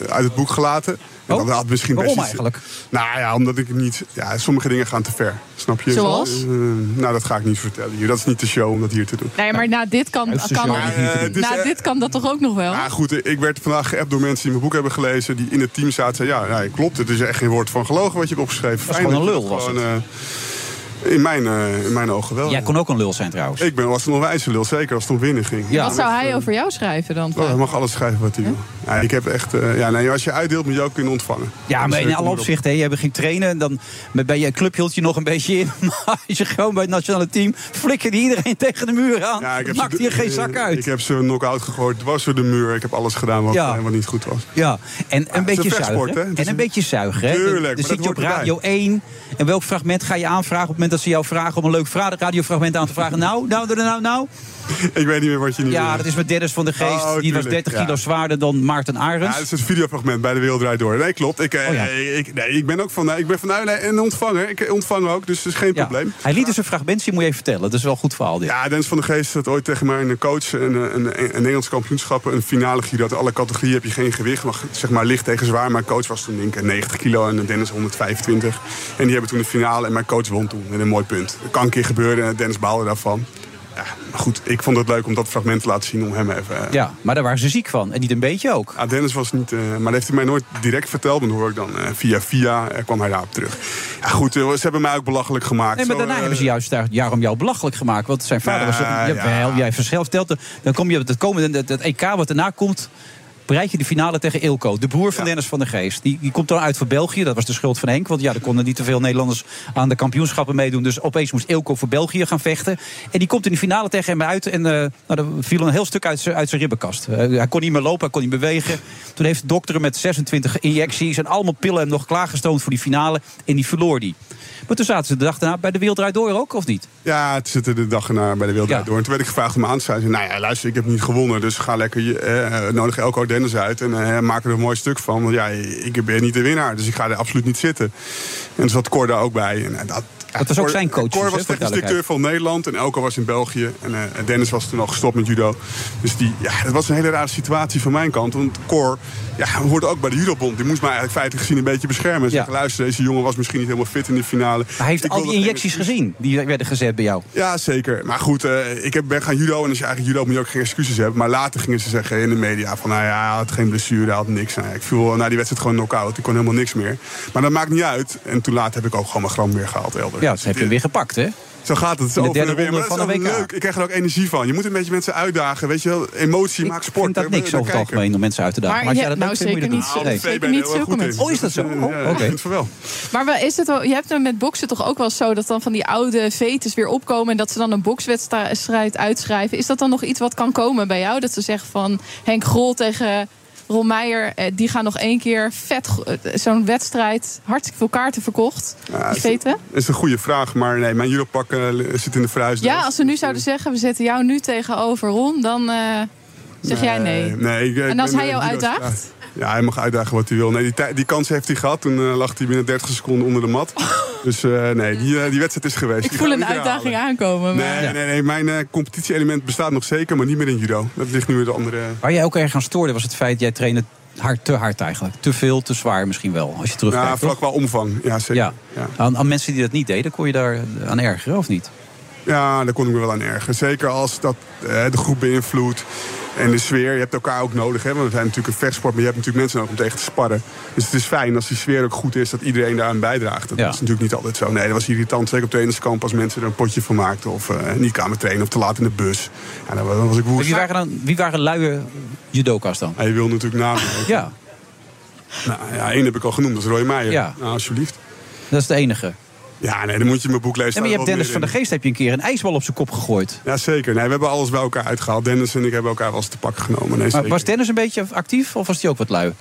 [SPEAKER 15] uit het boek gelaten. En dat had misschien
[SPEAKER 6] Oh. waarom
[SPEAKER 15] best iets- Nou ja, omdat ik niet... Ja, sommige dingen gaan te ver. Snap je?
[SPEAKER 7] Zoals?
[SPEAKER 15] Eh, nou, dat ga ik niet vertellen hier. Dat is niet de show om dat hier te doen.
[SPEAKER 7] Nee, maar na dit kan,
[SPEAKER 15] Uiterste
[SPEAKER 7] kan,
[SPEAKER 15] genre niet te doen.
[SPEAKER 7] na dit kan dat toch ook nog wel?
[SPEAKER 15] Maar Nou goed, eh, ik werd vandaag geappt door mensen die mijn boek hebben gelezen... die in het team zaten zeiden, ja, nee, klopt, het is echt geen woord van gelogen wat je hebt opgeschreven.
[SPEAKER 6] was
[SPEAKER 15] Fijn
[SPEAKER 6] gewoon
[SPEAKER 15] dat
[SPEAKER 6] een
[SPEAKER 15] je
[SPEAKER 6] lul,
[SPEAKER 15] dat
[SPEAKER 6] was
[SPEAKER 15] gewoon, eh, in, mijn, eh, in mijn ogen wel.
[SPEAKER 6] Jij kon ook een lul zijn trouwens.
[SPEAKER 15] Ik ben, was een onwijze lul, zeker als het om winnen ging.
[SPEAKER 7] Wat zou hij over jou schrijven dan?
[SPEAKER 15] Oh, hij mag alles schrijven wat hij wil. Ja, ik heb echt, eh, ja, nee, als je uitdeelt moet je ook kunnen ontvangen.
[SPEAKER 6] Ja,
[SPEAKER 15] Dus,
[SPEAKER 6] maar
[SPEAKER 15] eh,
[SPEAKER 6] in
[SPEAKER 15] kom
[SPEAKER 6] alle
[SPEAKER 15] erop.
[SPEAKER 6] opzichten. hè. Je ging trainen en dan bij je club hield je nog een beetje in. Maar als je gewoon bij het nationale team flikkerde iedereen tegen de muur aan. maakte je geen zak uit.
[SPEAKER 15] Ik heb ze een knock-out gegooid, dwars door de muur. Ik heb alles gedaan wat,
[SPEAKER 6] Ja.
[SPEAKER 15] eh, wat niet goed was.
[SPEAKER 6] Ja, en een beetje
[SPEAKER 15] een vechtsport, hè?
[SPEAKER 6] zuigen.
[SPEAKER 15] Het is
[SPEAKER 6] En een beetje zuigen. hè.
[SPEAKER 15] Tuurlijk, maar
[SPEAKER 6] Dan
[SPEAKER 15] dat
[SPEAKER 6] zit je op
[SPEAKER 15] hoort erbij.
[SPEAKER 6] Radio 1. En welk fragment ga je aanvragen op het moment dat ze jou vragen... om een leuk vra- radiofragment aan te vragen? Nou, nou, nou, nou.
[SPEAKER 15] Ik weet niet meer wat je nu
[SPEAKER 6] Ja,
[SPEAKER 15] wil.
[SPEAKER 6] dat is met Dennis van de Geest.
[SPEAKER 15] Oh,
[SPEAKER 6] die was
[SPEAKER 15] tuurlijk,
[SPEAKER 6] 30 kilo
[SPEAKER 15] ja.
[SPEAKER 6] zwaarder dan Maarten
[SPEAKER 15] Ja,
[SPEAKER 6] Arends.
[SPEAKER 15] dat is het videofragment bij de Wereld Draait Door. Nee, klopt. Ik, eh,
[SPEAKER 6] Oh, ja.
[SPEAKER 15] ik, nee, ik ben ook van, nee, ik ben van Uilen en ontvanger. Ik ontvang ook, dus dat is geen probleem.
[SPEAKER 6] Hij liet dus een fragmentje, moet je even vertellen. Dat is wel een goed verhaal dit.
[SPEAKER 15] Ja, Dennis van de Geest had ooit tegen mij een coach een, een, een, een Nederlands kampioenschappen, een finale giro. uit alle categorieën heb je geen gewicht, maar zeg maar licht tegen zwaar. Mijn coach was toen denk ik 90 kilo en Dennis 125. En die hebben toen de finale en mijn coach won toen met een mooi punt. Dat kan een keer gebeuren en Dennis baalde daarvan. Ja, maar goed, ik vond het leuk om dat fragment te laten zien om hem even... eh,
[SPEAKER 6] Ja, maar daar waren ze ziek van. En niet een beetje ook.
[SPEAKER 15] Ah, Dennis was niet... eh, maar dat heeft hij mij nooit direct verteld. Maar dat hoor ik dan eh, via via. eh, kwam hij daarop terug. Ja, goed, eh, ze hebben mij ook belachelijk gemaakt.
[SPEAKER 6] Nee, maar
[SPEAKER 15] Zo,
[SPEAKER 6] daarna
[SPEAKER 15] eh,
[SPEAKER 6] hebben ze juist daar, daarom jou belachelijk gemaakt. Want zijn vader was...
[SPEAKER 15] Nou,
[SPEAKER 6] Jawel,
[SPEAKER 15] ja.
[SPEAKER 6] jij verschil vertelt. het. Dan kom je op het komende, dat, dat EK wat daarna komt... bereik je de finale tegen Ilko. De broer van Dennis van der Geest. Die, die komt dan uit voor België. Dat was de schuld van Henk. Want ja, er konden niet te veel Nederlanders aan de kampioenschappen meedoen. Dus opeens moest Ilko voor België gaan vechten. En die komt in de finale tegen hem uit. En eh nou, er viel een heel stuk uit zijn uit zijn ribbenkast. Eh, hij kon niet meer lopen, hij kon niet bewegen. Toen heeft de dokter hem met 26 injecties... en allemaal pillen hem nog klaargestoomd voor die finale. En die verloor die. Maar toen zaten ze de dag daarna bij de Wereld Draait Door ook, of niet?
[SPEAKER 15] Ja, het zit er de dag erna bij de Wereld Draait Door. En toen werd ik gevraagd om aan te sluiten. Nou ja, luister, ik heb niet gewonnen. Dus ga lekker, je, eh, nodig Elko Dennis uit. En eh, maak er een mooi stuk van. Want ja, ik ben niet de winnaar. Dus ik ga er absoluut niet zitten. En er zat Cor daar ook bij. En eh, dat,
[SPEAKER 6] Dat was ook zijn coach.
[SPEAKER 15] Cor
[SPEAKER 6] dus, hè,
[SPEAKER 15] was
[SPEAKER 6] voor
[SPEAKER 15] technisch
[SPEAKER 6] duidelijkheid.
[SPEAKER 15] directeur van Nederland en Elko was in België. En eh, Dennis was toen al gestopt met judo. Dus die, ja, dat was een hele rare situatie van mijn kant. Want Cor ja, hoorde ook bij de judobond. Die moest mij eigenlijk feitelijk gezien een beetje beschermen. En zeggen, luister, deze jongen was misschien niet helemaal fit in de finale.
[SPEAKER 6] Hij heeft
[SPEAKER 15] Ik
[SPEAKER 6] al
[SPEAKER 15] wil
[SPEAKER 6] die
[SPEAKER 15] dat-
[SPEAKER 6] injecties gezien die werden gezet bij jou.
[SPEAKER 15] ja, zeker. Maar goed, eh, ik heb- ben gaan judo. En als je eigenlijk judo moet je ook geen excuses hebben. Maar later gingen ze zeggen in de media van... nou ja, hij had geen blessure, hij had niks. Nou ja, ik viel na die wedstrijd gewoon knock-out. Ik kon helemaal niks meer. Maar dat maakt niet uit. En toen later heb ik ook gewoon mijn gram weer gehaald elders.
[SPEAKER 6] Ja, dat heb je weer gepakt, hè?
[SPEAKER 15] Zo gaat het. Zo
[SPEAKER 6] In
[SPEAKER 15] over
[SPEAKER 6] de
[SPEAKER 15] en
[SPEAKER 6] derde
[SPEAKER 15] weer. Maar
[SPEAKER 6] ronde
[SPEAKER 15] dat is
[SPEAKER 6] van de
[SPEAKER 15] ook
[SPEAKER 6] WK.
[SPEAKER 15] leuk. Ik krijg er ook energie van. Je moet een beetje mensen uitdagen. Weet je wel, emotie maakt sport.
[SPEAKER 6] vind dat
[SPEAKER 15] hè,
[SPEAKER 6] niks
[SPEAKER 15] daar
[SPEAKER 6] over het
[SPEAKER 15] kijken.
[SPEAKER 6] algemeen om mensen uit te dagen.
[SPEAKER 7] Maar
[SPEAKER 6] Maar, als
[SPEAKER 7] ja,
[SPEAKER 6] jij dat
[SPEAKER 7] nou,
[SPEAKER 6] leuk vindt, moet je
[SPEAKER 7] zeker niet.
[SPEAKER 6] dat
[SPEAKER 7] Nee.
[SPEAKER 6] doen.
[SPEAKER 7] Zeker niet zulke mensen.
[SPEAKER 15] Oh, is dat zo?
[SPEAKER 6] Oh, oké.
[SPEAKER 15] vind het wel.
[SPEAKER 7] Maar wel, is het wel, je hebt hem met boksen toch ook wel zo dat dan van die oude vetes weer opkomen en dat ze dan een bokswedstrijd uitschrijven. Is dat dan nog iets wat kan komen bij jou? Dat ze zeggen van Henk Grol tegen Ron Meijer, eh, die gaan nog één keer vet go- eh, zo'n wedstrijd, hartstikke veel kaarten verkocht.
[SPEAKER 15] Ja,
[SPEAKER 7] die
[SPEAKER 15] is-
[SPEAKER 7] veten.
[SPEAKER 15] Dat is een goede vraag. Maar nee, mijn judopak eh, zit in de verhuis.
[SPEAKER 7] Ja, als ze nu zouden zeggen we zetten jou nu tegenover Ron, dan eh, zeg jij nee.
[SPEAKER 15] Nee, ik- ik
[SPEAKER 7] En als
[SPEAKER 15] ben,
[SPEAKER 7] hij
[SPEAKER 15] eh,
[SPEAKER 7] jou
[SPEAKER 15] judo's-
[SPEAKER 7] uitdaagt?
[SPEAKER 15] Ja, hij mag uitdagen wat hij wil. Nee, die, tij- die kans heeft hij gehad. Toen eh, lag hij binnen 30 seconden onder de mat. Dus eh, nee, die, eh, die wedstrijd is geweest.
[SPEAKER 7] Ik
[SPEAKER 15] Die
[SPEAKER 7] voel
[SPEAKER 15] gaan we
[SPEAKER 7] een
[SPEAKER 15] niet herhalen.
[SPEAKER 7] uitdaging aankomen. Maar...
[SPEAKER 15] Nee, nee, nee, mijn eh, competitie-element bestaat nog zeker, maar niet meer in judo. Dat ligt nu weer de andere...
[SPEAKER 6] Waar jij ook erg aan stoorde was het feit... jij trainde hard, te hard eigenlijk. Te veel, te zwaar misschien wel, als je terugkijkt.
[SPEAKER 15] Ja, Nou, vlak
[SPEAKER 6] toch?
[SPEAKER 15] qua omvang. Ja, zeker.
[SPEAKER 6] Ja.
[SPEAKER 15] Ja.
[SPEAKER 6] Aan, aan mensen die dat niet deden, kon je daar eh, aan ergeren of niet?
[SPEAKER 15] Ja, daar kon ik me wel aan ergeren. Zeker als dat eh, de groep beïnvloedt en de sfeer. Je hebt elkaar ook nodig, hè? want we zijn natuurlijk een vechtsport... maar je hebt natuurlijk mensen nodig om tegen te sparren. Dus het is fijn als die sfeer ook goed is, dat iedereen daaraan bijdraagt. Dat
[SPEAKER 6] Ja.
[SPEAKER 15] is natuurlijk niet altijd zo. Nee, dat was irritant, zeker op trainerskamp... als mensen er een potje van maakten of eh, niet kwamen trainen of te laat in de bus. Ja, dan was dan was ik woest.
[SPEAKER 6] Wie waren, dan, wie waren luie judoka's dan?
[SPEAKER 15] Hij wil natuurlijk namen.
[SPEAKER 6] ja.
[SPEAKER 15] Nou ja, één heb ik al genoemd, dat is Roy Meijer.
[SPEAKER 6] Ja.
[SPEAKER 15] Nou, alsjeblieft. Oh,
[SPEAKER 6] Dat is de enige.
[SPEAKER 15] Ja, nee, dan moet je mijn boek lezen.
[SPEAKER 6] Ja, maar je hebt
[SPEAKER 15] Daar
[SPEAKER 6] Dennis
[SPEAKER 15] wel
[SPEAKER 6] van
[SPEAKER 15] meer
[SPEAKER 6] der Geest heb je een keer een ijsbal op zijn kop gegooid.
[SPEAKER 15] in. Ja, zeker. Nee, we hebben alles bij elkaar uitgehaald. Dennis en ik hebben elkaar wel eens te pakken genomen. Nee,
[SPEAKER 6] Maar
[SPEAKER 15] zeker.
[SPEAKER 6] was Dennis een beetje actief of was hij ook wat lui?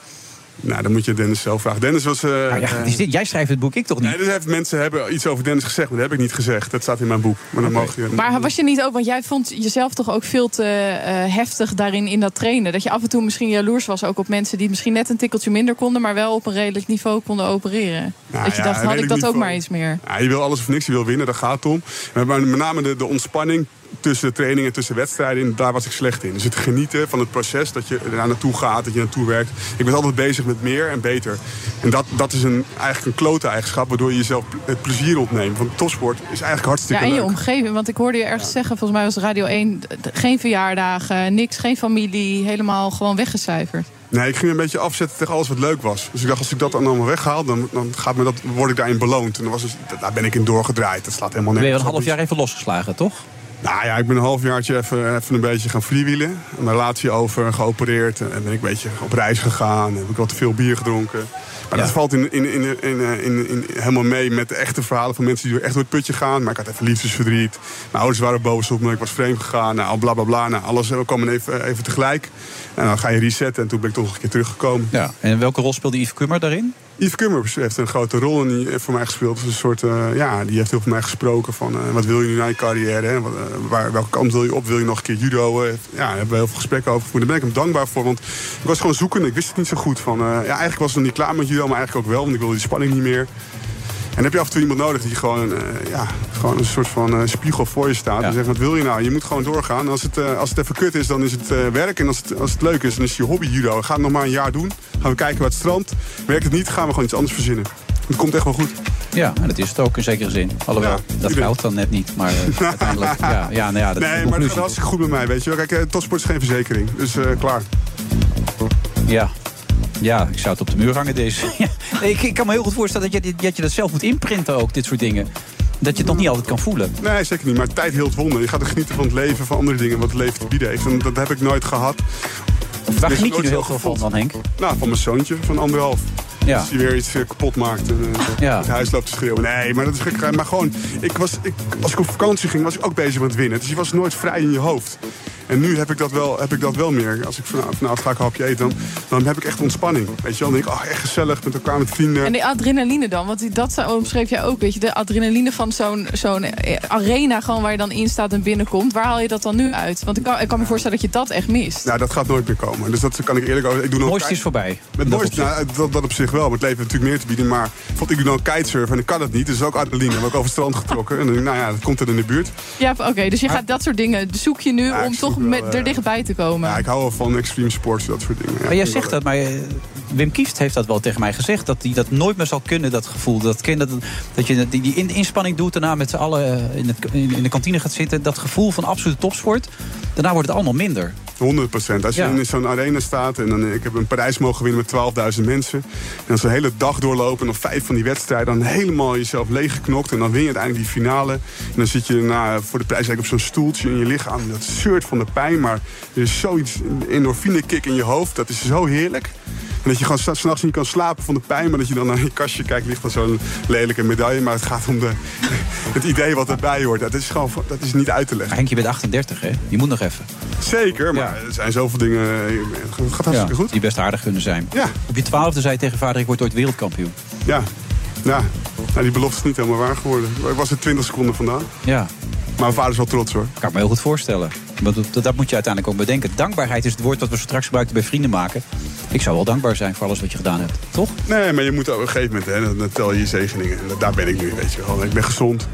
[SPEAKER 15] Nou, dan moet je Dennis zelf vragen. Dennis was... eh,
[SPEAKER 6] ja, is dit- jij schrijft het boek, ik toch niet?
[SPEAKER 15] Nee, dus heeft, mensen hebben iets over Dennis gezegd, maar dat heb ik niet gezegd. Dat staat in mijn boek. Maar dan mag je...
[SPEAKER 7] Maar was je niet ook, want jij vond jezelf toch ook veel te eh, heftig daarin in dat trainen? Dat je af en toe misschien jaloers was ook op mensen die het misschien net een tikkeltje minder konden, maar wel op een redelijk niveau konden opereren.
[SPEAKER 15] Nou
[SPEAKER 7] dat je
[SPEAKER 15] ja,
[SPEAKER 7] dacht, had ik
[SPEAKER 15] redelijk
[SPEAKER 7] dat ook
[SPEAKER 15] niveau.
[SPEAKER 7] maar eens meer?
[SPEAKER 15] Ja, je wil alles of niks, je wil winnen, daar gaat het om. Maar met name de, de ontspanning tussen de training en tussen wedstrijden, in, daar was ik slecht in. Dus het genieten van het proces, dat je er naartoe gaat, dat je naartoe werkt. Ik was altijd bezig met meer en beter. En dat, dat is een, eigenlijk een klote eigenschap, waardoor je jezelf ple- het plezier ontneemt. Want topsport is eigenlijk
[SPEAKER 7] Ja,
[SPEAKER 15] hartstikke
[SPEAKER 7] en je
[SPEAKER 15] leuk.
[SPEAKER 7] omgeving. Want ik hoorde je ergens zeggen, volgens mij was Radio 1, d- d- geen verjaardagen, niks, geen familie, helemaal gewoon weggecijferd.
[SPEAKER 15] Nee, ik ging een beetje afzetten tegen alles wat leuk was. Dus ik dacht, als ik dat dan allemaal weghaal, dan, dan gaat me dat, word ik daarin beloond. En dan was dus, daar ben ik in doorgedraaid. Dat slaat helemaal
[SPEAKER 6] Ben je
[SPEAKER 15] nergens
[SPEAKER 6] een
[SPEAKER 15] op.
[SPEAKER 6] half jaar even losgeslagen, toch?
[SPEAKER 15] Nou ja, ik ben een halfjaartje even, even een beetje gaan freewheelen. Mijn relatie over, geopereerd. En ben ik een beetje op reis gegaan. Heb ik wat te veel bier gedronken. Maar dat valt in, in, in, in, in, in- in- helemaal mee met de echte verhalen van mensen die door echt door het putje gaan. Maar ik had even liefdesverdriet. Mijn ouders waren boos op me. Ik was vreemd gegaan. Nou, bla bla bla. Nou, alles eh, kwam even, even tegelijk. En dan ga je resetten. En toen ben ik toch een keer teruggekomen.
[SPEAKER 6] Ja. En welke rol speelde Yves Kummer daarin?
[SPEAKER 15] Yves Kummers heeft een grote rol en die heeft voor mij gespeeld. Dus een soort, eh, ja, die heeft heel voor mij gesproken van eh, wat wil je nu na je carrière? Hè? Wat, eh, waar, welke kant wil je op? Wil je nog een keer judo? eh? ja, daar hebben we heel veel gesprekken over gevoerd. Daar ben ik hem dankbaar voor, want ik was gewoon zoekende. Ik wist het niet zo goed. Van, eh, ja, eigenlijk was ik nog niet klaar met judo, maar eigenlijk ook wel, want ik wilde die spanning niet meer. En dan heb je af en toe iemand nodig die gewoon, eh, ja, gewoon een soort van eh, spiegel voor je staat. En zegt, wat wil je nou? Je moet gewoon doorgaan. En Als het, eh, als het even kut is, dan is het eh, werk. En als het, als het leuk is, dan is het je hobby judo. Ga het nog maar een jaar doen. Gaan we kijken wat het strandt. Werkt het niet, gaan we gewoon iets anders verzinnen. Het komt echt wel goed.
[SPEAKER 6] Ja, en dat is het ook in zekere zin. Alhoewel, dat geldt dan net niet. Maar eh, uiteindelijk, ja, ja, nou ja, dat is
[SPEAKER 15] nee,
[SPEAKER 6] de
[SPEAKER 15] maar het
[SPEAKER 6] conclusie.
[SPEAKER 15] gaat hartstikke goed met mij, weet je wel. Kijk, eh, topsport is geen verzekering. Dus eh, klaar.
[SPEAKER 6] Ja. Ja, ik zou het op de muur hangen, deze. Ja, nee, ik, ik kan me heel goed voorstellen dat je, dit- dat je dat zelf moet inprinten ook, dit soort dingen. Dat je het nog niet altijd kan voelen.
[SPEAKER 15] Nee, zeker niet. Maar tijd heelt wonden. Je gaat er genieten van het leven, van andere dingen, wat het leven te bieden heeft. En dat heb ik nooit gehad.
[SPEAKER 6] Waar
[SPEAKER 15] Dus
[SPEAKER 6] geniet je
[SPEAKER 15] nooit
[SPEAKER 6] nu heel
[SPEAKER 15] zo
[SPEAKER 6] veel van
[SPEAKER 15] gevoeld.
[SPEAKER 6] dan, Henk?
[SPEAKER 15] Nou, van mijn zoontje, van anderhalf.
[SPEAKER 6] Ja.
[SPEAKER 15] Als hij weer iets eh, kapot maakt. en, eh, Het huis loopt te schreeuwen. Nee, maar dat is gek. Maar gewoon, ik was, ik, als ik op vakantie ging, was ik ook bezig met winnen. Dus je was nooit vrij in je hoofd. En nu heb ik dat wel, heb ik dat wel meer. Als ik vana- vanavond ga ik een hapje eten, dan, dan heb ik echt ontspanning. Weet je wel, dan denk ik, oh, echt gezellig met elkaar, met vrienden.
[SPEAKER 7] En die adrenaline dan, want die- dat zou- omschreef jij ook, weet je. De adrenaline van zo'n zo'n eh, arena gewoon waar je dan in staat en binnenkomt. Waar haal je dat dan nu uit? Want ik kan, ik kan me voorstellen dat je dat echt mist.
[SPEAKER 15] Nou, dat gaat nooit meer komen. Dus dat kan ik eerlijk over. Ik doe nog
[SPEAKER 6] Mooiste is voorbij.
[SPEAKER 15] Met
[SPEAKER 6] Dat
[SPEAKER 15] mooiste, nou, dat, dat op zich wel. Maar het leven heeft natuurlijk meer te bieden. Maar vond ik doe dan kitesurfen en ik kan dat niet. Dus ook adrenaline. Dan ben ik over het strand getrokken. En dan denk ik, nou ja, dat komt er in de buurt.
[SPEAKER 7] Ja, oké, dus je
[SPEAKER 15] Maar-
[SPEAKER 7] gaat dat soort dingen zoek je nu om toch
[SPEAKER 15] wel,
[SPEAKER 7] met,
[SPEAKER 15] eh,
[SPEAKER 7] er dichtbij te komen.
[SPEAKER 15] Ja, ik hou wel van extreme sports, dat soort dingen. Ja,
[SPEAKER 6] Maar jij
[SPEAKER 15] vind ik
[SPEAKER 6] zegt
[SPEAKER 15] wel
[SPEAKER 6] dat, maar eh, Wim Kieft heeft dat wel tegen mij gezegd. Dat hij dat nooit meer zal kunnen, dat gevoel. Dat, ken- dat, dat je die, die in- inspanning doet, daarna met z'n allen eh, in, het, in, in de kantine gaat zitten. Dat gevoel van absolute topsport. Daarna wordt het allemaal minder.
[SPEAKER 15] 100 Als je
[SPEAKER 6] Ja.
[SPEAKER 15] in zo'n arena staat en dan, eh, ik heb in Parijs mogen winnen met 12.000 mensen. En dan zo'n hele dag doorlopen en dan vijf van die wedstrijden. Dan helemaal jezelf leeggeknokt en dan win je uiteindelijk die finale. En dan zit je na, voor de prijs eigenlijk op zo'n stoeltje in je lichaam. Dat zeurt van de pijn, maar er is zoiets, een endorfine kick in je hoofd. Dat is zo heerlijk. En dat je gewoon s- s'nachts niet kan slapen van de pijn, maar dat je dan naar je kastje kijkt, ligt dan zo'n lelijke medaille. Maar het gaat om de, het idee wat erbij hoort. Dat is gewoon dat is niet uit te leggen.
[SPEAKER 6] Henk, je bent 38, hè? Je moet nog even.
[SPEAKER 15] Zeker, maar er zijn zoveel dingen. eh, Het gaat hartstikke
[SPEAKER 6] Ja,
[SPEAKER 15] goed.
[SPEAKER 6] Die best aardig kunnen zijn.
[SPEAKER 15] Ja.
[SPEAKER 6] Op je twaalfde zei je tegen vader, ik word ooit wereldkampioen.
[SPEAKER 15] Ja, ja. Nou, die belofte is niet helemaal waar geworden. Ik was er 20 seconden vandaan.
[SPEAKER 6] Ja.
[SPEAKER 15] Maar mijn vader is wel trots hoor.
[SPEAKER 6] Kan ik me heel goed voorstellen. Want dat, dat moet je uiteindelijk ook bedenken. Dankbaarheid is het woord dat we straks gebruikten bij vrienden maken. Ik zou wel dankbaar zijn voor alles wat je gedaan hebt. Toch?
[SPEAKER 15] Nee, maar je moet op een gegeven moment, hè, dan- dan tel je je zegeningen. En daar ben ik nu, weet je wel. Ik ben gezond.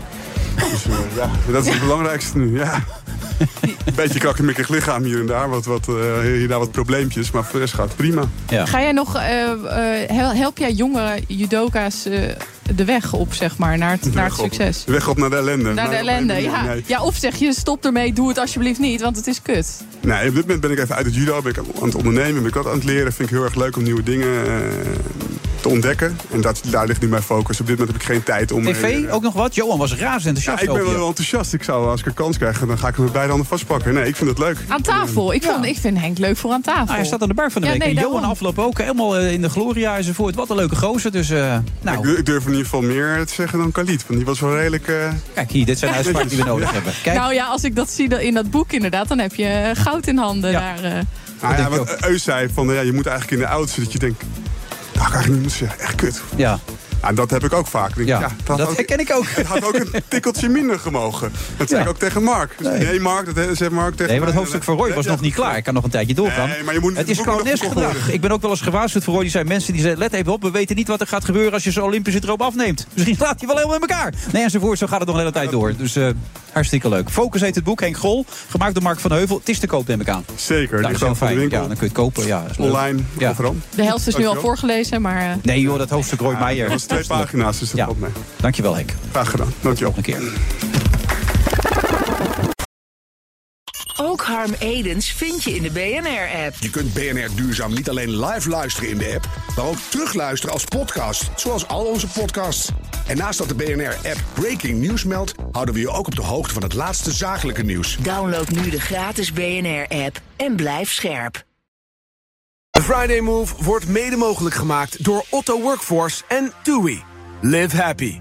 [SPEAKER 15] Dus, eh, ja, dat is het belangrijkste nu, ja. Een beetje krakkemikkig lichaam hier en daar. Wat, wat, eh, hier en daar wat probleempjes, maar voor de rest gaat het prima.
[SPEAKER 6] Ja.
[SPEAKER 7] Ga jij nog, eh, eh, hel- help jij jongere judoka's eh, de weg op, zeg maar, naar het, naar het succes?
[SPEAKER 15] Weg op naar de ellende.
[SPEAKER 7] Naar de
[SPEAKER 15] Maar-
[SPEAKER 7] ellende,
[SPEAKER 15] nee,
[SPEAKER 7] ja.
[SPEAKER 15] nee.
[SPEAKER 7] Ja, of zeg je stop ermee, doe het alsjeblieft niet, want het is kut.
[SPEAKER 15] Nee, Nou, op dit moment ben ik even uit het judo. Ben ik aan het ondernemen, ben ik wat aan het leren. Vind ik heel erg leuk om nieuwe dingen eh, te ontdekken. En dat, daar ligt nu mijn focus. Op dit moment heb ik geen tijd om... eh,
[SPEAKER 6] TV, ook nog wat? Johan was razend
[SPEAKER 15] ja,
[SPEAKER 6] enthousiast
[SPEAKER 15] ik ben
[SPEAKER 6] over je.
[SPEAKER 15] wel enthousiast. Ik zou, als ik een kans krijg, dan ga ik hem met beide handen vastpakken. Nee, ik vind het leuk.
[SPEAKER 7] Aan tafel. Ik, vond, ik vind Henk leuk voor aan tafel.
[SPEAKER 6] Ah, hij staat aan de bar van de
[SPEAKER 7] Ja,
[SPEAKER 6] week.
[SPEAKER 7] nee,
[SPEAKER 6] en Johan
[SPEAKER 7] daarom.
[SPEAKER 6] afloop ook helemaal eh, in de gloria enzovoort. Wat een leuke gozer. Dus, eh, nou,
[SPEAKER 15] Ik, ik durf in ieder geval meer te zeggen dan Khalid. Want die was wel redelijk... eh,
[SPEAKER 6] kijk hier, dit zijn uitspraken die we nodig
[SPEAKER 15] Ja.
[SPEAKER 6] hebben. Kijk,
[SPEAKER 7] Nou ja, als ik dat zie dat- in dat boek inderdaad, dan heb je eh, goud in handen. Daar, eh.
[SPEAKER 15] Nou ja, wat Eus zei, van, ja, je moet eigenlijk in de auto zodat je denkt... Dat had ik eigenlijk niet moeten zeggen. Echt kut.
[SPEAKER 6] Ja.
[SPEAKER 15] En dat heb ik ook vaak. Ik Denk, ja. dat,
[SPEAKER 6] dat
[SPEAKER 15] had
[SPEAKER 6] herken ik ook.
[SPEAKER 15] Het had ook een tikkeltje minder gemogen. Dat zei
[SPEAKER 6] Ja.
[SPEAKER 15] ik ook tegen Mark. Dus,
[SPEAKER 6] Nee.
[SPEAKER 15] nee. Mark, dat he- zei Mark tegen
[SPEAKER 6] Nee, maar dat
[SPEAKER 15] mij.
[SPEAKER 6] hoofdstuk van Roy was nog niet klaar. Ik kan nog een tijdje doorgaan.
[SPEAKER 15] Nee, maar je moet
[SPEAKER 6] het is
[SPEAKER 15] het boek nog verkocht
[SPEAKER 6] clownesgedrag.
[SPEAKER 15] worden.
[SPEAKER 6] Ik ben ook wel eens gewaarschuwd voor Roy. Die zijn mensen die zeiden, let even op. We weten niet wat er gaat gebeuren als je zo'n Olympische droom afneemt. Misschien slaat hij wel helemaal in elkaar. Nee, enzovoort. Zo gaat het nog een hele tijd door. Dus eh, hartstikke leuk. Focus heet het boek. Henk Grol. Gemaakt door Mark van Heuvel. Het is te koop, neem ik aan.
[SPEAKER 15] Zeker.
[SPEAKER 6] Nou,
[SPEAKER 15] ligt
[SPEAKER 6] dat is
[SPEAKER 15] aan voor de
[SPEAKER 6] heel fijn. Ja,
[SPEAKER 15] winkel.
[SPEAKER 6] dan kun je het kopen. Ja, is leuk.
[SPEAKER 15] Online,
[SPEAKER 6] Ja.
[SPEAKER 15] overal.
[SPEAKER 7] de helft is nu al
[SPEAKER 15] Dankjewel.
[SPEAKER 7] voorgelezen, maar... eh,
[SPEAKER 6] Nee joh, dat hoofdstuk Roy Meijer.
[SPEAKER 15] Dat was twee pagina's, dus dat
[SPEAKER 6] Ja.
[SPEAKER 15] valt mee.
[SPEAKER 6] Dankjewel Henk.
[SPEAKER 15] Graag gedaan. Dankjewel.
[SPEAKER 6] Een keer.
[SPEAKER 1] Ook Harm Edens vind je in de BNR-app.
[SPEAKER 16] Je kunt BNR Duurzaam niet alleen live luisteren in de app, maar ook terugluisteren als podcast, zoals al onze podcasts. En naast dat de BNR-app Breaking News meldt, houden we je ook op de hoogte van het laatste zakelijke nieuws.
[SPEAKER 1] Download nu de gratis BNR-app en blijf scherp.
[SPEAKER 10] De Friday Move wordt mede mogelijk gemaakt door Otto Workforce en TUI. Live happy.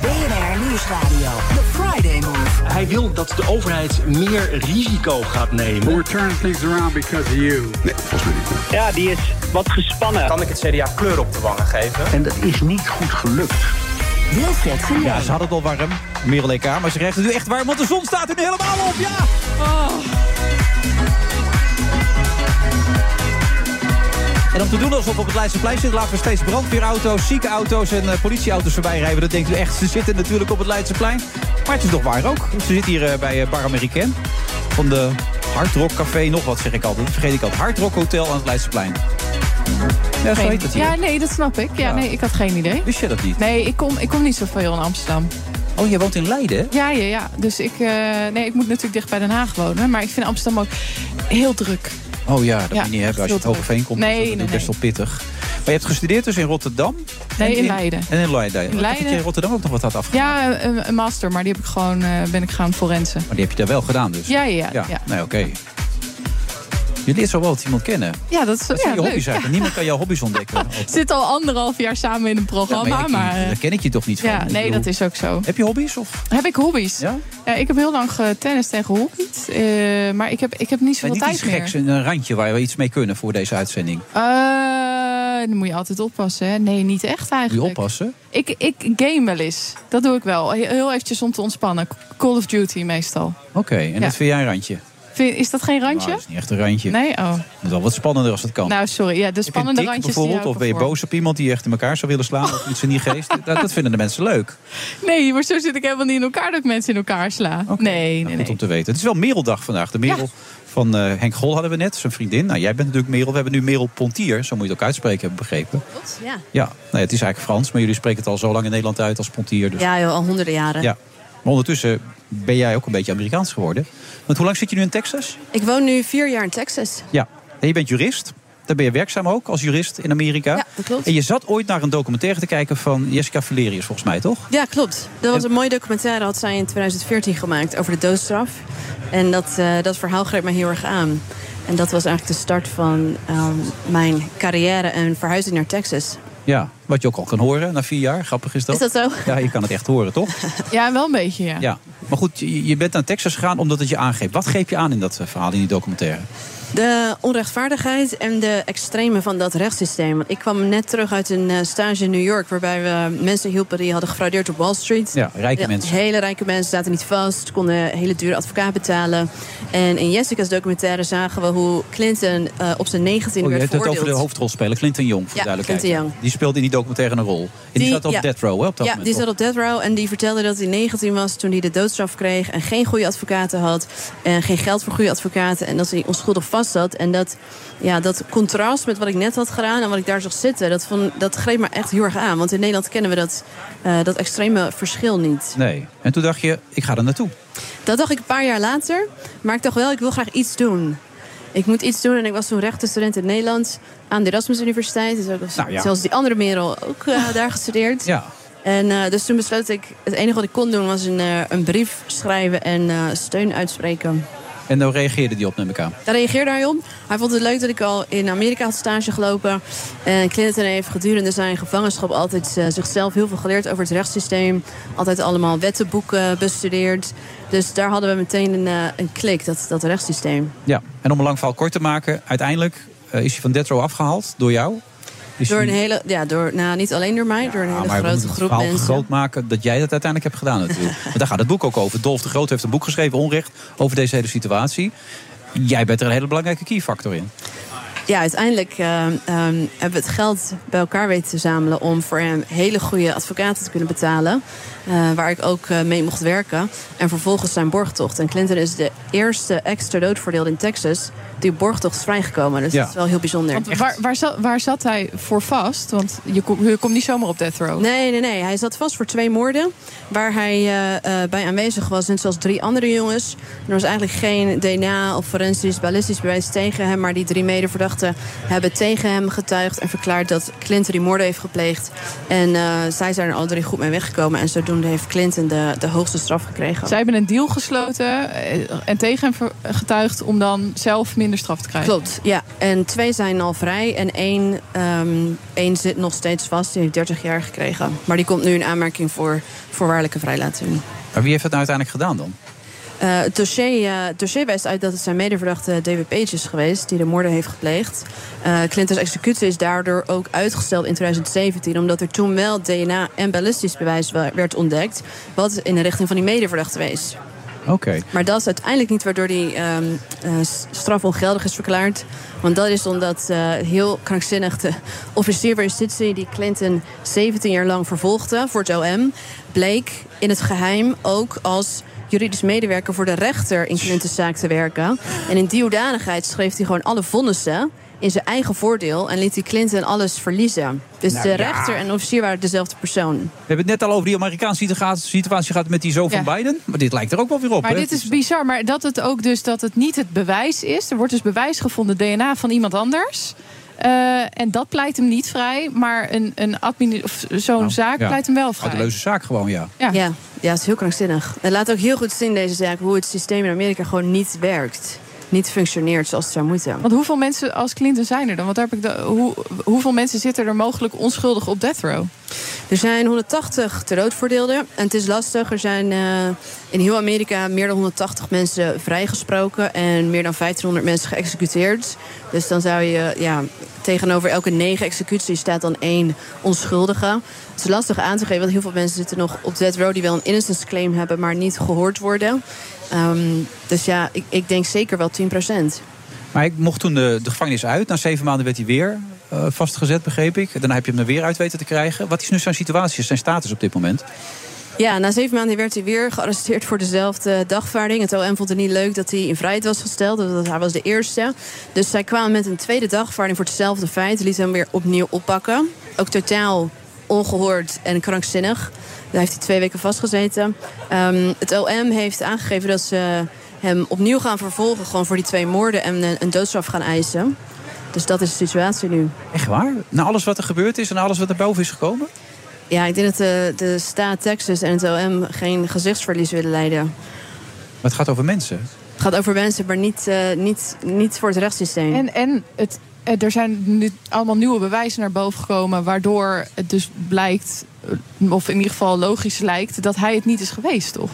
[SPEAKER 1] BNR Nieuwsradio. The Friday Move.
[SPEAKER 4] Hij wil dat de overheid meer risico gaat nemen. We're turning things around because of you.
[SPEAKER 16] Nee, volgens mij niet.
[SPEAKER 3] Ja, die is wat gespannen.
[SPEAKER 2] Kan ik het CDA kleur op de wangen geven? En dat is niet goed gelukt.
[SPEAKER 1] Wilfred
[SPEAKER 6] Ja, ze had het al warm. Merel EK, maar ze krijgt het nu echt warm, want de zon staat er nu helemaal op. Ja! En om te doen alsof we op het Leidseplein zitten, laten we steeds brandweerauto's, ziekenauto's en eh, politieauto's voorbij rijden. Dat denkt u echt, ze zitten natuurlijk op het Leidseplein. Maar het is toch waar ook. Ze zit hier eh, bij eh, Bar Americain van de Hard Rock Café, nog wat zeg ik altijd. Dat vergeet ik altijd. Hard Rock Hotel aan het Leidseplein. Ja, zo
[SPEAKER 7] geen-
[SPEAKER 6] heet het hier.
[SPEAKER 7] ja, nee, dat snap ik. Ja,
[SPEAKER 6] Ja.
[SPEAKER 7] nee, ik had geen idee.
[SPEAKER 6] Wist je dat niet?
[SPEAKER 7] Nee, ik kom, ik kom niet zoveel in Amsterdam.
[SPEAKER 6] Oh, jij woont in Leiden, hè?
[SPEAKER 7] Ja, ja, ja. Dus ik, eh, nee, ik moet natuurlijk dicht bij Den Haag wonen. Maar ik vind Amsterdam ook heel druk.
[SPEAKER 6] Oh ja, dat
[SPEAKER 7] Ja,
[SPEAKER 6] moet je niet hebben als je
[SPEAKER 7] veel
[SPEAKER 6] het Hogeveen komt.
[SPEAKER 7] Nee,
[SPEAKER 6] is dat
[SPEAKER 7] nee,
[SPEAKER 6] natuurlijk best
[SPEAKER 7] nee.
[SPEAKER 6] wel pittig. Maar je hebt gestudeerd dus in Rotterdam?
[SPEAKER 7] Nee,
[SPEAKER 6] en
[SPEAKER 7] in Leiden.
[SPEAKER 6] En in Leiden.
[SPEAKER 7] In
[SPEAKER 6] Ik dacht Dat
[SPEAKER 7] Leiden.
[SPEAKER 6] je in Rotterdam ook nog wat had afgemaakt.
[SPEAKER 7] Ja, een, een master, maar die heb ik gewoon, eh, ben ik gaan forensen.
[SPEAKER 6] Maar die heb je daar wel gedaan dus?
[SPEAKER 7] Ja, ja, ja.
[SPEAKER 6] Nee, oké. Je leert zo wel wat iemand kennen.
[SPEAKER 7] Ja, dat is
[SPEAKER 6] Dat zijn
[SPEAKER 7] ja,
[SPEAKER 6] je
[SPEAKER 7] leuk.
[SPEAKER 6] hobby's
[SPEAKER 7] Ja.
[SPEAKER 6] eigenlijk. Niemand kan jouw hobby's ontdekken.
[SPEAKER 7] Zit al anderhalf jaar samen in een programma,
[SPEAKER 6] Ja, maar ja,
[SPEAKER 7] maar... eh,
[SPEAKER 6] Daar ken ik je toch niet van?
[SPEAKER 7] ja,
[SPEAKER 6] Ik
[SPEAKER 7] nee,
[SPEAKER 6] bedoel,
[SPEAKER 7] dat is ook zo.
[SPEAKER 6] Heb je hobby's? Of?
[SPEAKER 7] Heb ik hobby's?
[SPEAKER 6] Ja?
[SPEAKER 7] ik heb heel lang getennist en gehockeyd. eh, maar ik heb, ik heb niet
[SPEAKER 6] En
[SPEAKER 7] zoveel
[SPEAKER 6] niet iets
[SPEAKER 7] tijd meer.
[SPEAKER 6] geks, een randje waar we iets mee kunnen voor deze uitzending.
[SPEAKER 7] Eh, dan moet je altijd oppassen, hè? Nee, niet echt
[SPEAKER 6] Moet je
[SPEAKER 7] eigenlijk.
[SPEAKER 6] oppassen.
[SPEAKER 7] Ik, ik game wel eens. Dat doe ik wel. Heel- Heel eventjes om te ontspannen. Call of Duty meestal.
[SPEAKER 6] Oké, en
[SPEAKER 7] Ja.
[SPEAKER 6] dat vind jij een randje?
[SPEAKER 7] Vind, is dat geen randje?
[SPEAKER 6] Nou, dat is niet echt een randje.
[SPEAKER 7] Nee? Oh.
[SPEAKER 6] Het is wel wat spannender als dat kan.
[SPEAKER 7] Nou, sorry. Ja, de
[SPEAKER 6] Heb je een
[SPEAKER 7] spannende
[SPEAKER 6] tik
[SPEAKER 7] randjes die
[SPEAKER 6] bijvoorbeeld,
[SPEAKER 7] hou
[SPEAKER 6] of
[SPEAKER 7] ik
[SPEAKER 6] ben je
[SPEAKER 7] wel voor.
[SPEAKER 6] boos op iemand die echt in elkaar zou willen slaan of iets in die geest? Dat, dat vinden de mensen leuk.
[SPEAKER 7] Nee, maar zo zit ik helemaal niet in elkaar dat ik mensen in elkaar sla. Nee, nee,
[SPEAKER 6] Nou, Goed
[SPEAKER 7] nee.
[SPEAKER 6] om te weten. Het is wel Mereldag vandaag. De Merel van eh, Henk Gol hadden we net, zijn vriendin. Nou, jij bent natuurlijk Merel. We hebben nu Merel Pontier, zo moet je het ook uitspreken, heb ik begrepen.
[SPEAKER 17] Ja,
[SPEAKER 6] Ja, nou ja, het is eigenlijk Frans, maar jullie spreken het al zo lang in Nederland uit als Pontier. Dus,
[SPEAKER 17] ja joh, al honderden jaren.
[SPEAKER 6] ja. Maar ondertussen ben jij ook een beetje Amerikaans geworden. Want hoe lang zit je nu in Texas?
[SPEAKER 17] Ik woon nu vier jaar in Texas.
[SPEAKER 6] Ja, en je bent jurist. Daar ben je werkzaam ook als jurist in Amerika.
[SPEAKER 17] Ja, dat klopt.
[SPEAKER 6] En je zat ooit naar een documentaire te kijken van Jessica Valerius, volgens mij, toch?
[SPEAKER 17] Ja, klopt. Dat was een mooie documentaire, had zij in 2014 gemaakt over de doodstraf. En dat, eh, dat verhaal greep mij heel erg aan. En dat was eigenlijk de start van ehm, mijn carrière en verhuizing naar Texas.
[SPEAKER 6] Ja, wat je ook al kan horen na vier jaar. Grappig is dat.
[SPEAKER 17] Is dat zo?
[SPEAKER 6] Ja, je kan het echt horen, toch?
[SPEAKER 7] Ja, wel een beetje, ja.
[SPEAKER 6] Ja. Maar goed, je je bent naar Texas gegaan omdat het je aangreep. Wat greep je aan in dat eh, verhaal, in die documentaire?
[SPEAKER 17] De onrechtvaardigheid en de extreme van dat rechtssysteem. Want ik kwam net terug uit een eh, stage in New York... waarbij we mensen hielpen die hadden gefraudeerd op Wall Street.
[SPEAKER 6] Ja, rijke mensen.
[SPEAKER 17] Hele rijke mensen zaten niet vast, konden hele dure advocaat betalen. En in Jessica's documentaire zagen we hoe Clinton eh, op zijn 19
[SPEAKER 6] Oh, je
[SPEAKER 17] werd
[SPEAKER 6] hebt het
[SPEAKER 17] veroordeeld.
[SPEAKER 6] over de hoofdrolspeler, Clinton Jong, voor
[SPEAKER 17] Ja,
[SPEAKER 6] de duidelijkheid.
[SPEAKER 17] Clinton Young.
[SPEAKER 6] Die speelde in die documentaire een rol. En die, zat op
[SPEAKER 17] ja.
[SPEAKER 6] death row, hè, op dat
[SPEAKER 17] ja,
[SPEAKER 6] moment.
[SPEAKER 17] die zat
[SPEAKER 6] toch?
[SPEAKER 17] op death row en die vertelde dat hij 19 was toen hij de doodstraf kreeg en geen goede advocaten had en geen geld voor goede advocaten en dat hij onschuldig vast zat. En dat, ja, dat contrast met wat ik net had gedaan en wat ik daar zag zitten, dat, vond, dat greep me echt heel erg aan. Want in Nederland kennen we dat, eh, dat extreme verschil niet.
[SPEAKER 6] Nee. En toen dacht je, ik ga er naartoe.
[SPEAKER 17] Dat dacht ik een paar jaar later. Maar ik dacht wel, ik wil graag iets doen. Ik moet iets doen. En ik was toen rechtenstudent in Nederland aan de Erasmus Universiteit. Dus ook als-
[SPEAKER 6] Nou ja.
[SPEAKER 17] Zoals die andere Merel ook eh, daar gestudeerd.
[SPEAKER 6] Ja.
[SPEAKER 17] En eh, dus toen besloot ik, het enige wat ik kon doen was een, eh, een brief schrijven en eh, steun uitspreken.
[SPEAKER 6] En dan reageerde die op, neem ik aan.
[SPEAKER 17] Daar reageerde hij op. Hij vond het leuk dat ik al in Amerika had stage gelopen. En Clinton heeft gedurende zijn gevangenschap altijd eh, zichzelf heel veel geleerd over het rechtssysteem. Altijd allemaal wettenboeken bestudeerd. Dus daar hadden we meteen een, eh, een klik, dat, dat rechtssysteem.
[SPEAKER 6] Ja. En om een lang verhaal kort te maken, uiteindelijk eh, is hij van death row afgehaald door jou. Is
[SPEAKER 17] door
[SPEAKER 6] hij-
[SPEAKER 17] een hele, ja, door, nou, niet alleen door mij, door een hele
[SPEAKER 6] Ja, Ah, maar we
[SPEAKER 17] grote
[SPEAKER 6] moeten
[SPEAKER 17] groep
[SPEAKER 6] het verhaal
[SPEAKER 17] mensen.
[SPEAKER 6] groot maken dat jij dat uiteindelijk hebt gedaan natuurlijk. Want daar gaat het boek ook over. Dolf de Groot heeft een boek geschreven, Onrecht, over deze hele situatie. Jij bent er een hele belangrijke keyfactor in.
[SPEAKER 17] Ja, uiteindelijk ehm, ehm, hebben we het geld bij elkaar weten te zamelen om voor hem hele goede advocaten te kunnen betalen. eh, waar ik ook eh, mee mocht werken. En vervolgens zijn borgtocht. En Clinton is de eerste extra doodveroordeelde in Texas die op borgtocht is vrijgekomen. Dus
[SPEAKER 7] Ja.
[SPEAKER 17] dat is wel heel bijzonder.
[SPEAKER 7] Want waar, waar, zat, waar zat hij voor vast? Want je komt je komt niet zomaar op death row.
[SPEAKER 17] Nee, nee, nee. Hij zat vast voor twee moorden. Waar hij eh, eh, bij aanwezig was, net zoals drie andere jongens. En er was eigenlijk geen DNA of forensisch, ballistisch bewijs tegen hem. Maar die drie medeverdachten hebben tegen hem getuigd. En verklaard dat Clinton die moorden heeft gepleegd. En eh, zij zijn er alle drie goed mee weggekomen. En zodoende heeft Clinton de, de hoogste straf gekregen.
[SPEAKER 7] Zij hebben een deal gesloten eh, en tegen hem ver- getuigd om dan zelf minder straf te krijgen.
[SPEAKER 17] Klopt, ja. En twee zijn al vrij en één, ehm, één zit nog steeds vast. Die heeft 30 jaar gekregen. Maar die komt nu in aanmerking voor voorwaardelijke vrijlating.
[SPEAKER 6] Maar wie heeft dat nou uiteindelijk gedaan dan?
[SPEAKER 17] Eh, het, dossier, eh, het dossier wijst uit dat het zijn medeverdachte David Page is geweest... die de moorden heeft gepleegd. Eh Clinton's executie is daardoor ook uitgesteld in 2017... omdat er toen wel DNA en ballistisch bewijs wa- werd ontdekt... wat in de richting van die medeverdachte wees.
[SPEAKER 6] Oké.
[SPEAKER 17] Maar dat is uiteindelijk niet waardoor die ehm, eh, s- straf ongeldig is verklaard. Want dat is omdat eh, heel krankzinnig de officier van justitie... die Clinton 17 jaar lang vervolgde voor het OM... bleek in het geheim ook als juridisch medewerker voor de rechter in Clinton's zaak te werken. En in die hoedanigheid schreef hij gewoon alle vonnissen... in zijn eigen voordeel en liet hij Clinton alles verliezen. Dus
[SPEAKER 6] Nou
[SPEAKER 17] de
[SPEAKER 6] ja.
[SPEAKER 17] rechter en de officier waren dezelfde persoon.
[SPEAKER 6] We hebben het net al over die Amerikaanse situa- situatie gehad met die zoon van
[SPEAKER 7] Ja.
[SPEAKER 6] Biden. Maar dit lijkt er ook wel weer op.
[SPEAKER 7] Maar
[SPEAKER 6] hè?
[SPEAKER 7] dit is bizar, maar dat het ook dus dat het niet het bewijs is. Er wordt dus bewijs gevonden, DNA van iemand anders. Eh, en dat pleit hem niet vrij, maar een, een admini- of zo'n zaak
[SPEAKER 6] Nou, ja.
[SPEAKER 7] pleit hem wel vrij.
[SPEAKER 6] Oudeleuze zaak gewoon, ja.
[SPEAKER 17] Ja. Ja, het is heel krankzinnig. Het laat ook heel goed zien, deze zaak, hoe het systeem in Amerika gewoon niet werkt. niet functioneert zoals het zou moeten.
[SPEAKER 7] Want hoeveel mensen als Clinton zijn er dan? Want daar heb ik de, hoe, hoeveel mensen zitten er mogelijk onschuldig op death row?
[SPEAKER 17] Er zijn 180 ter dood veroordeelden. En het is lastig. Er zijn eh, in heel Amerika meer dan 180 mensen vrijgesproken. En meer dan 1500 mensen geëxecuteerd. Dus dan zou je ja, tegenover elke negen executie staat dan één onschuldige. Het is lastig aan te geven, want heel veel mensen zitten nog op death row die wel een innocence claim hebben, maar niet gehoord worden. Ehm, dus ja, ik, ik denk zeker wel 10%.
[SPEAKER 6] Maar ik mocht toen de, de gevangenis uit. Na zeven maanden werd hij weer eh, vastgezet, begreep ik. Daarna heb je hem er weer uit weten te krijgen. Wat is nu zijn situatie, zijn status op dit moment?
[SPEAKER 17] Ja, na zeven maanden werd hij weer gearresteerd voor dezelfde dagvaarding. Het OM vond het niet leuk dat hij in vrijheid was gesteld. Dat hij was de eerste. Dus zij kwamen met een tweede dagvaarding voor hetzelfde feit. Lieten hem weer opnieuw oppakken. Ook totaal ongehoord en krankzinnig. Daar heeft hij twee weken vastgezeten. Ehm, het OM heeft aangegeven dat ze hem opnieuw gaan vervolgen. Gewoon voor die twee moorden en een, een doodstraf gaan eisen. Dus dat is de situatie nu.
[SPEAKER 6] Echt waar? Na alles wat er gebeurd is en alles wat er boven is gekomen?
[SPEAKER 17] Ja, ik denk dat de, de staat Texas en het OM geen gezichtsverlies willen leiden.
[SPEAKER 6] Maar het gaat over mensen.
[SPEAKER 17] Het gaat over mensen, maar niet, eh, niet, niet voor het rechtssysteem.
[SPEAKER 7] En, en het, eh, er zijn nu allemaal nieuwe bewijzen naar boven gekomen, waardoor het dus blijkt, eh, of in ieder geval logisch lijkt, dat hij het niet is geweest, toch?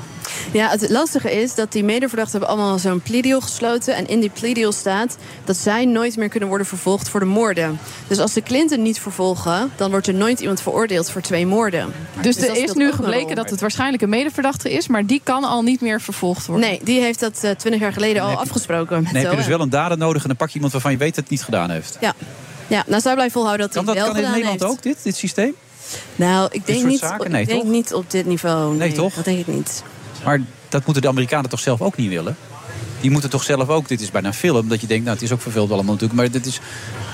[SPEAKER 17] Ja, het lastige is dat die medeverdachten hebben allemaal zo'n plea deal gesloten. En in die plea deal staat dat zij nooit meer kunnen worden vervolgd voor de moorden. Dus als ze Clinton niet vervolgen, dan wordt er nooit iemand veroordeeld voor twee moorden.
[SPEAKER 7] Dus
[SPEAKER 17] dat
[SPEAKER 7] er is
[SPEAKER 17] speelt
[SPEAKER 7] nu
[SPEAKER 17] ook een
[SPEAKER 7] gebleken
[SPEAKER 17] rol.
[SPEAKER 7] dat het waarschijnlijk een medeverdachte is, maar die kan al niet meer vervolgd worden.
[SPEAKER 17] Nee, die heeft dat eh, twintig jaar geleden al
[SPEAKER 6] heb je-
[SPEAKER 17] afgesproken. met
[SPEAKER 6] Dan heb je
[SPEAKER 17] het
[SPEAKER 6] dus
[SPEAKER 17] OM.
[SPEAKER 6] wel een dader nodig en dan pak je iemand waarvan je weet dat het niet gedaan heeft.
[SPEAKER 17] Ja. ja, nou zij blijft volhouden dat
[SPEAKER 6] Kan
[SPEAKER 17] hij
[SPEAKER 6] dat
[SPEAKER 17] het wel
[SPEAKER 6] kan in
[SPEAKER 17] gedaan
[SPEAKER 6] Nederland
[SPEAKER 17] heeft.
[SPEAKER 6] ook, dit, dit systeem?
[SPEAKER 17] Nou, ik denk,
[SPEAKER 6] soort
[SPEAKER 17] niet,
[SPEAKER 6] zaken?
[SPEAKER 17] ik
[SPEAKER 6] Nee,
[SPEAKER 17] denk
[SPEAKER 6] toch?
[SPEAKER 17] niet op dit niveau. Nee,
[SPEAKER 6] toch?
[SPEAKER 17] Dat denk ik niet.
[SPEAKER 6] Maar dat moeten de Amerikanen toch zelf ook niet willen? Die moeten toch zelf ook, dit is bijna een film, dat je denkt, nou het is ook verveeld allemaal natuurlijk, maar dit, is,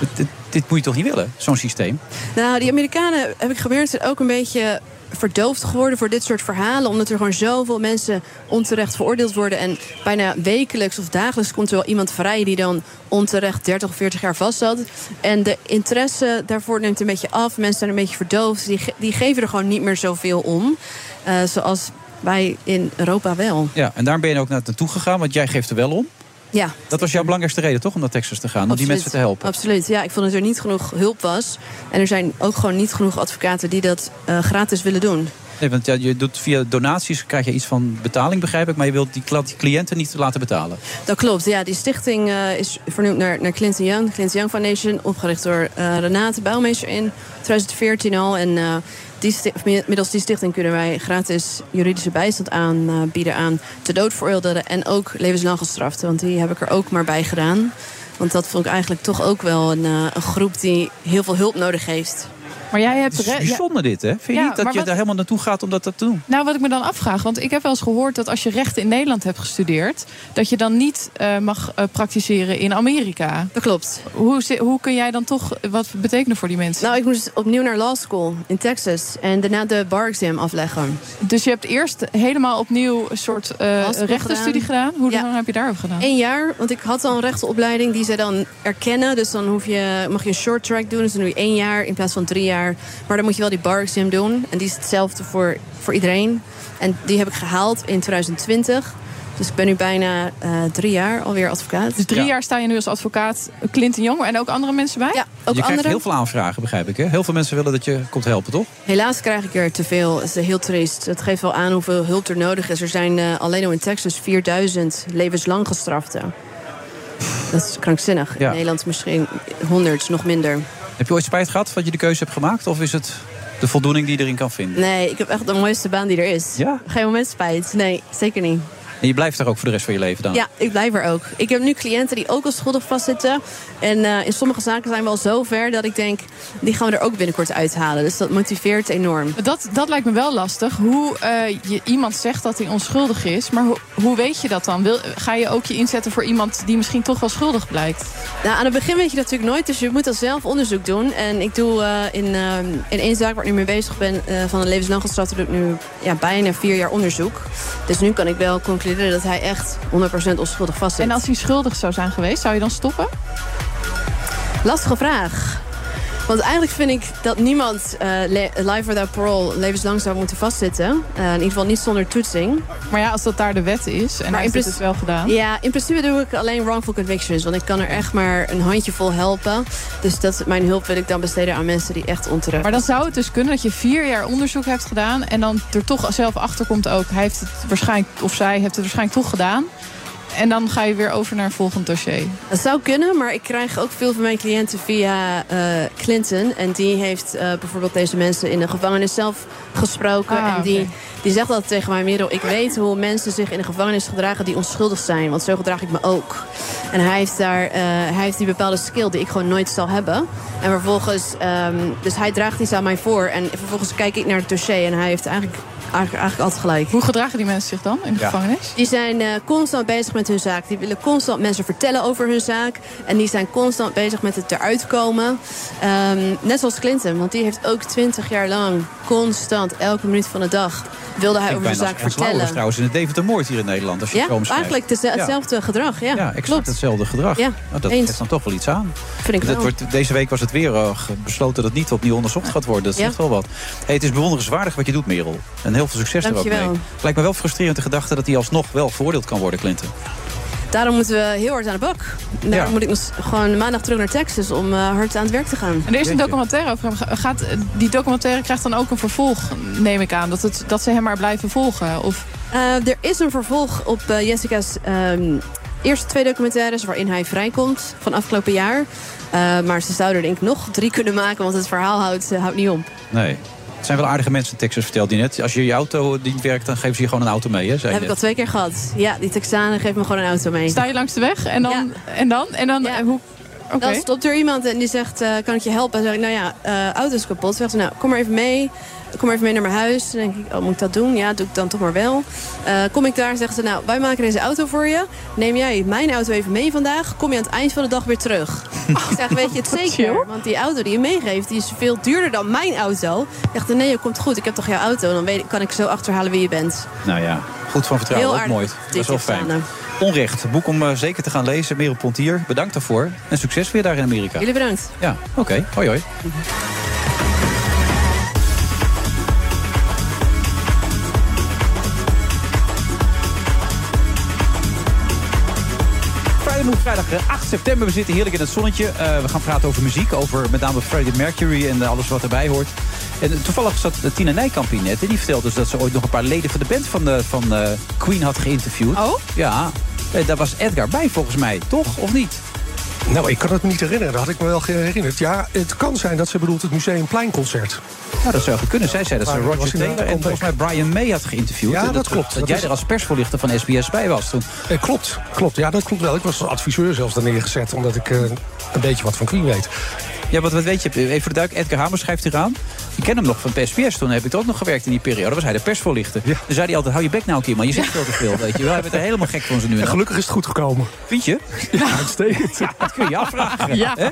[SPEAKER 6] dit, dit- dit moet je toch niet willen, zo'n systeem?
[SPEAKER 17] Nou, die Amerikanen, heb ik gemerkt, zijn ook een beetje verdoofd geworden voor dit soort verhalen. Omdat er gewoon zoveel mensen onterecht veroordeeld worden. En bijna wekelijks of dagelijks komt er wel iemand vrij... die dan onterecht 30 of 40 jaar vast zat. En de interesse daarvoor neemt een beetje af. Mensen zijn een beetje verdoofd. Die, ge- die geven er gewoon niet meer zoveel om. Eh, zoals wij in Europa wel.
[SPEAKER 6] Ja, en daar ben je ook naar naartoe gegaan, want jij geeft er wel om.
[SPEAKER 17] Ja,
[SPEAKER 6] Dat was jouw belangrijkste reden toch, om naar Texas te gaan, om die
[SPEAKER 17] Absoluut.
[SPEAKER 6] mensen te helpen?
[SPEAKER 17] Absoluut, ja. Ik vond dat er niet genoeg hulp was. En er zijn ook gewoon niet genoeg advocaten die dat eh, gratis willen doen.
[SPEAKER 6] Nee, want ja, je doet via donaties krijg je iets van betaling, begrijp ik. Maar je wilt die, kla- die cliënten niet laten betalen.
[SPEAKER 17] Dat klopt, ja. Die stichting eh, is vernoemd naar, naar Clinton Young. Clinton Young Foundation, opgericht door eh, Renate Bouwmeester in 2014 al. En eh, die sti- mi- middels die stichting kunnen wij gratis juridische bijstand aanbieden aan te dood veroordeelden en ook levenslang gestraften. Want die heb ik er ook maar bij gedaan. Want dat vond ik eigenlijk toch ook wel een, eh, een groep die heel veel hulp nodig heeft.
[SPEAKER 7] Maar jij hebt
[SPEAKER 6] Het is
[SPEAKER 7] re- ja-
[SPEAKER 6] bijzonder dit, hè? Vind je
[SPEAKER 7] Ja,
[SPEAKER 6] niet dat
[SPEAKER 7] maar
[SPEAKER 6] je
[SPEAKER 7] wat-
[SPEAKER 6] daar helemaal naartoe gaat om dat, dat te doen?
[SPEAKER 7] Nou, wat ik me dan afvraag, want ik heb wel eens gehoord dat als je rechten in Nederland hebt gestudeerd, dat je dan niet eh, mag eh, praktiseren in Amerika.
[SPEAKER 17] Dat klopt.
[SPEAKER 7] Hoe, zi- hoe kun jij dan toch wat betekenen voor die mensen?
[SPEAKER 17] Nou, ik moest opnieuw naar law school in Texas en daarna de bar exam afleggen.
[SPEAKER 7] Dus je hebt eerst helemaal opnieuw een soort eh,
[SPEAKER 17] Law school
[SPEAKER 7] rechtenstudie gedaan. Hoe lang heb je daarover gedaan?
[SPEAKER 17] Eén jaar, want ik had al een rechtenopleiding die zij dan erkennen. Dus dan hoef je, mag je een short track doen. Dus dan doe je één jaar in plaats van drie jaar. Maar dan moet je wel die bar exam doen. En die is hetzelfde voor, voor iedereen. En die heb ik gehaald in 2020. Dus ik ben nu bijna eh, drie jaar alweer advocaat.
[SPEAKER 7] Dus drie jaar sta je nu als advocaat Clinton Jong en ook andere mensen bij? Ja,
[SPEAKER 6] je krijgt heel veel aanvragen, begrijp ik, hè? Heel veel mensen willen dat je komt helpen, toch?
[SPEAKER 17] Helaas krijg ik er te veel. Dat is heel triest. Dat geeft wel aan hoeveel hulp er nodig is. Er zijn eh, alleen al in Texas 4000 levenslang gestraften. Dat is krankzinnig.
[SPEAKER 6] Ja.
[SPEAKER 17] In Nederland misschien 100, nog minder.
[SPEAKER 6] Heb je ooit spijt gehad dat je de keuze hebt gemaakt? Of is het de voldoening die je erin kan vinden?
[SPEAKER 17] Nee, ik heb echt de mooiste baan die er is.
[SPEAKER 6] Ja?
[SPEAKER 17] Geen moment spijt. Nee, zeker niet.
[SPEAKER 6] En je blijft daar ook voor de rest van je leven dan?
[SPEAKER 17] Ja, ik blijf er ook. Ik heb nu cliënten die ook als schuldig vastzitten. En eh, in sommige zaken zijn we al zo ver dat ik denk... die gaan we er ook binnenkort uithalen. Dus dat motiveert enorm.
[SPEAKER 7] Dat, dat lijkt me wel lastig. Hoe eh, je iemand zegt dat hij onschuldig is, maar ho- hoe weet je dat dan? Wil, ga je ook je inzetten voor iemand die misschien toch wel schuldig blijkt?
[SPEAKER 17] Nou, aan het begin weet je dat natuurlijk nooit, dus je moet dan zelf onderzoek doen. En ik doe eh, in, ehm, in één zaak waar ik nu mee bezig ben, eh, van een levenslang gestraft, doe ik nu ja, bijna vier jaar onderzoek. Dus nu kan ik wel concluderen dat hij echt 100% onschuldig vastzit.
[SPEAKER 7] En als hij schuldig zou zijn geweest, zou je dan stoppen?
[SPEAKER 17] Lastige vraag. Want eigenlijk vind ik dat niemand eh, le- life without parole levenslang zou moeten vastzitten. Eh, in ieder geval niet zonder toetsing.
[SPEAKER 7] Maar ja, als dat daar de wet is en daar is dit
[SPEAKER 17] principe-
[SPEAKER 7] dus wel gedaan.
[SPEAKER 17] Ja, in principe doe ik alleen wrongful convictions. Want ik kan er echt maar een handjevol helpen. Dus dat, mijn hulp wil ik dan besteden aan mensen die echt onterecht
[SPEAKER 7] Maar dan zou het dus kunnen dat je vier jaar onderzoek hebt gedaan. En dan er toch zelf achter komt ook. Hij heeft het waarschijnlijk, of zij heeft het waarschijnlijk toch gedaan. En dan ga je weer over naar een volgend dossier.
[SPEAKER 17] Dat zou kunnen, maar ik krijg ook veel van mijn cliënten via eh, Clinton. En die heeft eh, bijvoorbeeld deze mensen in de gevangenis zelf gesproken.
[SPEAKER 7] Ah,
[SPEAKER 17] en die,
[SPEAKER 7] oké.
[SPEAKER 17] die zegt altijd tegen mij, Merel, ik weet hoe mensen zich in de gevangenis gedragen die onschuldig zijn. Want zo gedraag ik me ook. En hij heeft, daar, eh, hij heeft die bepaalde skill die ik gewoon nooit zal hebben. En vervolgens, ehm, dus hij draagt iets aan mij voor. En vervolgens kijk ik naar het dossier en hij heeft eigenlijk, eigenlijk, eigenlijk altijd gelijk.
[SPEAKER 7] Hoe gedragen die mensen zich dan in de
[SPEAKER 17] Ja.
[SPEAKER 7] gevangenis?
[SPEAKER 17] Die zijn eh, constant bezig met hun zaak. Die willen constant mensen vertellen over hun zaak. En die zijn constant bezig met het eruit komen. Ehm, net zoals Clinton, want die heeft ook twintig jaar lang constant, elke minuut van de dag, wilde hij
[SPEAKER 6] Ik
[SPEAKER 17] over zijn
[SPEAKER 6] bijna
[SPEAKER 17] zaak
[SPEAKER 6] als Ernst Lauwers
[SPEAKER 17] vertellen.
[SPEAKER 6] trouwens in het Deventer Moord hier in Nederland. Als je
[SPEAKER 17] Ja,
[SPEAKER 6] het zo omschrijft.
[SPEAKER 17] eigenlijk deze-
[SPEAKER 6] Ja.
[SPEAKER 17] hetzelfde gedrag. Ja,
[SPEAKER 6] Ja, exact hetzelfde gedrag.
[SPEAKER 17] Ja,
[SPEAKER 6] Nou, dat
[SPEAKER 17] eens.
[SPEAKER 6] geeft dan toch wel iets aan.
[SPEAKER 17] Vind ik
[SPEAKER 6] dat
[SPEAKER 17] wel.
[SPEAKER 6] wordt, deze week was het weer eh, ge- besloten dat niet opnieuw onderzocht gaat worden. Dat
[SPEAKER 17] Ja.
[SPEAKER 6] zegt wel wat. Hey, het is bewonderenswaardig wat je doet, Merel. En heel veel succes er ook
[SPEAKER 17] Dankjewel.
[SPEAKER 6] mee. Het lijkt me wel frustrerend de gedachte dat hij alsnog wel veroordeeld kan worden, Clinton.
[SPEAKER 17] Daarom moeten we heel hard aan de bak. Daarom
[SPEAKER 6] Ja.
[SPEAKER 17] moet ik nog s- gewoon maandag terug naar Texas om eh, hard aan het werk te gaan.
[SPEAKER 7] En er is een documentaire over hem. Ga- Gaat, eh, die documentaire krijgt dan ook een vervolg, neem ik aan. Dat, het, dat ze hem maar blijven volgen. Of
[SPEAKER 17] Eh, er is een vervolg op eh, Jessica's ehm, eerste twee documentaires... waarin hij vrijkomt van afgelopen jaar. Eh, maar ze zouden er denk ik nog drie kunnen maken... want het verhaal houdt, eh, houdt niet op.
[SPEAKER 6] Nee. Het zijn wel aardige mensen in Texas, vertelde hij net. Als je je auto niet werkt, dan geven ze je gewoon een auto mee, hè?
[SPEAKER 17] Dat
[SPEAKER 6] Zei
[SPEAKER 17] heb ik
[SPEAKER 6] je
[SPEAKER 17] al
[SPEAKER 6] net.
[SPEAKER 17] twee keer gehad. Ja, die Texanen geven me gewoon een auto mee.
[SPEAKER 7] sta je langs de weg en dan... En dan? En dan hoe... Oké.
[SPEAKER 17] Dan stopt er iemand en die zegt, eh, kan ik je helpen? En dan zeg ik, nou ja, eh auto is kapot. Dan zegt ze, nou, kom maar even mee. Kom maar even mee naar mijn huis. Dan denk ik, oh, moet ik dat doen? Ja, doe ik dan toch maar wel. Eh, kom ik daar, zegt ze, nou, wij maken deze auto voor je. Neem jij mijn auto even mee vandaag. Kom je aan het eind van de dag weer terug. ik zeg, weet je het zeker? Want die auto die je meegeeft, die is veel duurder dan mijn auto. Ik dacht, nee, dat komt goed. Ik heb toch jouw auto? Dan weet, ik- kan ik zo achterhalen wie je bent.
[SPEAKER 6] Nou ja, goed van vertrouwen,
[SPEAKER 17] Heel
[SPEAKER 6] ook
[SPEAKER 17] aardig.
[SPEAKER 6] mooi. Dat is wel
[SPEAKER 17] Dikke
[SPEAKER 6] fijn.
[SPEAKER 17] tranen.
[SPEAKER 6] Onrecht, boek om eh, zeker te gaan lezen. Merel Pontier, bedankt daarvoor. En succes weer daar in Amerika.
[SPEAKER 17] Jullie bedankt.
[SPEAKER 6] Ja, oké. Hoi hoi. Vrijdagmiddag, Vrijdag eh, 8 september, we zitten heerlijk in het zonnetje. Eh, we gaan praten over muziek, over met name Freddie Mercury en eh, alles wat erbij hoort. En eh, toevallig zat eh, Tina Nijkamp hier net en die vertelde dus dat ze ooit nog een paar leden van de band van, eh, van eh, Queen had geïnterviewd. Oh? Ja, Eh, daar was Edgar bij volgens mij, toch? Of niet?
[SPEAKER 18] Nou, ik kan het me niet herinneren. Dat had ik me wel herinnerd. Ja, het kan zijn dat ze bedoelt het Museumpleinconcert.
[SPEAKER 6] Nou, dat zou goed kunnen. Zij zei dat ze
[SPEAKER 18] Maar
[SPEAKER 6] Roger
[SPEAKER 18] was hij nou
[SPEAKER 6] Taylor en
[SPEAKER 18] ontdekt?
[SPEAKER 6] volgens mij Brian May had geïnterviewd.
[SPEAKER 18] Ja,
[SPEAKER 6] En
[SPEAKER 18] dat klopt.
[SPEAKER 6] Dat,
[SPEAKER 18] Dat
[SPEAKER 6] jij
[SPEAKER 18] is-
[SPEAKER 6] er als persvoorlichter van SBS bij was toen.
[SPEAKER 18] Eh, klopt, klopt. Ja, dat klopt wel. Ik was als adviseur zelfs daar neergezet, omdat ik eh, een beetje wat van Queen weet.
[SPEAKER 6] Ja, wat, wat weet je, even voor de duik, Edgar Hamer schrijft hier aan. Ik ken hem nog van SBS, toen heb ik er ook nog gewerkt in die periode. was hij de persvoorlichter. Toen zei hij altijd, hou je bek nou een keer man, je zegt veel te veel, weet je wel. Hij werd er helemaal gek van ze nu en
[SPEAKER 18] En
[SPEAKER 6] dan.
[SPEAKER 18] gelukkig is het goed gekomen.
[SPEAKER 6] Vind je?
[SPEAKER 18] Ja, uitstekend.
[SPEAKER 6] Ja, dat kun je afvragen.
[SPEAKER 18] Ja.
[SPEAKER 6] Hè?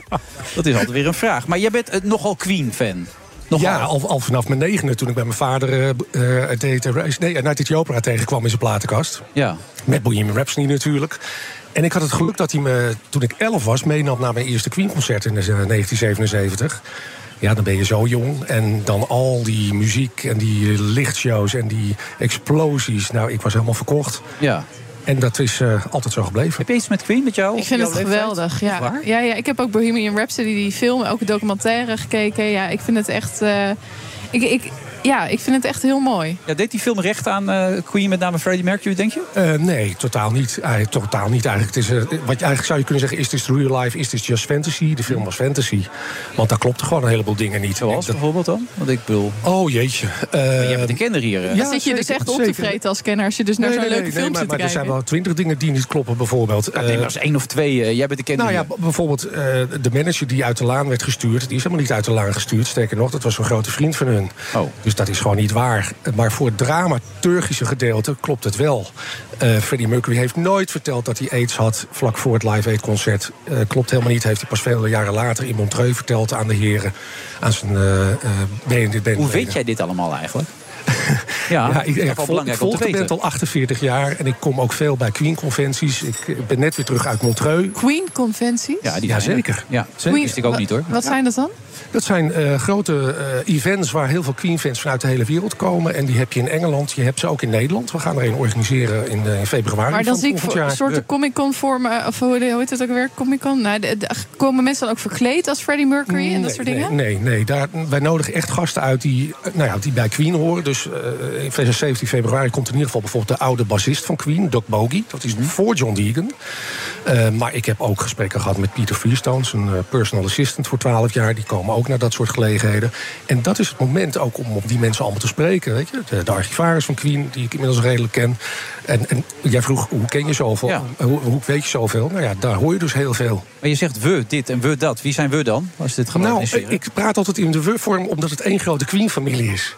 [SPEAKER 6] Dat is altijd weer een vraag. Maar jij bent eh, nogal Queen-fan.
[SPEAKER 18] Ja, al, al vanaf mijn negende, toen ik bij mijn vader eh, b- eh, het deed, eh, nee, Night Opera tegenkwam in zijn platenkast.
[SPEAKER 6] Ja.
[SPEAKER 18] Met Bohemian Rhapsody natuurlijk. En ik had het geluk dat hij me, toen ik elf was, meenam naar mijn eerste Queen-concert in eh, 1977. Ja, dan ben je zo jong. En dan al die muziek en die eh, lichtshows en die explosies. Nou, ik was helemaal verkocht.
[SPEAKER 6] Ja.
[SPEAKER 18] En dat is eh, altijd zo gebleven.
[SPEAKER 6] Heb je iets met Queen, met jou?
[SPEAKER 7] Ik vind het geweldig. Ja. Ja, ja, ik heb ook Bohemian Rhapsody, die film, ook een documentaire gekeken. Ja, ik vind het echt. eh, ik, ik, ja, ik vind het echt heel mooi.
[SPEAKER 6] Ja, deed die film recht aan eh, Queen, met name Freddie Mercury, denk je?
[SPEAKER 18] Eh, nee, totaal niet. Eh, totaal niet eigenlijk. Het is, eh, wat je eigenlijk zou je kunnen zeggen, is this real life, is this just fantasy? De film was fantasy. Want daar klopte gewoon een heleboel dingen niet. Zoals
[SPEAKER 6] bijvoorbeeld dan? Want ik bedoel...
[SPEAKER 18] Oh jeetje. Eh,
[SPEAKER 6] jij bent een kenner hier. hè?
[SPEAKER 7] Dan zit je dus echt op te vreten als kenner als je dus naar
[SPEAKER 18] Nee,
[SPEAKER 7] zo'n
[SPEAKER 18] nee,
[SPEAKER 7] leuke
[SPEAKER 18] nee,
[SPEAKER 7] film
[SPEAKER 18] nee,
[SPEAKER 7] zit
[SPEAKER 18] maar,
[SPEAKER 7] te
[SPEAKER 18] maar er zijn
[SPEAKER 7] kijken.
[SPEAKER 18] wel twintig dingen die niet kloppen, bijvoorbeeld.
[SPEAKER 6] Ja, nee,
[SPEAKER 18] Eh,
[SPEAKER 6] maar als één of twee. eh, jij bent de kenner
[SPEAKER 18] nou ja,
[SPEAKER 6] hier.
[SPEAKER 18] b- bijvoorbeeld eh, de manager die uit de laan werd gestuurd... die is helemaal niet uit de laan gestuurd. Sterker nog, dat was een grote vriend van hun.
[SPEAKER 6] Oh.
[SPEAKER 18] Dus dat is gewoon niet waar. Maar voor het dramaturgische gedeelte klopt het wel. Eh, Freddie Mercury heeft nooit verteld dat hij AIDS had... vlak voor het Live Aid concert. Eh, klopt helemaal niet. Heeft hij pas vele jaren later in Montreux verteld aan de heren... aan zijn eh eh benen,
[SPEAKER 6] Hoe weet jij dit allemaal eigenlijk? Ja, dat
[SPEAKER 18] ik,
[SPEAKER 6] is toch
[SPEAKER 18] ik,
[SPEAKER 6] wel
[SPEAKER 18] vol-
[SPEAKER 6] belangrijk om te
[SPEAKER 18] volg de band
[SPEAKER 6] weten.
[SPEAKER 18] al 48 jaar en ik kom ook veel bij Queen-conventies. Ik eh, ben net weer terug uit Montreux.
[SPEAKER 7] Queen-conventies?
[SPEAKER 18] Ja, zeker.
[SPEAKER 6] Ja,
[SPEAKER 7] Queen- wa- Wat zijn dat dan?
[SPEAKER 18] Dat zijn eh, grote eh, events waar heel veel Queen-fans vanuit de hele wereld komen. En die heb je in Engeland, je hebt ze ook in Nederland. We gaan er een organiseren in, eh, in februari
[SPEAKER 7] Maar dan
[SPEAKER 18] van
[SPEAKER 7] zie ik
[SPEAKER 18] volgend
[SPEAKER 7] voor-
[SPEAKER 18] jaar. eh.
[SPEAKER 7] een soort Comic-Con vormen. Of hoe hoe heet het ook weer? Comic-Con? Nou, de- de- komen mensen dan ook verkleed als Freddie Mercury en dat
[SPEAKER 18] nee,
[SPEAKER 7] soort
[SPEAKER 18] nee,
[SPEAKER 7] dingen?
[SPEAKER 18] Nee, nee, Daar, wij nodigen echt gasten uit die, eh, nou ja, die bij Queen horen. Dus eh, in 17 februari komt in ieder geval bijvoorbeeld de oude bassist van Queen, Doc Bogie. Dat
[SPEAKER 7] Mhm.
[SPEAKER 18] is voor John Deegan. Eh, maar ik heb ook gesprekken gehad met Peter Freestone, zijn eh, personal assistant voor 12 jaar. Die komen ook naar dat soort gelegenheden. En dat is het moment ook om op die mensen allemaal te spreken. Weet je? De, de archivaris van Queen, die ik inmiddels redelijk ken. En, en jij vroeg, hoe ken je zoveel? Hoe, hoe weet je zoveel? Nou ja, daar hoor je dus heel veel.
[SPEAKER 6] Maar je zegt we dit en we dat. Wie zijn we dan? Als dit gaat
[SPEAKER 18] Nou,
[SPEAKER 6] organiseren?
[SPEAKER 18] ik praat altijd in de we-vorm omdat het één grote Queen-familie is.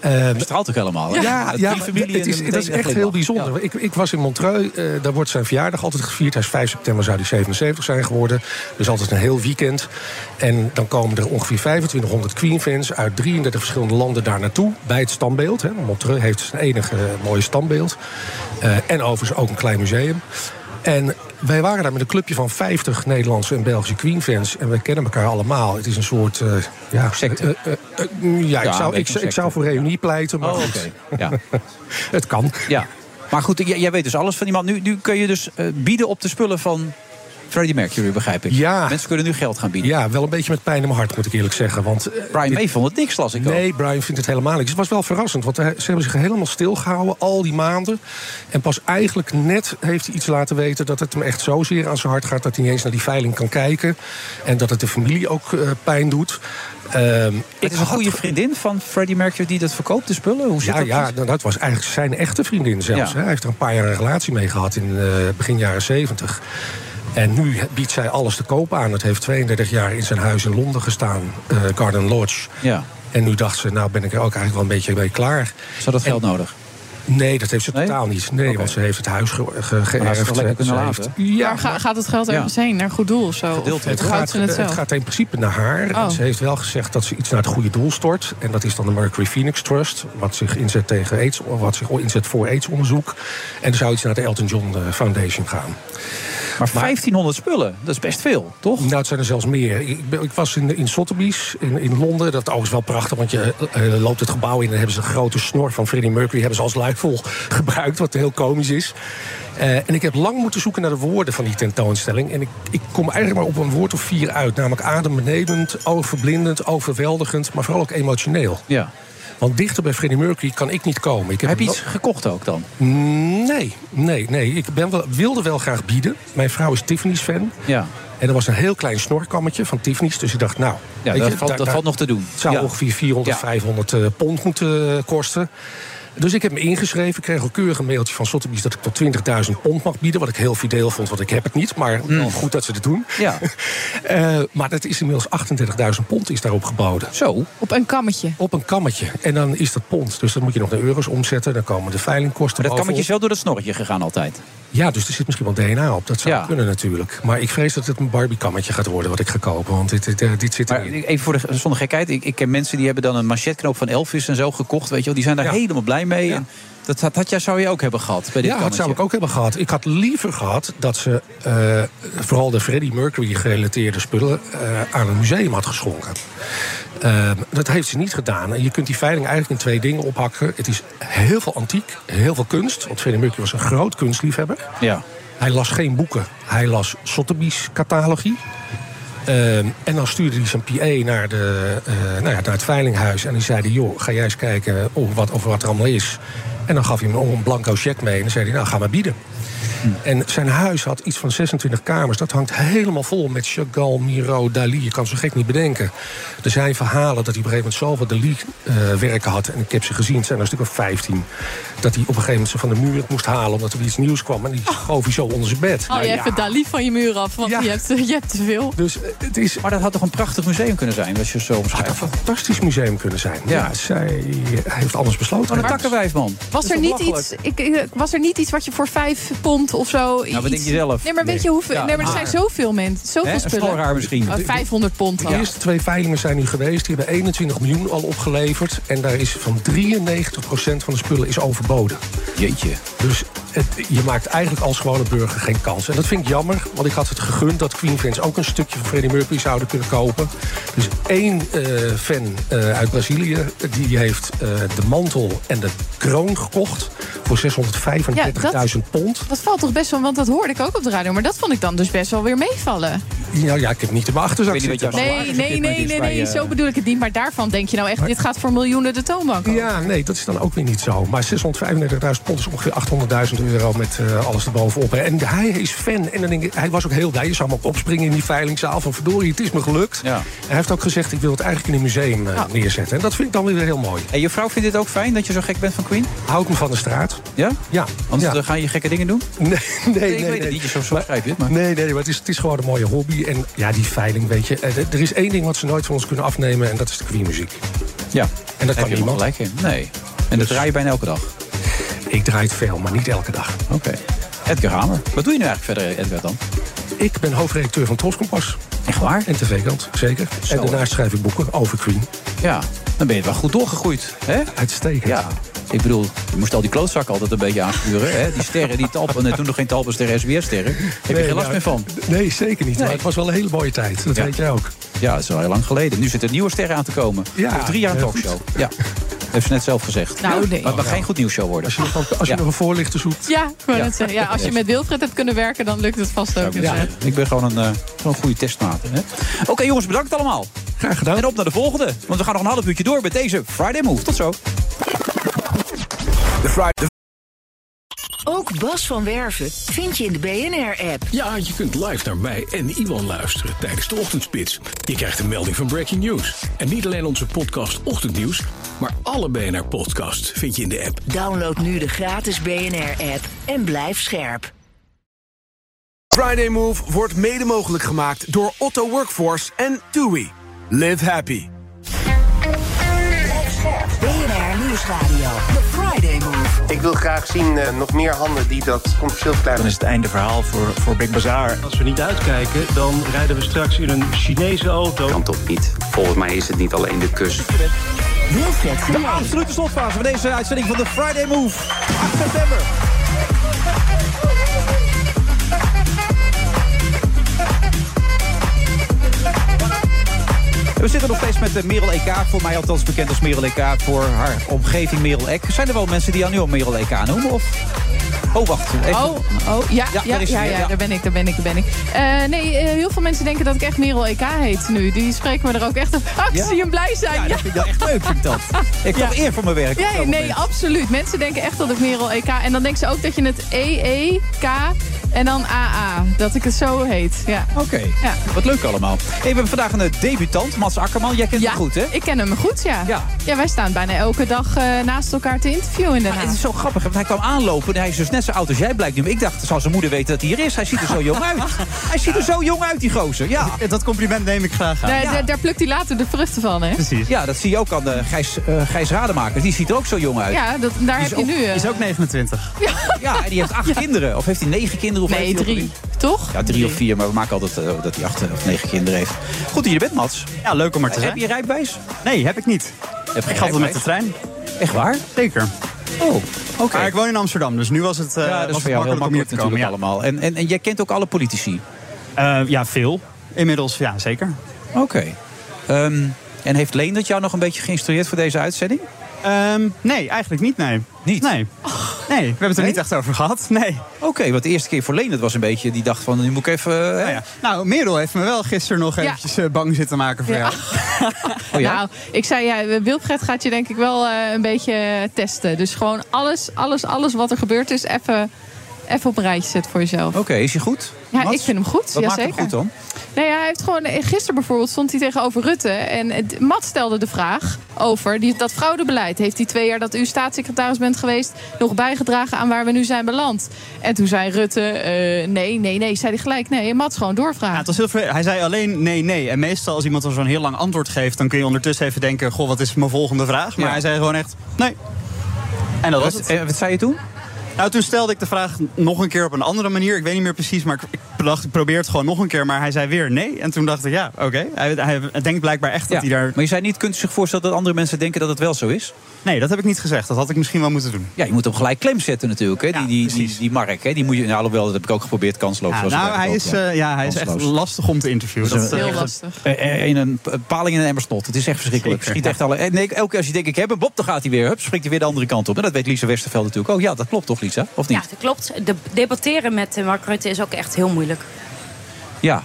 [SPEAKER 18] Ehm,
[SPEAKER 6] straalt ook helemaal. hè?
[SPEAKER 18] Ja, ja,
[SPEAKER 6] Het
[SPEAKER 18] maar
[SPEAKER 6] Queen-familie
[SPEAKER 18] het
[SPEAKER 6] en
[SPEAKER 18] is,
[SPEAKER 6] meteen
[SPEAKER 18] dat is
[SPEAKER 6] de
[SPEAKER 18] echt
[SPEAKER 6] glimlach.
[SPEAKER 18] heel bijzonder. Ik, ik was in Montreux, eh, daar wordt zijn verjaardag altijd gevierd. Hij is 5 september, zou hij 77 zijn geworden. Dus altijd een heel weekend. En dan komen er ongeveer 2500 Queen-fans uit 33 verschillende landen daar naartoe. Bij het standbeeld. Hè. Montreux heeft zijn enige eh, mooie standbeeld. Eh, en overigens ook een klein museum. En wij waren daar met een clubje van 50 Nederlandse en Belgische Queen-fans. En we kennen elkaar allemaal. Het is een soort... eh, ja, eh, secte. mm, ja, ik
[SPEAKER 6] Ja, een
[SPEAKER 18] zou, ik, zou-
[SPEAKER 6] beetje
[SPEAKER 18] ik
[SPEAKER 6] secte.
[SPEAKER 18] zou voor reunie pleiten. Maar
[SPEAKER 6] Oh,
[SPEAKER 18] goed.
[SPEAKER 6] oké. Ja.
[SPEAKER 18] het kan.
[SPEAKER 6] Ja. Maar goed, jij, jij weet dus alles van die man. Nu, nu kun je dus eh, bieden op de spullen van Freddie Mercury, begrijp ik.
[SPEAKER 18] Ja.
[SPEAKER 6] Mensen kunnen nu geld gaan bieden.
[SPEAKER 18] Ja, wel een beetje met pijn in mijn hart, moet ik eerlijk zeggen. Want, eh,
[SPEAKER 6] Brian May vond het niks, las ik
[SPEAKER 18] nee, Brian vindt het helemaal niks. Het was wel verrassend, want hij- ze hebben zich helemaal stilgehouden al die maanden. En pas eigenlijk net heeft hij iets laten weten dat het hem echt zozeer aan zijn hart gaat... dat hij niet eens naar die veiling kan kijken. En dat het de familie ook eh, pijn doet. Ehm,
[SPEAKER 6] Het is een goede vriendin van Freddie Mercury die dat verkoopt, de spullen. Hoe zit
[SPEAKER 18] ja,
[SPEAKER 6] dat?
[SPEAKER 18] ja, nou, dat was eigenlijk zijn echte vriendin zelfs.
[SPEAKER 6] Ja.
[SPEAKER 18] hè. Hij heeft er een paar jaar een relatie mee gehad in eh, begin jaren 70. En nu biedt zij alles te koop aan. Het heeft 32 jaar in zijn huis in Londen gestaan, eh, Garden Lodge.
[SPEAKER 6] Ja.
[SPEAKER 18] En nu dacht ze, nou ben ik er ook eigenlijk wel een beetje mee klaar.
[SPEAKER 6] Ze had dat
[SPEAKER 18] En-
[SPEAKER 6] geld nodig.
[SPEAKER 18] Nee, dat heeft ze totaal niet. Nee, want ze heeft het huis ge- ge- geërfd.
[SPEAKER 6] lekker
[SPEAKER 18] Ze
[SPEAKER 6] kunnen
[SPEAKER 18] heeft-
[SPEAKER 6] laten.
[SPEAKER 18] Ja,
[SPEAKER 7] maar ga- gaat het geld ergens heen? Naar goed doel of zo? Of
[SPEAKER 18] het,
[SPEAKER 7] houdt
[SPEAKER 18] gaat,
[SPEAKER 7] ze het
[SPEAKER 18] het,
[SPEAKER 7] zelf?
[SPEAKER 18] gaat in principe naar haar.
[SPEAKER 7] Oh.
[SPEAKER 18] Ze heeft wel gezegd dat ze iets naar het goede doel stort. En dat is dan de Mercury Phoenix Trust. Wat zich inzet, tegen AIDS, wat zich inzet voor AIDS-onderzoek. En er zou iets naar de Elton John eh, Foundation gaan.
[SPEAKER 6] Maar 1500 spullen, dat is best veel, toch?
[SPEAKER 18] Nou, het zijn er zelfs meer. Ik, ben- ik was in, in Sotheby's in, in Londen. Dat is wel prachtig, want je eh, loopt het gebouw in... en hebben ze een grote snor van Freddie Mercury... hebben ze als luifel gebruikt, wat heel komisch is. Eh, en ik heb lang moeten zoeken naar de woorden van die tentoonstelling. En ik, ik kom eigenlijk maar op een woord of vier uit. Namelijk adembenemend, overblindend, overweldigend... maar vooral ook emotioneel.
[SPEAKER 6] Ja.
[SPEAKER 18] Want dichter bij Freddie Mercury kan ik niet komen. Ik heb,
[SPEAKER 6] Heb je
[SPEAKER 18] no-
[SPEAKER 6] iets gekocht ook dan?
[SPEAKER 18] Nee, nee, nee. Ik ben wel, wilde wel graag bieden. Mijn vrouw is Tiffany's fan.
[SPEAKER 6] Ja.
[SPEAKER 18] En er was een heel klein snorkammetje van Tiffany's. Dus ik dacht, nou...
[SPEAKER 6] Ja,
[SPEAKER 18] weet
[SPEAKER 6] dat
[SPEAKER 18] je,
[SPEAKER 6] valt-
[SPEAKER 18] daar-
[SPEAKER 6] dat
[SPEAKER 18] daar-
[SPEAKER 6] valt nog te doen.
[SPEAKER 18] Het zou
[SPEAKER 6] Ja.
[SPEAKER 18] ongeveer 400,
[SPEAKER 6] Ja.
[SPEAKER 18] 500 eh, pond moeten eh, kosten. Dus ik heb me ingeschreven. Ik kreeg al keurig een mailtje van Sotheby's dat ik tot 20.000 pond mag bieden. Wat ik heel fideel vond, want ik heb het niet. Maar wel goed dat ze het doen.
[SPEAKER 6] Mm. Ja.
[SPEAKER 18] Eh, maar dat is inmiddels 38.000 pond is daarop geboden.
[SPEAKER 6] Zo.
[SPEAKER 7] Op een kammetje?
[SPEAKER 18] Op een kammetje. En dan is dat pond. Dus dat moet je nog naar euro's omzetten. Dan komen de veilingkosten
[SPEAKER 6] Maar dat
[SPEAKER 18] bovenop.
[SPEAKER 6] kammetje is wel door dat snorretje gegaan altijd.
[SPEAKER 18] Ja, dus er zit misschien wel DNA op. Dat zou kunnen natuurlijk. Maar ik vrees dat het een Barbie-kammetje gaat worden wat ik ga kopen. Want dit, dit, eh, dit zit
[SPEAKER 6] Maar
[SPEAKER 18] erin.
[SPEAKER 6] even voor de, zonder gekheid, ik, ik ken mensen die hebben dan een machetknoop van Elvis en zo gekocht. Weet je wel. Die zijn daar helemaal blij mee. En dat had, had jij, zou je ook hebben gehad bij dit
[SPEAKER 18] Ja, dat zou ik ook hebben gehad. Ik had liever gehad dat ze eh, vooral de Freddie Mercury-gerelateerde spullen eh, aan een museum had geschonken. Ehm, dat heeft ze niet gedaan. En je kunt die veiling eigenlijk in twee dingen ophakken. Het is heel veel antiek, heel veel kunst. Want Freddie Mercury was een groot kunstliefhebber.
[SPEAKER 6] Ja.
[SPEAKER 18] Hij las geen boeken. Hij las Sotheby's catalogie. Ehm, en dan stuurde hij zijn PA naar, de, eh, nou ja, naar het veilinghuis. En die zeiden, joh, ga jij eens kijken of wat, of wat er allemaal is. En dan gaf hij hem een blanco cheque mee. En dan zei hij, nou, ga maar bieden. En zijn huis had iets van 26 kamers. Dat hangt helemaal vol met Chagall, Miro, Dali. Je kan het zo gek niet bedenken. Er zijn verhalen dat hij op een gegeven moment zoveel Dali-werken had. En ik heb ze gezien, het zijn er een stuk of 15. Dat hij op een gegeven moment ze van de muur het moest halen... omdat er iets nieuws kwam. En die schoof hij zo onder zijn bed.
[SPEAKER 7] Oh,
[SPEAKER 18] Nou
[SPEAKER 7] je
[SPEAKER 18] ja.
[SPEAKER 7] hebt het Dali van je muur af, want je, hebt, eh, je hebt te veel.
[SPEAKER 18] Dus het is...
[SPEAKER 6] Maar dat had toch een prachtig museum kunnen zijn, als je het zo omschrijft.
[SPEAKER 18] fantastisch museum kunnen zijn. Ja, zij heeft anders besloten.
[SPEAKER 6] Oh, Maar een takkenwijf, man.
[SPEAKER 7] Was
[SPEAKER 18] Dat
[SPEAKER 7] er,
[SPEAKER 18] is
[SPEAKER 7] niet
[SPEAKER 18] belachelijk.
[SPEAKER 7] iets, ik, ik- was er niet iets wat je voor vijf pond of zo... Nou,
[SPEAKER 6] wat denk je zelf?
[SPEAKER 7] Nee, maar weet
[SPEAKER 18] Nee.
[SPEAKER 7] je hoeveel...
[SPEAKER 18] Ja,
[SPEAKER 7] nee, maar er
[SPEAKER 18] maar-
[SPEAKER 7] zijn zoveel mensen. Zoveel
[SPEAKER 18] Hè, een
[SPEAKER 7] spullen.
[SPEAKER 18] snorraar misschien.
[SPEAKER 7] Oh, 500 pond
[SPEAKER 18] De
[SPEAKER 7] dan.
[SPEAKER 18] eerste twee veilingen zijn nu geweest. Die hebben 21 miljoen al opgeleverd. En daar is van 93% van de spullen is overboden.
[SPEAKER 6] Jeetje.
[SPEAKER 18] Dus het, je maakt eigenlijk als gewone burger geen kans. En dat vind ik jammer, want ik had het gegund dat Queen fans ook een stukje van Freddie Mercury zouden kunnen kopen. Dus één eh, fan eh, uit Brazilië, die heeft eh, de mantel en de kroon gekocht voor 635.000 pond.
[SPEAKER 7] Dat valt toch best wel, want dat hoorde ik ook op de radio. Maar dat vond ik dan dus best wel weer meevallen.
[SPEAKER 18] Nou ja, ik heb niet in mijn achterzak
[SPEAKER 6] Ik weet niet
[SPEAKER 18] zitten.
[SPEAKER 6] wat jouw
[SPEAKER 7] Nee, nee, nee, nee, nee,
[SPEAKER 6] eh,
[SPEAKER 18] eh,
[SPEAKER 7] zo bedoel ik het niet. Maar daarvan denk je nou echt, dit gaat voor miljoenen de toonbank. op.
[SPEAKER 18] Ja, nee, dat is dan ook weer niet zo. Maar 635.000 pond is ongeveer 800.000 euro met eh alles erbovenop. hè. En hij is fan. En dan denk ik, hij was ook heel blij. Je zou hem ook opspringen in die veilingzaal. Van verdorie, het is me gelukt. Hij heeft ook gezegd, ik wil het eigenlijk in een museum eh,
[SPEAKER 6] Nou.
[SPEAKER 18] neerzetten. En dat vind ik dan weer heel mooi.
[SPEAKER 6] En je vrouw vindt dit ook fijn dat je zo gek bent van Queen?
[SPEAKER 18] Houd me van de straat.
[SPEAKER 6] Ja?
[SPEAKER 18] Ja.
[SPEAKER 6] Anders
[SPEAKER 18] Ja.
[SPEAKER 6] dan ga je gekke dingen doen?
[SPEAKER 18] Nee, nee, nee.
[SPEAKER 6] Ik weet het
[SPEAKER 18] nee.
[SPEAKER 6] niet, je zo, zo schrijf je het. Maar...
[SPEAKER 18] Nee, nee, maar het is, het is gewoon een mooie hobby. En ja, die veiling, weet je. eh, d- Er is één ding wat ze nooit van ons kunnen afnemen. En dat is de Queen-muziek.
[SPEAKER 6] Ja.
[SPEAKER 18] En dat
[SPEAKER 6] Heb
[SPEAKER 18] kan
[SPEAKER 6] je helemaal
[SPEAKER 18] niemand. Dus-
[SPEAKER 6] gelijk in. Nee. En dat draai je bijna elke dag?
[SPEAKER 18] Ik draai het veel, maar niet elke dag.
[SPEAKER 6] Oké. Edgar Hamer. Wat doe je nu eigenlijk verder, Edgar, dan?
[SPEAKER 18] Ik ben hoofdredacteur van Troskompas.
[SPEAKER 6] Echt waar?
[SPEAKER 18] En TV-kant, zeker.
[SPEAKER 6] Zo.
[SPEAKER 18] En daarnaast schrijf ik boeken over Queen.
[SPEAKER 6] Ja, dan ben je wel goed doorgegroeid. Hè?
[SPEAKER 18] Uitstekend.
[SPEAKER 6] Ja. Ik bedoel, je moest al die klootzakken altijd een beetje aansturen. Hè? Die sterren, die talpen. Nee, toen nog geen talpen, sterren, SBS-sterren. Heb je
[SPEAKER 18] Nee,
[SPEAKER 6] geen last
[SPEAKER 18] nou,
[SPEAKER 6] meer van?
[SPEAKER 18] Nee, zeker niet. Maar
[SPEAKER 6] Nee.
[SPEAKER 18] het was wel een hele mooie tijd. Dat
[SPEAKER 6] Ja.
[SPEAKER 18] weet jij ook.
[SPEAKER 6] Ja, dat is al heel lang geleden. Nu zit een nieuwe ster aan te komen.
[SPEAKER 18] Ja,
[SPEAKER 6] Over drie jaar een
[SPEAKER 18] heel
[SPEAKER 6] talkshow. Ja. Heeft ze net zelf gezegd.
[SPEAKER 7] Nou, nee.
[SPEAKER 6] Maar het mag geen goed nieuws show worden.
[SPEAKER 18] Als je nog, als je nog een voorlichter zoekt.
[SPEAKER 7] Ja, ik wou
[SPEAKER 6] Ja.
[SPEAKER 7] net zeggen. ja, als je met Wilfred hebt kunnen werken, dan lukt het vast ook.
[SPEAKER 6] Ja,
[SPEAKER 7] Dus,
[SPEAKER 6] ik ben gewoon een, eh, gewoon een goede testmaat. hè. Oké jongens, bedankt allemaal.
[SPEAKER 18] Graag gedaan.
[SPEAKER 6] En op naar de volgende. Want we gaan nog een half uurtje door met deze Friday Move. Tot zo.
[SPEAKER 16] De Friday...
[SPEAKER 1] Ook Bas van Werven vind je in de BNR-app.
[SPEAKER 13] Ja, je kunt live naar mij en Iwan luisteren tijdens de ochtendspits. Je krijgt een melding van Breaking News. En niet alleen onze podcast Ochtendnieuws, maar alle BNR-podcasts vind je in de app.
[SPEAKER 1] Download nu de gratis BNR-app en blijf scherp.
[SPEAKER 10] Friday Move wordt mede mogelijk gemaakt door Otto Workforce en TUI. Live happy.
[SPEAKER 1] BNR Nieuwsradio. The Friday Move.
[SPEAKER 14] Ik wil graag zien eh, nog meer handen die dat commercieel klein
[SPEAKER 19] Dan is het einde verhaal voor, voor Big Bazaar.
[SPEAKER 4] Als we niet uitkijken, dan rijden we straks in een Chinese auto.
[SPEAKER 5] Kan toch niet? Volgens mij is het niet alleen de kus.
[SPEAKER 6] De absolute slotfase van deze uitzending van de Friday Move. 8 september. We zitten nog steeds met eh, Merel EK, voor mij althans bekend als Merel EK, voor haar omgeving Merel Ek. Zijn er wel mensen die jou nu al Merel EK noemen? Of... Oh, wacht. Even.
[SPEAKER 7] Oh, oh ja, ja, ja,
[SPEAKER 6] daar is ze
[SPEAKER 7] ja,
[SPEAKER 6] weer, ja.
[SPEAKER 7] daar ben ik, daar ben ik, daar ben ik. Eh, nee, eh, heel veel mensen denken dat ik echt Merel EK heet nu. Die spreken me er ook echt op. Ah, ik
[SPEAKER 6] Ja?
[SPEAKER 7] zie hem blij zijn. Ja,
[SPEAKER 6] dat vind ik wel echt leuk, vind ik dat. Ik had eer voor mijn werk. op
[SPEAKER 7] Nee,
[SPEAKER 6] zo'n
[SPEAKER 7] nee,
[SPEAKER 6] moment.
[SPEAKER 7] absoluut. Mensen denken echt dat ik Merel EK... En dan denken ze ook dat je het EEK en dan AA. Dat ik het zo heet, ja.
[SPEAKER 6] Oké,
[SPEAKER 7] Ja.
[SPEAKER 6] wat leuk allemaal. Hey, we hebben vandaag een eh, debutant, Mats Akkerman. Jij kent
[SPEAKER 7] ja,
[SPEAKER 6] hem goed, hè?
[SPEAKER 7] Ik ken hem goed, ja. ja. wij staan bijna elke dag eh, naast elkaar te interviewen in Den Haag.
[SPEAKER 6] Het Ah, is zo grappig, want hij kwam aanlopen en hij is dus net zo oud als jij blijkt nu. Maar Ik dacht, zal zijn moeder weten dat hij hier is? Hij ziet er zo jong uit. Hij ziet er zo jong uit, die gozer. Ja. Dat compliment neem ik graag
[SPEAKER 7] daar, daar, daar plukt hij later de vruchten van, hè?
[SPEAKER 6] Ja, dat zie je ook aan de Gijs, eh, Gijs Rademaker. Die ziet er ook zo jong uit.
[SPEAKER 7] Ja, dat, daar
[SPEAKER 6] Die is
[SPEAKER 7] heb je
[SPEAKER 6] ook-
[SPEAKER 7] nu... eh,
[SPEAKER 6] die is ook
[SPEAKER 20] 29.
[SPEAKER 6] Ja, en die heeft acht kinderen. Of heeft hij negen kinderen? Of
[SPEAKER 7] Nee,
[SPEAKER 6] heeft hij
[SPEAKER 7] drie. Toch?
[SPEAKER 6] Ja, drie of vier, maar we maken altijd eh, dat hij acht of negen kinderen heeft. Goed dat je er bent, Mats.
[SPEAKER 20] Ja, leuk om maar te
[SPEAKER 6] Heb
[SPEAKER 20] zijn.
[SPEAKER 6] je rijbewijs?
[SPEAKER 20] Nee, heb ik niet.
[SPEAKER 6] Heb
[SPEAKER 20] ik ga altijd met de
[SPEAKER 6] rijbewijs?
[SPEAKER 20] trein.
[SPEAKER 6] Echt waar?
[SPEAKER 20] Zeker.
[SPEAKER 6] Oh, oké.
[SPEAKER 20] Maar ik woon in Amsterdam, dus nu was het, eh
[SPEAKER 6] Ja, dat is
[SPEAKER 20] was
[SPEAKER 6] voor
[SPEAKER 20] het
[SPEAKER 6] jou heel
[SPEAKER 20] makkelijk om hier
[SPEAKER 6] makkelijk
[SPEAKER 20] te komen.
[SPEAKER 6] natuurlijk
[SPEAKER 20] Ja.
[SPEAKER 6] allemaal. En, en, en jij kent ook alle politici?
[SPEAKER 20] Eh, ja, veel. Inmiddels, ja, zeker.
[SPEAKER 6] Oké. Ehm, en heeft Leendert jou nog een beetje geïnstrueerd voor deze uitzending?
[SPEAKER 20] Ehm, nee, eigenlijk niet, nee.
[SPEAKER 6] Niet?
[SPEAKER 20] Nee. Nee, we hebben het er niet echt over gehad. Nee.
[SPEAKER 6] Oké, want de eerste keer voor Leendert was een beetje... die dacht van, nu moet ik even... eh,
[SPEAKER 20] Nou, Merel heeft me wel gisteren nog
[SPEAKER 7] Ja.
[SPEAKER 20] eventjes eh, bang zitten maken voor
[SPEAKER 7] Ja.
[SPEAKER 20] jou.
[SPEAKER 6] Oh
[SPEAKER 7] Nou, ik zei ja, Wilfred gaat je denk ik wel eh, een beetje testen. Dus gewoon alles, alles, alles wat er gebeurd is, even, even op een rijtje zetten voor jezelf.
[SPEAKER 6] Oké, is hij goed?
[SPEAKER 7] Ja,
[SPEAKER 6] Mats?
[SPEAKER 7] ik vind hem goed.
[SPEAKER 6] Wat maakt hem
[SPEAKER 7] jazeker.
[SPEAKER 6] goed dan?
[SPEAKER 7] Nee, ja, hij heeft gewoon. eh, Gisteren bijvoorbeeld stond hij tegenover Rutte. En het- Mat stelde de vraag over die, dat fraudebeleid. Heeft die twee jaar dat u staatssecretaris bent geweest. nog bijgedragen aan waar we nu zijn beland? En toen zei Rutte. eh, nee, nee, nee. Zei hij gelijk. Nee, Mat gewoon doorvragen.
[SPEAKER 20] Ja, het was heel vervelend. Hij zei alleen nee, nee. En meestal als iemand dan zo'n heel lang antwoord geeft... dan kun je ondertussen even denken... goh, wat is mijn volgende vraag? Maar hij zei gewoon echt nee. En dat was
[SPEAKER 6] Wat-
[SPEAKER 20] het. wat zei je toen? Nou, toen stelde ik de vraag nog een keer op een andere manier. Ik weet niet meer precies, maar ik- ik bedacht, ik probeer het gewoon nog een keer. Maar hij zei weer nee. En toen dacht ik, ja, oké. Hij, hij denkt blijkbaar echt dat hij daar... Maar je zei niet, kunt u zich voorstellen dat andere mensen denken dat het wel zo is? Nee, dat heb ik niet gezegd. Dat had ik misschien wel moeten doen.
[SPEAKER 6] Ja, je moet hem gelijk klem zetten natuurlijk. Hè? die, die, die, die Mark, hè? die moet je... Nou, alhoewel, dat heb ik ook geprobeerd, kansloos.
[SPEAKER 20] Ja,
[SPEAKER 6] was het
[SPEAKER 20] nou, hij
[SPEAKER 6] eigenlijk
[SPEAKER 20] is,
[SPEAKER 6] ook,
[SPEAKER 20] eh, ja, hij is echt
[SPEAKER 6] Kansloos.
[SPEAKER 20] lastig om te interviewen.
[SPEAKER 6] Dat is
[SPEAKER 20] Dat, eh,
[SPEAKER 6] een-
[SPEAKER 20] echt-
[SPEAKER 6] eh, eh, In een p- paling in een emmer snot. Het is echt verschrikkelijk.
[SPEAKER 20] Zeker,
[SPEAKER 6] Schiet echt alle, eh, nee, elke keer als je denkt, ik heb hem, Bob, dan gaat hij weer. Hup, springt hij weer de andere kant op. En dat weet Lisa Westerveld natuurlijk. Oh ja, dat klopt toch, Lisa? Of niet?
[SPEAKER 21] Ja, dat klopt. De debatteren met eh, Mark Rutte is ook echt heel moeilijk.
[SPEAKER 6] Ja.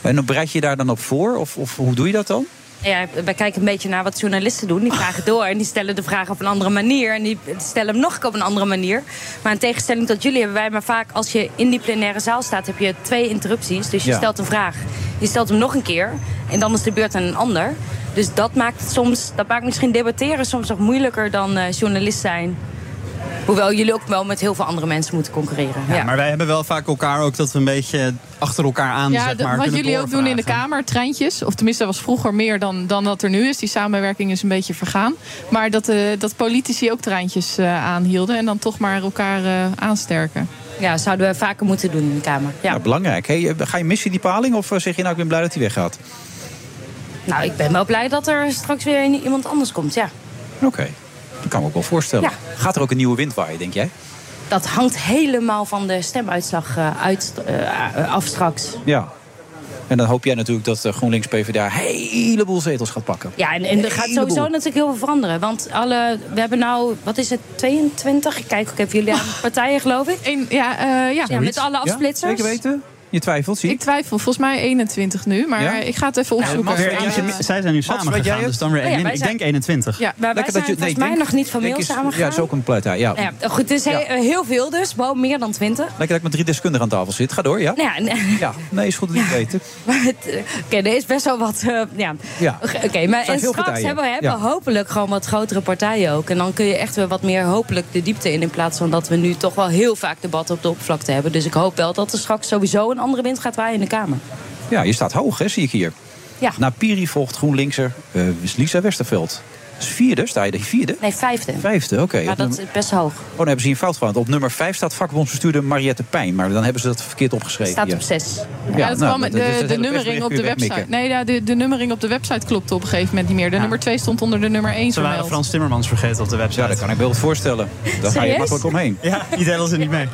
[SPEAKER 6] En dan bereid je je daar dan op voor? Of, of hoe doe je dat dan?
[SPEAKER 21] Ja, wij kijken een beetje naar wat journalisten doen. Die vragen door en die stellen de vraag op een andere manier. En die stellen hem nog een keer op een andere manier. Maar in tegenstelling tot jullie hebben wij maar vaak... als je in die plenaire zaal staat, heb je twee interrupties. Dus je
[SPEAKER 22] Ja.
[SPEAKER 21] stelt een vraag. Je stelt hem nog een keer. En dan is de beurt aan een ander. Dus dat maakt, het soms, dat maakt misschien debatteren soms nog moeilijker dan eh, journalist zijn. Hoewel jullie ook wel met heel veel andere mensen moeten concurreren.
[SPEAKER 20] Ja, maar wij hebben wel vaak elkaar ook dat we een beetje achter elkaar aan,
[SPEAKER 7] Ja,
[SPEAKER 20] zeg
[SPEAKER 7] de-
[SPEAKER 20] maar,
[SPEAKER 7] wat
[SPEAKER 20] kunnen
[SPEAKER 7] jullie ook doen in de Kamer, treintjes. Of tenminste, dat was vroeger meer dan, dan dat er nu is. Die samenwerking is een beetje vergaan. Maar dat, eh, dat politici ook treintjes eh, aanhielden. En dan toch maar elkaar eh, aansterken.
[SPEAKER 21] Ja, zouden we vaker moeten doen in de Kamer. Ja.
[SPEAKER 6] Ja, belangrijk. Hey, eh, ga je missen die paling? Of eh, zeg je nou, ik ben blij dat hij weggaat?
[SPEAKER 21] Nou, ik ben wel blij dat er straks weer iemand anders komt, ja.
[SPEAKER 6] Oké. Dat kan ik me ook wel voorstellen. Gaat er ook een nieuwe wind waaien, denk jij?
[SPEAKER 21] Dat hangt helemaal van de stemuitslag eh, uit, eh, af straks.
[SPEAKER 6] Ja. En dan hoop jij natuurlijk dat eh, GroenLinks PvdA een heleboel zetels gaat pakken.
[SPEAKER 21] Ja, en, en er gaat
[SPEAKER 6] Heleboel.
[SPEAKER 21] sowieso natuurlijk heel veel veranderen. Want alle, we hebben nou, wat is het, 22? Ik kijk ook even jullie aan partijen, geloof ik.
[SPEAKER 7] ja, eh, ja.
[SPEAKER 21] met alle afsplitsers.
[SPEAKER 6] Je twijfelt, zie
[SPEAKER 7] Ik twijfel, volgens mij 21 nu. Maar
[SPEAKER 20] Ja?
[SPEAKER 7] ik ga het even opzoeken.
[SPEAKER 20] zij zijn nu
[SPEAKER 6] Mats,
[SPEAKER 20] samen
[SPEAKER 6] weet jij
[SPEAKER 20] gegaan,
[SPEAKER 6] het?
[SPEAKER 20] dus dan weer
[SPEAKER 6] Oh ja,
[SPEAKER 20] één.
[SPEAKER 6] wij
[SPEAKER 20] ik
[SPEAKER 6] zijn-
[SPEAKER 20] denk 21.
[SPEAKER 7] Ja,
[SPEAKER 21] maar wij zijn volgens mij nog niet formeel
[SPEAKER 6] Ja,
[SPEAKER 21] samengegaan.
[SPEAKER 6] dat is ook een partij. Ja.
[SPEAKER 21] Nou ja, goed, dus he-
[SPEAKER 6] Ja.
[SPEAKER 21] heel veel dus, wel meer dan 20.
[SPEAKER 6] Lekker dat ik met drie deskundigen aan tafel zit. Ga door, ja?
[SPEAKER 21] Nou ja, en-
[SPEAKER 6] Ja, nee, is goed dat je het weet. hè.
[SPEAKER 21] Maar het, eh, Oké, er is best wel wat. eh, ja.
[SPEAKER 6] Ja.
[SPEAKER 21] Oké,
[SPEAKER 6] Er
[SPEAKER 21] maar
[SPEAKER 6] zijn
[SPEAKER 21] en
[SPEAKER 6] veel
[SPEAKER 21] straks
[SPEAKER 6] partijen.
[SPEAKER 21] hebben we hebben
[SPEAKER 6] Ja.
[SPEAKER 21] we hopelijk gewoon wat grotere partijen ook. En dan kun je echt weer wat meer hopelijk de diepte in. In plaats van dat we nu toch wel heel vaak debatten op de oppervlakte hebben. Dus ik hoop wel dat er straks sowieso een andere wind gaat waaien in de Kamer.
[SPEAKER 6] Ja, je staat hoog, hè, zie ik hier.
[SPEAKER 21] Ja.
[SPEAKER 6] Na Piri volgt GroenLinkser eh, Lisa Westerveld. Dat is vierde, sta je de vierde?
[SPEAKER 21] Nee, vijfde.
[SPEAKER 6] Vijfde, oké.
[SPEAKER 21] Maar
[SPEAKER 6] Op
[SPEAKER 21] dat
[SPEAKER 6] nummer-
[SPEAKER 21] is best hoog.
[SPEAKER 6] Oh, dan hebben ze hier een fout gemaakt. Op nummer vijf staat vakbondsbestuurder Mariette Pijn. Maar dan hebben ze dat verkeerd opgeschreven.
[SPEAKER 21] Staat
[SPEAKER 6] hier.
[SPEAKER 21] op zes.
[SPEAKER 7] Ja,
[SPEAKER 6] Ja,
[SPEAKER 7] dat
[SPEAKER 6] nou,
[SPEAKER 7] kwam,
[SPEAKER 6] dat- dat is
[SPEAKER 20] dus
[SPEAKER 7] de,
[SPEAKER 6] het
[SPEAKER 7] de
[SPEAKER 6] hele
[SPEAKER 7] nummering
[SPEAKER 6] persbericht
[SPEAKER 7] op de
[SPEAKER 6] kun je
[SPEAKER 7] website.
[SPEAKER 6] wegmikken.
[SPEAKER 7] Nee, ja, de, de nummering op de website klopte op een gegeven moment niet meer. De nummer 2 stond onder de nummer 1
[SPEAKER 20] Ze waren
[SPEAKER 7] vermeld.
[SPEAKER 20] Frans Timmermans vergeten op de website. Ja, dat
[SPEAKER 6] kan ik me wel voorstellen.
[SPEAKER 20] Daar
[SPEAKER 7] Serieus?
[SPEAKER 6] omheen.
[SPEAKER 20] Ja, die tellen ze niet mee.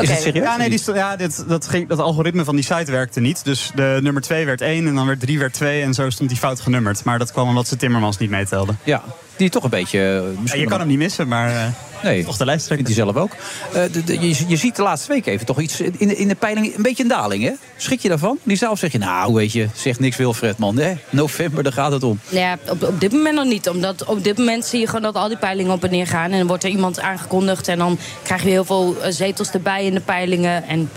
[SPEAKER 6] Is het serieus?
[SPEAKER 20] Ja, nee, die, sto- ja dit, dat, ging, dat algoritme van die site werkte niet. Dus de nummer 2 werd 1 en dan werd 3 werd 2 en zo stond die fout genummerd. Maar dat kwam omdat ze Timmermans niet meetelden.
[SPEAKER 6] Ja, die toch een beetje...
[SPEAKER 20] Ja, je kan hem niet missen, maar eh
[SPEAKER 6] Nee,
[SPEAKER 20] toch de lijsttrekker.
[SPEAKER 6] vindt hij zelf ook. Eh, de- de- je, je ziet de laatste week even toch iets in de, in de peiling een beetje een daling, hè? Schrik je daarvan? Die zelf zeg je, nou weet je, zegt niks Wilfred, man. Hè? November, daar gaat het om.
[SPEAKER 21] Nou Ja, op, op dit moment nog niet. Omdat op dit moment zie je gewoon dat al die peilingen op en neer gaan. En dan wordt er iemand aangekondigd. En dan krijg je heel veel eh, zetels erbij in de peilingen. En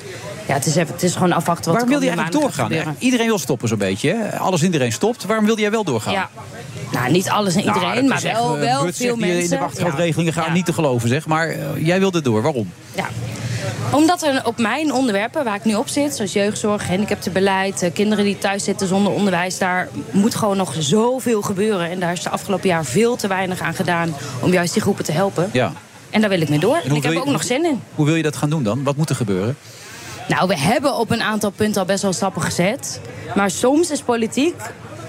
[SPEAKER 21] ja, het is, even, het is gewoon afwachten wat
[SPEAKER 6] Waarom wil
[SPEAKER 21] er
[SPEAKER 6] je
[SPEAKER 21] komende
[SPEAKER 6] eigenlijk
[SPEAKER 21] maanden gaat
[SPEAKER 6] doorgaan?
[SPEAKER 21] gebeuren.
[SPEAKER 6] Iedereen wil stoppen zo'n beetje, hè? Alles en iedereen stopt. Waarom wilde jij wel doorgaan?
[SPEAKER 21] Ja. Nou, niet alles en
[SPEAKER 6] Nou,
[SPEAKER 21] iedereen,
[SPEAKER 6] dat
[SPEAKER 21] maar
[SPEAKER 6] is echt,
[SPEAKER 21] wel,
[SPEAKER 6] eh,
[SPEAKER 21] wel
[SPEAKER 6] Bert
[SPEAKER 21] veel
[SPEAKER 6] zegt, die
[SPEAKER 21] mensen.
[SPEAKER 6] In de wachtgeldregelingen gaan niet te geloven, zeg. Maar eh, jij wilde door. Waarom?
[SPEAKER 21] Ja. Omdat er op mijn onderwerpen, waar ik nu op zit, zoals jeugdzorg, handicaptenbeleid, eh, kinderen die thuis zitten zonder onderwijs, daar moet gewoon nog zoveel gebeuren. En daar is de afgelopen jaar veel te weinig aan gedaan om juist die groepen te helpen.
[SPEAKER 6] Ja.
[SPEAKER 21] En daar wil ik mee door. En
[SPEAKER 6] hoe
[SPEAKER 21] ik heb
[SPEAKER 6] wil
[SPEAKER 21] er
[SPEAKER 6] je-
[SPEAKER 21] ook nog zin in.
[SPEAKER 6] Hoe wil je dat gaan doen dan? Wat moet er gebeuren?
[SPEAKER 21] Nou, we hebben op een aantal punten al best wel stappen gezet. Maar soms is politiek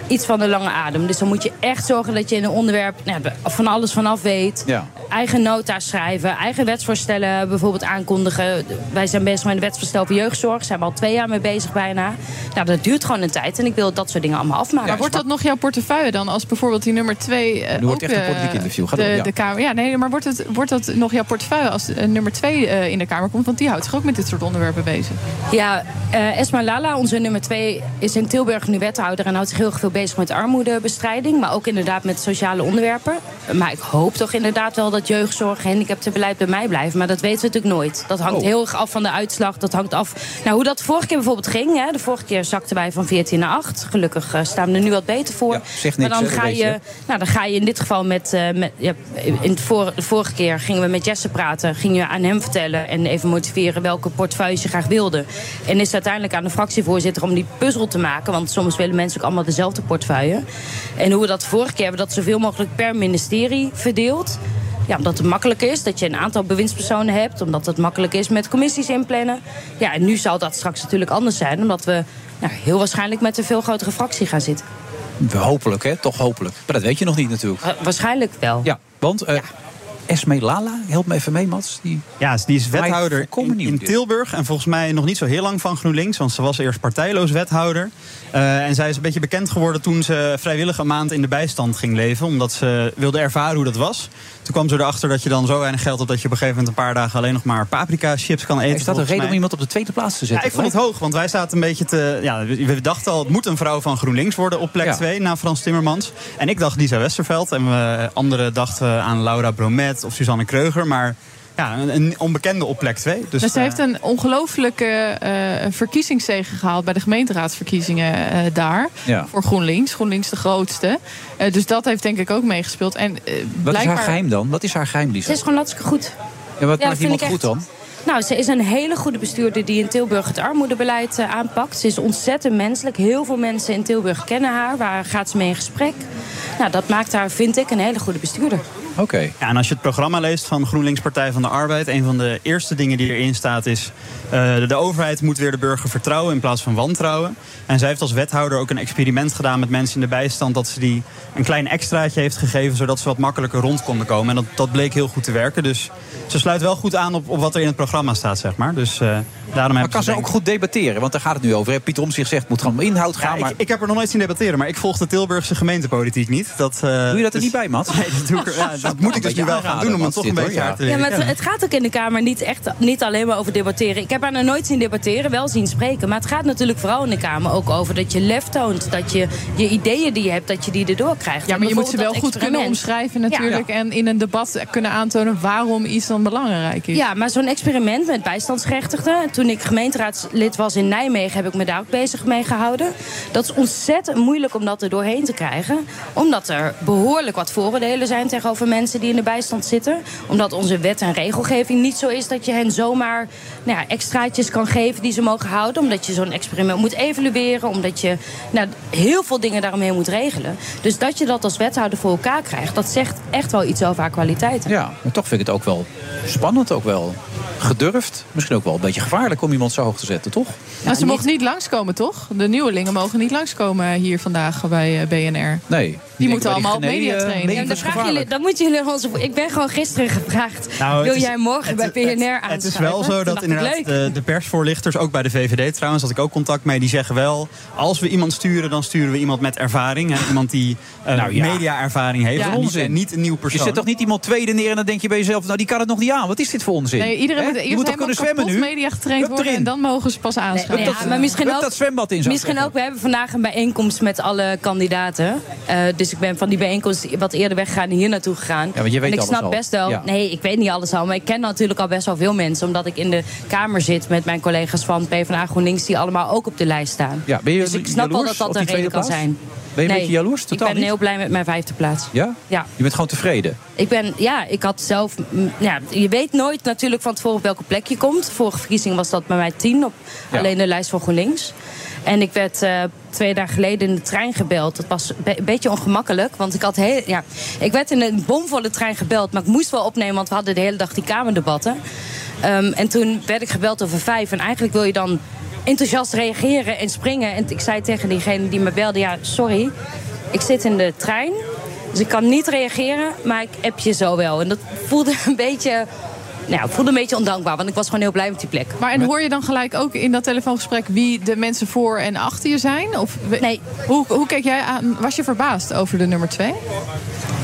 [SPEAKER 21] iets van de lange adem. Dus dan moet je echt zorgen dat je in een onderwerp nou, van alles vanaf weet.
[SPEAKER 6] Ja.
[SPEAKER 21] Eigen nota schrijven, eigen wetsvoorstellen bijvoorbeeld aankondigen. Wij zijn bezig met een wetsvoorstel voor jeugdzorg. Zijn we al twee jaar mee bezig bijna. Nou, dat duurt gewoon een tijd. En ik wil dat soort dingen allemaal afmaken.
[SPEAKER 7] maar wordt dat nog jouw portefeuille dan? Als bijvoorbeeld die nummer 2 eh,
[SPEAKER 21] Nu wordt
[SPEAKER 7] ook
[SPEAKER 21] echt een
[SPEAKER 7] eh,
[SPEAKER 21] politiek interview. Ga
[SPEAKER 7] de,
[SPEAKER 21] door, ja.
[SPEAKER 7] de Kamer... Ja, nee, maar wordt, het, wordt dat nog jouw portefeuille als eh, nummer 2 in de Kamer komt? Want die houdt zich ook met dit soort onderwerpen bezig.
[SPEAKER 21] Ja, eh, Esma Lala, onze nummer twee, is in Tilburg nu wethouder... en houdt zich heel erg veel bezig met armoedebestrijding... maar ook inderdaad met sociale onderwerpen. Maar ik hoop toch inderdaad wel dat jeugdzorg en handicaptenbeleid bij mij blijven. Maar dat weten we natuurlijk nooit. Dat hangt
[SPEAKER 23] Oh.
[SPEAKER 21] heel erg af van de uitslag. Dat hangt af... Nou, hoe dat vorige keer bijvoorbeeld ging... Hè, de vorige keer zakten wij van 14 naar 8. Gelukkig eh, staan we er nu wat beter voor.
[SPEAKER 23] zegt
[SPEAKER 21] maar
[SPEAKER 23] niks,
[SPEAKER 21] dan
[SPEAKER 23] hè, dat
[SPEAKER 21] ga
[SPEAKER 23] weet je,
[SPEAKER 21] je...
[SPEAKER 23] hè?
[SPEAKER 21] Nou, dan ga je in dit geval met... eh, met ja, in het vor- de vorige keer gingen we met Jesse praten. Gingen we aan hem vertellen en even motiveren welke portefeuille je graag wilde. En is het uiteindelijk aan de fractievoorzitter om die puzzel te maken. Want soms willen mensen ook allemaal dezelfde portefeuille. En hoe we dat vorige keer hebben, dat zoveel mogelijk per ministerie verdeeld. Ja, omdat het makkelijk is, dat je een aantal bewindspersonen hebt. Omdat het makkelijk is met commissies inplannen. Ja, en nu zal dat straks natuurlijk anders zijn. Omdat we ja, heel waarschijnlijk met een veel grotere fractie gaan zitten.
[SPEAKER 6] Hopelijk, hè? Toch hopelijk. Maar dat weet je nog niet natuurlijk.
[SPEAKER 21] Wa- waarschijnlijk wel.
[SPEAKER 6] Ja, want eh Esme Lala, help me even mee, Mats. Die...
[SPEAKER 20] Ja, die is wethouder in,
[SPEAKER 6] nieuw
[SPEAKER 20] in
[SPEAKER 6] dit.
[SPEAKER 20] Tilburg. En volgens mij nog niet zo heel lang van GroenLinks. Want ze was eerst partijloos wethouder. Eh, en zij is een beetje bekend geworden toen ze vrijwillig een maand in de bijstand ging leven. Omdat ze wilde ervaren hoe dat was. Toen kwam ze erachter dat je dan zo weinig geld hebt... dat je op een gegeven moment een paar dagen alleen nog maar paprika chips kan eten.
[SPEAKER 6] Is dat een
[SPEAKER 20] volgens
[SPEAKER 6] reden
[SPEAKER 20] mij.
[SPEAKER 6] om iemand op de tweede plaats te zetten?
[SPEAKER 20] Ja, ik vond het hoog, want wij zaten een beetje te... Ja, we we dachten al, het moet een vrouw van GroenLinks worden op plek 2 na Frans Timmermans. En ik dacht Lisa Westerveld en we, anderen dachten aan Laura Bromet of Suzanne Kreuger. Maar ja, een, een onbekende op plek 2. Dus,
[SPEAKER 7] Dus ze
[SPEAKER 20] eh,
[SPEAKER 7] heeft een ongelooflijke eh verkiezingszege gehaald bij de gemeenteraadsverkiezingen eh, daar.
[SPEAKER 6] Ja.
[SPEAKER 7] Voor GroenLinks. GroenLinks de grootste. Eh, dus dat heeft denk ik ook meegespeeld. En, eh,
[SPEAKER 6] Wat is
[SPEAKER 7] blijkbaar-
[SPEAKER 6] haar geheim dan? Wat is haar geheim, Lisa?
[SPEAKER 21] Ze is gewoon hartstikke goed.
[SPEAKER 6] Ja, wat
[SPEAKER 21] Ja,
[SPEAKER 6] maakt
[SPEAKER 21] vind
[SPEAKER 6] iemand
[SPEAKER 21] ik
[SPEAKER 6] goed
[SPEAKER 21] echt.
[SPEAKER 6] dan?
[SPEAKER 21] Nou, ze is een hele goede bestuurder die in Tilburg het armoedebeleid eh, aanpakt. Ze is ontzettend menselijk. Heel veel mensen in Tilburg kennen haar. Waar gaat ze mee in gesprek? Nou, dat maakt haar, vind ik, een hele goede bestuurder.
[SPEAKER 6] Oké.
[SPEAKER 20] Ja, en als je het programma leest van GroenLinks Partij van de Arbeid... een van de eerste dingen die erin staat is... eh, de, de overheid moet weer de burger vertrouwen in plaats van wantrouwen. En zij heeft als wethouder ook een experiment gedaan met mensen in de bijstand... dat ze die een klein extraatje heeft gegeven... zodat ze wat makkelijker rond konden komen. En dat, dat bleek heel goed te werken. Dus ze sluit wel goed aan op, op wat er in het programma staat, zeg maar. Dus eh, daarom
[SPEAKER 6] Maar
[SPEAKER 20] heb
[SPEAKER 6] kan ze ook goed debatteren? Want daar gaat het nu over. hè? Pieter Omtzigt zegt, het moet gewoon om inhoud gaan. maar...
[SPEAKER 20] ik, ik heb er nog nooit zien debatteren, maar ik volg de Tilburgse gemeentepolitiek niet. Dat, doe
[SPEAKER 6] je dat er niet bij, Mats?
[SPEAKER 20] Nee, dat, doe ik er- ja, dat moet ik dus nu wel gaan doen om het toch een beetje hard te
[SPEAKER 21] Ja,
[SPEAKER 20] leren
[SPEAKER 21] maar het,
[SPEAKER 20] kennen.
[SPEAKER 21] het gaat ook in de Kamer niet, echt, niet alleen maar over debatteren. Ik heb haar nog nooit zien debatteren, wel zien spreken. Maar het gaat natuurlijk vooral in de Kamer ook over dat je lef toont. Dat je je ideeën die je hebt, dat je die erdoor krijgt.
[SPEAKER 7] Ja, maar je moet ze wel
[SPEAKER 21] Bijvoorbeeld dat
[SPEAKER 7] goed kunnen
[SPEAKER 21] experiment.
[SPEAKER 7] omschrijven
[SPEAKER 21] Ja.
[SPEAKER 7] natuurlijk. En in een debat kunnen aantonen waarom iets dan belangrijk is.
[SPEAKER 21] Ja, maar zo'n experiment met bijstandsgerechtigden. Toen ik gemeenteraadslid was in Nijmegen, heb ik me daar ook bezig mee gehouden. Dat is ontzettend moeilijk om dat er doorheen te krijgen. Omdat er behoorlijk wat vooroordelen zijn tegenover mensen die in de bijstand zitten. Omdat onze wet en regelgeving niet zo is dat je hen zomaar nou ja, extraatjes kan geven die ze mogen houden. Omdat je zo'n experiment moet evalueren. Omdat je nou, heel veel dingen daaromheen moet regelen. Dus dat je dat als wethouder voor elkaar krijgt, dat zegt echt wel iets over haar kwaliteiten.
[SPEAKER 6] Ja, maar toch vind ik het ook wel spannend, ook wel gedurfd. Misschien ook wel een beetje gevaarlijk om iemand zo hoog te zetten, toch?
[SPEAKER 7] maar Nou, ze mogen niet langskomen, toch? De nieuwelingen mogen niet langskomen hier vandaag bij eh, BNR.
[SPEAKER 6] Nee. Die,
[SPEAKER 7] moeten allemaal op media trainen.
[SPEAKER 21] Ja, dan, vragen jullie, dan moeten jullie onze. Ik ben gewoon gisteren gevraagd.
[SPEAKER 20] Nou, het
[SPEAKER 21] wil
[SPEAKER 20] is-
[SPEAKER 21] jij morgen bij PNR aanschuiven?
[SPEAKER 20] Het is wel zo
[SPEAKER 21] Toen
[SPEAKER 20] dat
[SPEAKER 21] dacht ik,
[SPEAKER 20] inderdaad eh,
[SPEAKER 21] leuk.
[SPEAKER 20] de, de persvoorlichters, ook bij de VVD trouwens, had ik ook contact mee, die zeggen wel, als we iemand sturen, dan sturen we iemand met ervaring. Hè, iemand die eh,
[SPEAKER 6] Nou ja.
[SPEAKER 20] media-ervaring heeft.
[SPEAKER 6] Ja.
[SPEAKER 20] En niet-
[SPEAKER 6] Onzin.
[SPEAKER 20] en Niet een nieuw
[SPEAKER 6] Je
[SPEAKER 20] persoon.
[SPEAKER 6] zet toch niet iemand tweede neer en dan denk je bij jezelf... nou, die kan het nog niet aan. Wat is dit voor onzin?
[SPEAKER 7] Nee, iedereen
[SPEAKER 6] Hè?
[SPEAKER 7] moet
[SPEAKER 6] Die
[SPEAKER 7] eerst
[SPEAKER 6] moet toch
[SPEAKER 7] helemaal
[SPEAKER 6] kunnen zwemmen
[SPEAKER 7] kapot
[SPEAKER 6] nu?
[SPEAKER 7] media getraind
[SPEAKER 6] Hup
[SPEAKER 7] worden... en
[SPEAKER 6] erin.
[SPEAKER 7] dan mogen ze pas aanschrijven.
[SPEAKER 21] Ja, maar misschien
[SPEAKER 6] hup
[SPEAKER 21] ook,
[SPEAKER 6] dat zwembad in, zou ik
[SPEAKER 21] Misschien ook, we hebben vandaag een bijeenkomst met alle kandidaten. Eh, dus ik ben van die bijeenkomst wat eerder weggegaan en hier naartoe gegaan.
[SPEAKER 6] Ja, want je weet
[SPEAKER 21] en ik
[SPEAKER 6] alles
[SPEAKER 21] snap
[SPEAKER 6] al.
[SPEAKER 21] best wel.
[SPEAKER 6] Ja.
[SPEAKER 21] Nee, ik weet niet alles al. Maar ik ken natuurlijk al best wel veel mensen. Omdat ik in de Kamer zit met mijn collega's van PvdA GroenLinks... die allemaal ook op de lijst staan.
[SPEAKER 6] Ja, ben je
[SPEAKER 21] dus ik snap wel
[SPEAKER 6] jaloers
[SPEAKER 21] dat
[SPEAKER 6] op
[SPEAKER 21] dat
[SPEAKER 6] die
[SPEAKER 21] een reden
[SPEAKER 6] tweede
[SPEAKER 21] kan
[SPEAKER 6] plaats?
[SPEAKER 21] zijn.
[SPEAKER 6] Ben je een
[SPEAKER 21] Nee,
[SPEAKER 6] beetje jaloers?
[SPEAKER 21] Ik
[SPEAKER 6] Totaal
[SPEAKER 21] ben
[SPEAKER 6] niet?
[SPEAKER 21] heel blij met mijn vijfde plaats.
[SPEAKER 6] Ja?
[SPEAKER 21] Ja.
[SPEAKER 6] Je bent gewoon tevreden.
[SPEAKER 21] Ik ben, ja, ik had zelf. mm, Ja, je weet nooit natuurlijk van tevoren op welke plek je komt. Vorige verkiezing was dat bij mij tien op
[SPEAKER 6] Ja.
[SPEAKER 21] alleen de lijst van GroenLinks. En ik werd eh, twee dagen geleden in de trein gebeld. Dat was be- een beetje ongemakkelijk. Want ik had heel. Ja, ik werd in een bomvolle trein gebeld. Maar ik moest wel opnemen, want we hadden de hele dag die Kamerdebatten. Ehm, en toen werd ik gebeld over vijf. En eigenlijk wil je dan enthousiast reageren en springen. En ik zei tegen diegene die me belde: Ja, sorry, ik zit in de trein. Dus ik kan niet reageren, maar ik app je zo wel. En dat voelde een beetje, nou, ja, voelde een beetje ondankbaar, want ik was gewoon heel blij met die plek.
[SPEAKER 7] Maar en hoor je dan gelijk ook in dat telefoongesprek wie de mensen voor en achter je zijn? Of nee. Hoe, hoe keek jij aan? Was je verbaasd over de nummer twee?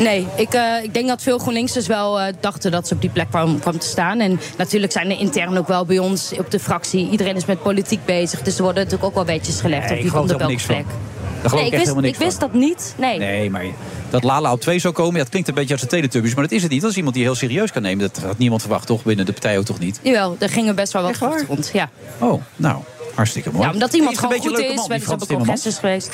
[SPEAKER 21] Nee, ik, eh, ik denk dat veel GroenLinksers wel eh, dachten dat ze op die plek kwam, kwam te staan. En natuurlijk zijn er intern ook wel bij ons op de fractie. Iedereen is met politiek bezig, dus er worden natuurlijk ook wel weetjes gelegd
[SPEAKER 6] Nee,
[SPEAKER 21] op
[SPEAKER 6] ik
[SPEAKER 21] wie
[SPEAKER 6] geloof
[SPEAKER 21] komt op
[SPEAKER 6] er
[SPEAKER 21] welke
[SPEAKER 6] niks van.
[SPEAKER 21] plek.
[SPEAKER 6] Daar geloof
[SPEAKER 21] nee,
[SPEAKER 6] ik
[SPEAKER 21] ik
[SPEAKER 6] echt
[SPEAKER 21] wist,
[SPEAKER 6] helemaal niks
[SPEAKER 21] ik wist dat niet. Nee.
[SPEAKER 6] Nee, maar dat Lala op 2 zou komen, ja, dat klinkt een beetje als de Teletubbies. Maar dat is het niet. Dat is iemand die heel serieus kan nemen. Dat had niemand verwacht, toch? Binnen de partij ook toch niet?
[SPEAKER 21] Jawel, er gingen best wel wat goed rond. Ja.
[SPEAKER 6] Oh, nou, hartstikke mooi.
[SPEAKER 21] Ja, omdat
[SPEAKER 6] Hij
[SPEAKER 21] iemand
[SPEAKER 6] een
[SPEAKER 21] gewoon
[SPEAKER 6] beetje
[SPEAKER 21] goed
[SPEAKER 6] een
[SPEAKER 21] is,
[SPEAKER 6] leuke man,
[SPEAKER 21] wel
[SPEAKER 6] die
[SPEAKER 21] eens op een
[SPEAKER 6] Frans
[SPEAKER 21] congres is geweest.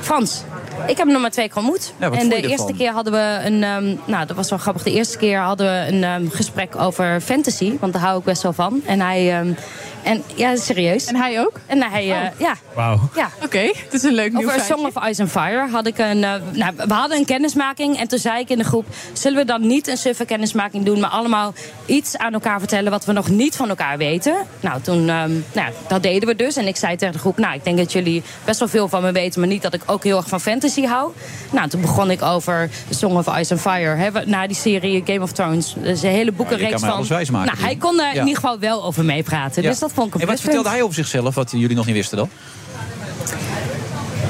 [SPEAKER 21] Frans, ik heb hem nog maar twee keer ontmoet.
[SPEAKER 6] Ja, wat
[SPEAKER 21] en
[SPEAKER 6] vond
[SPEAKER 21] de
[SPEAKER 6] je
[SPEAKER 21] eerste
[SPEAKER 6] ervan?
[SPEAKER 21] keer hadden we een, ehm, nou dat was wel grappig. De eerste keer hadden we een ehm, gesprek over fantasy, want daar hou ik best wel van. En hij ehm, En ja, serieus. En
[SPEAKER 7] hij ook? Oh.
[SPEAKER 21] En hij, eh, ja.
[SPEAKER 19] Wauw.
[SPEAKER 21] ja.
[SPEAKER 7] Oké, het is een leuk nieuw
[SPEAKER 21] Over A Song of Ice and Fire had ik een... eh, nou, we hadden een kennismaking en toen zei ik in de groep... zullen we dan niet een suffe kennismaking doen... maar allemaal iets aan elkaar vertellen wat we nog niet van elkaar weten? Nou, toen, ehm, nou, dat deden we dus. En ik zei tegen de groep... nou, ik denk dat jullie best wel veel van me weten... maar niet dat ik ook heel erg van fantasy hou. Nou, toen begon ik over A Song of Ice and Fire. Hè, we- na die serie Game of Thrones. Dus een hele boekenreeks
[SPEAKER 6] Ja, Nou, je kan
[SPEAKER 21] van...
[SPEAKER 6] mij alles wijsmaken,
[SPEAKER 21] nou, hij
[SPEAKER 6] Pien.
[SPEAKER 21] kon er
[SPEAKER 6] Ja.
[SPEAKER 21] in ieder geval wel over meepraten.
[SPEAKER 6] Ja.
[SPEAKER 21] Dus dat vond ik een
[SPEAKER 6] En wat
[SPEAKER 21] pluspunt.
[SPEAKER 6] vertelde hij over zichzelf, wat jullie nog niet wisten dan?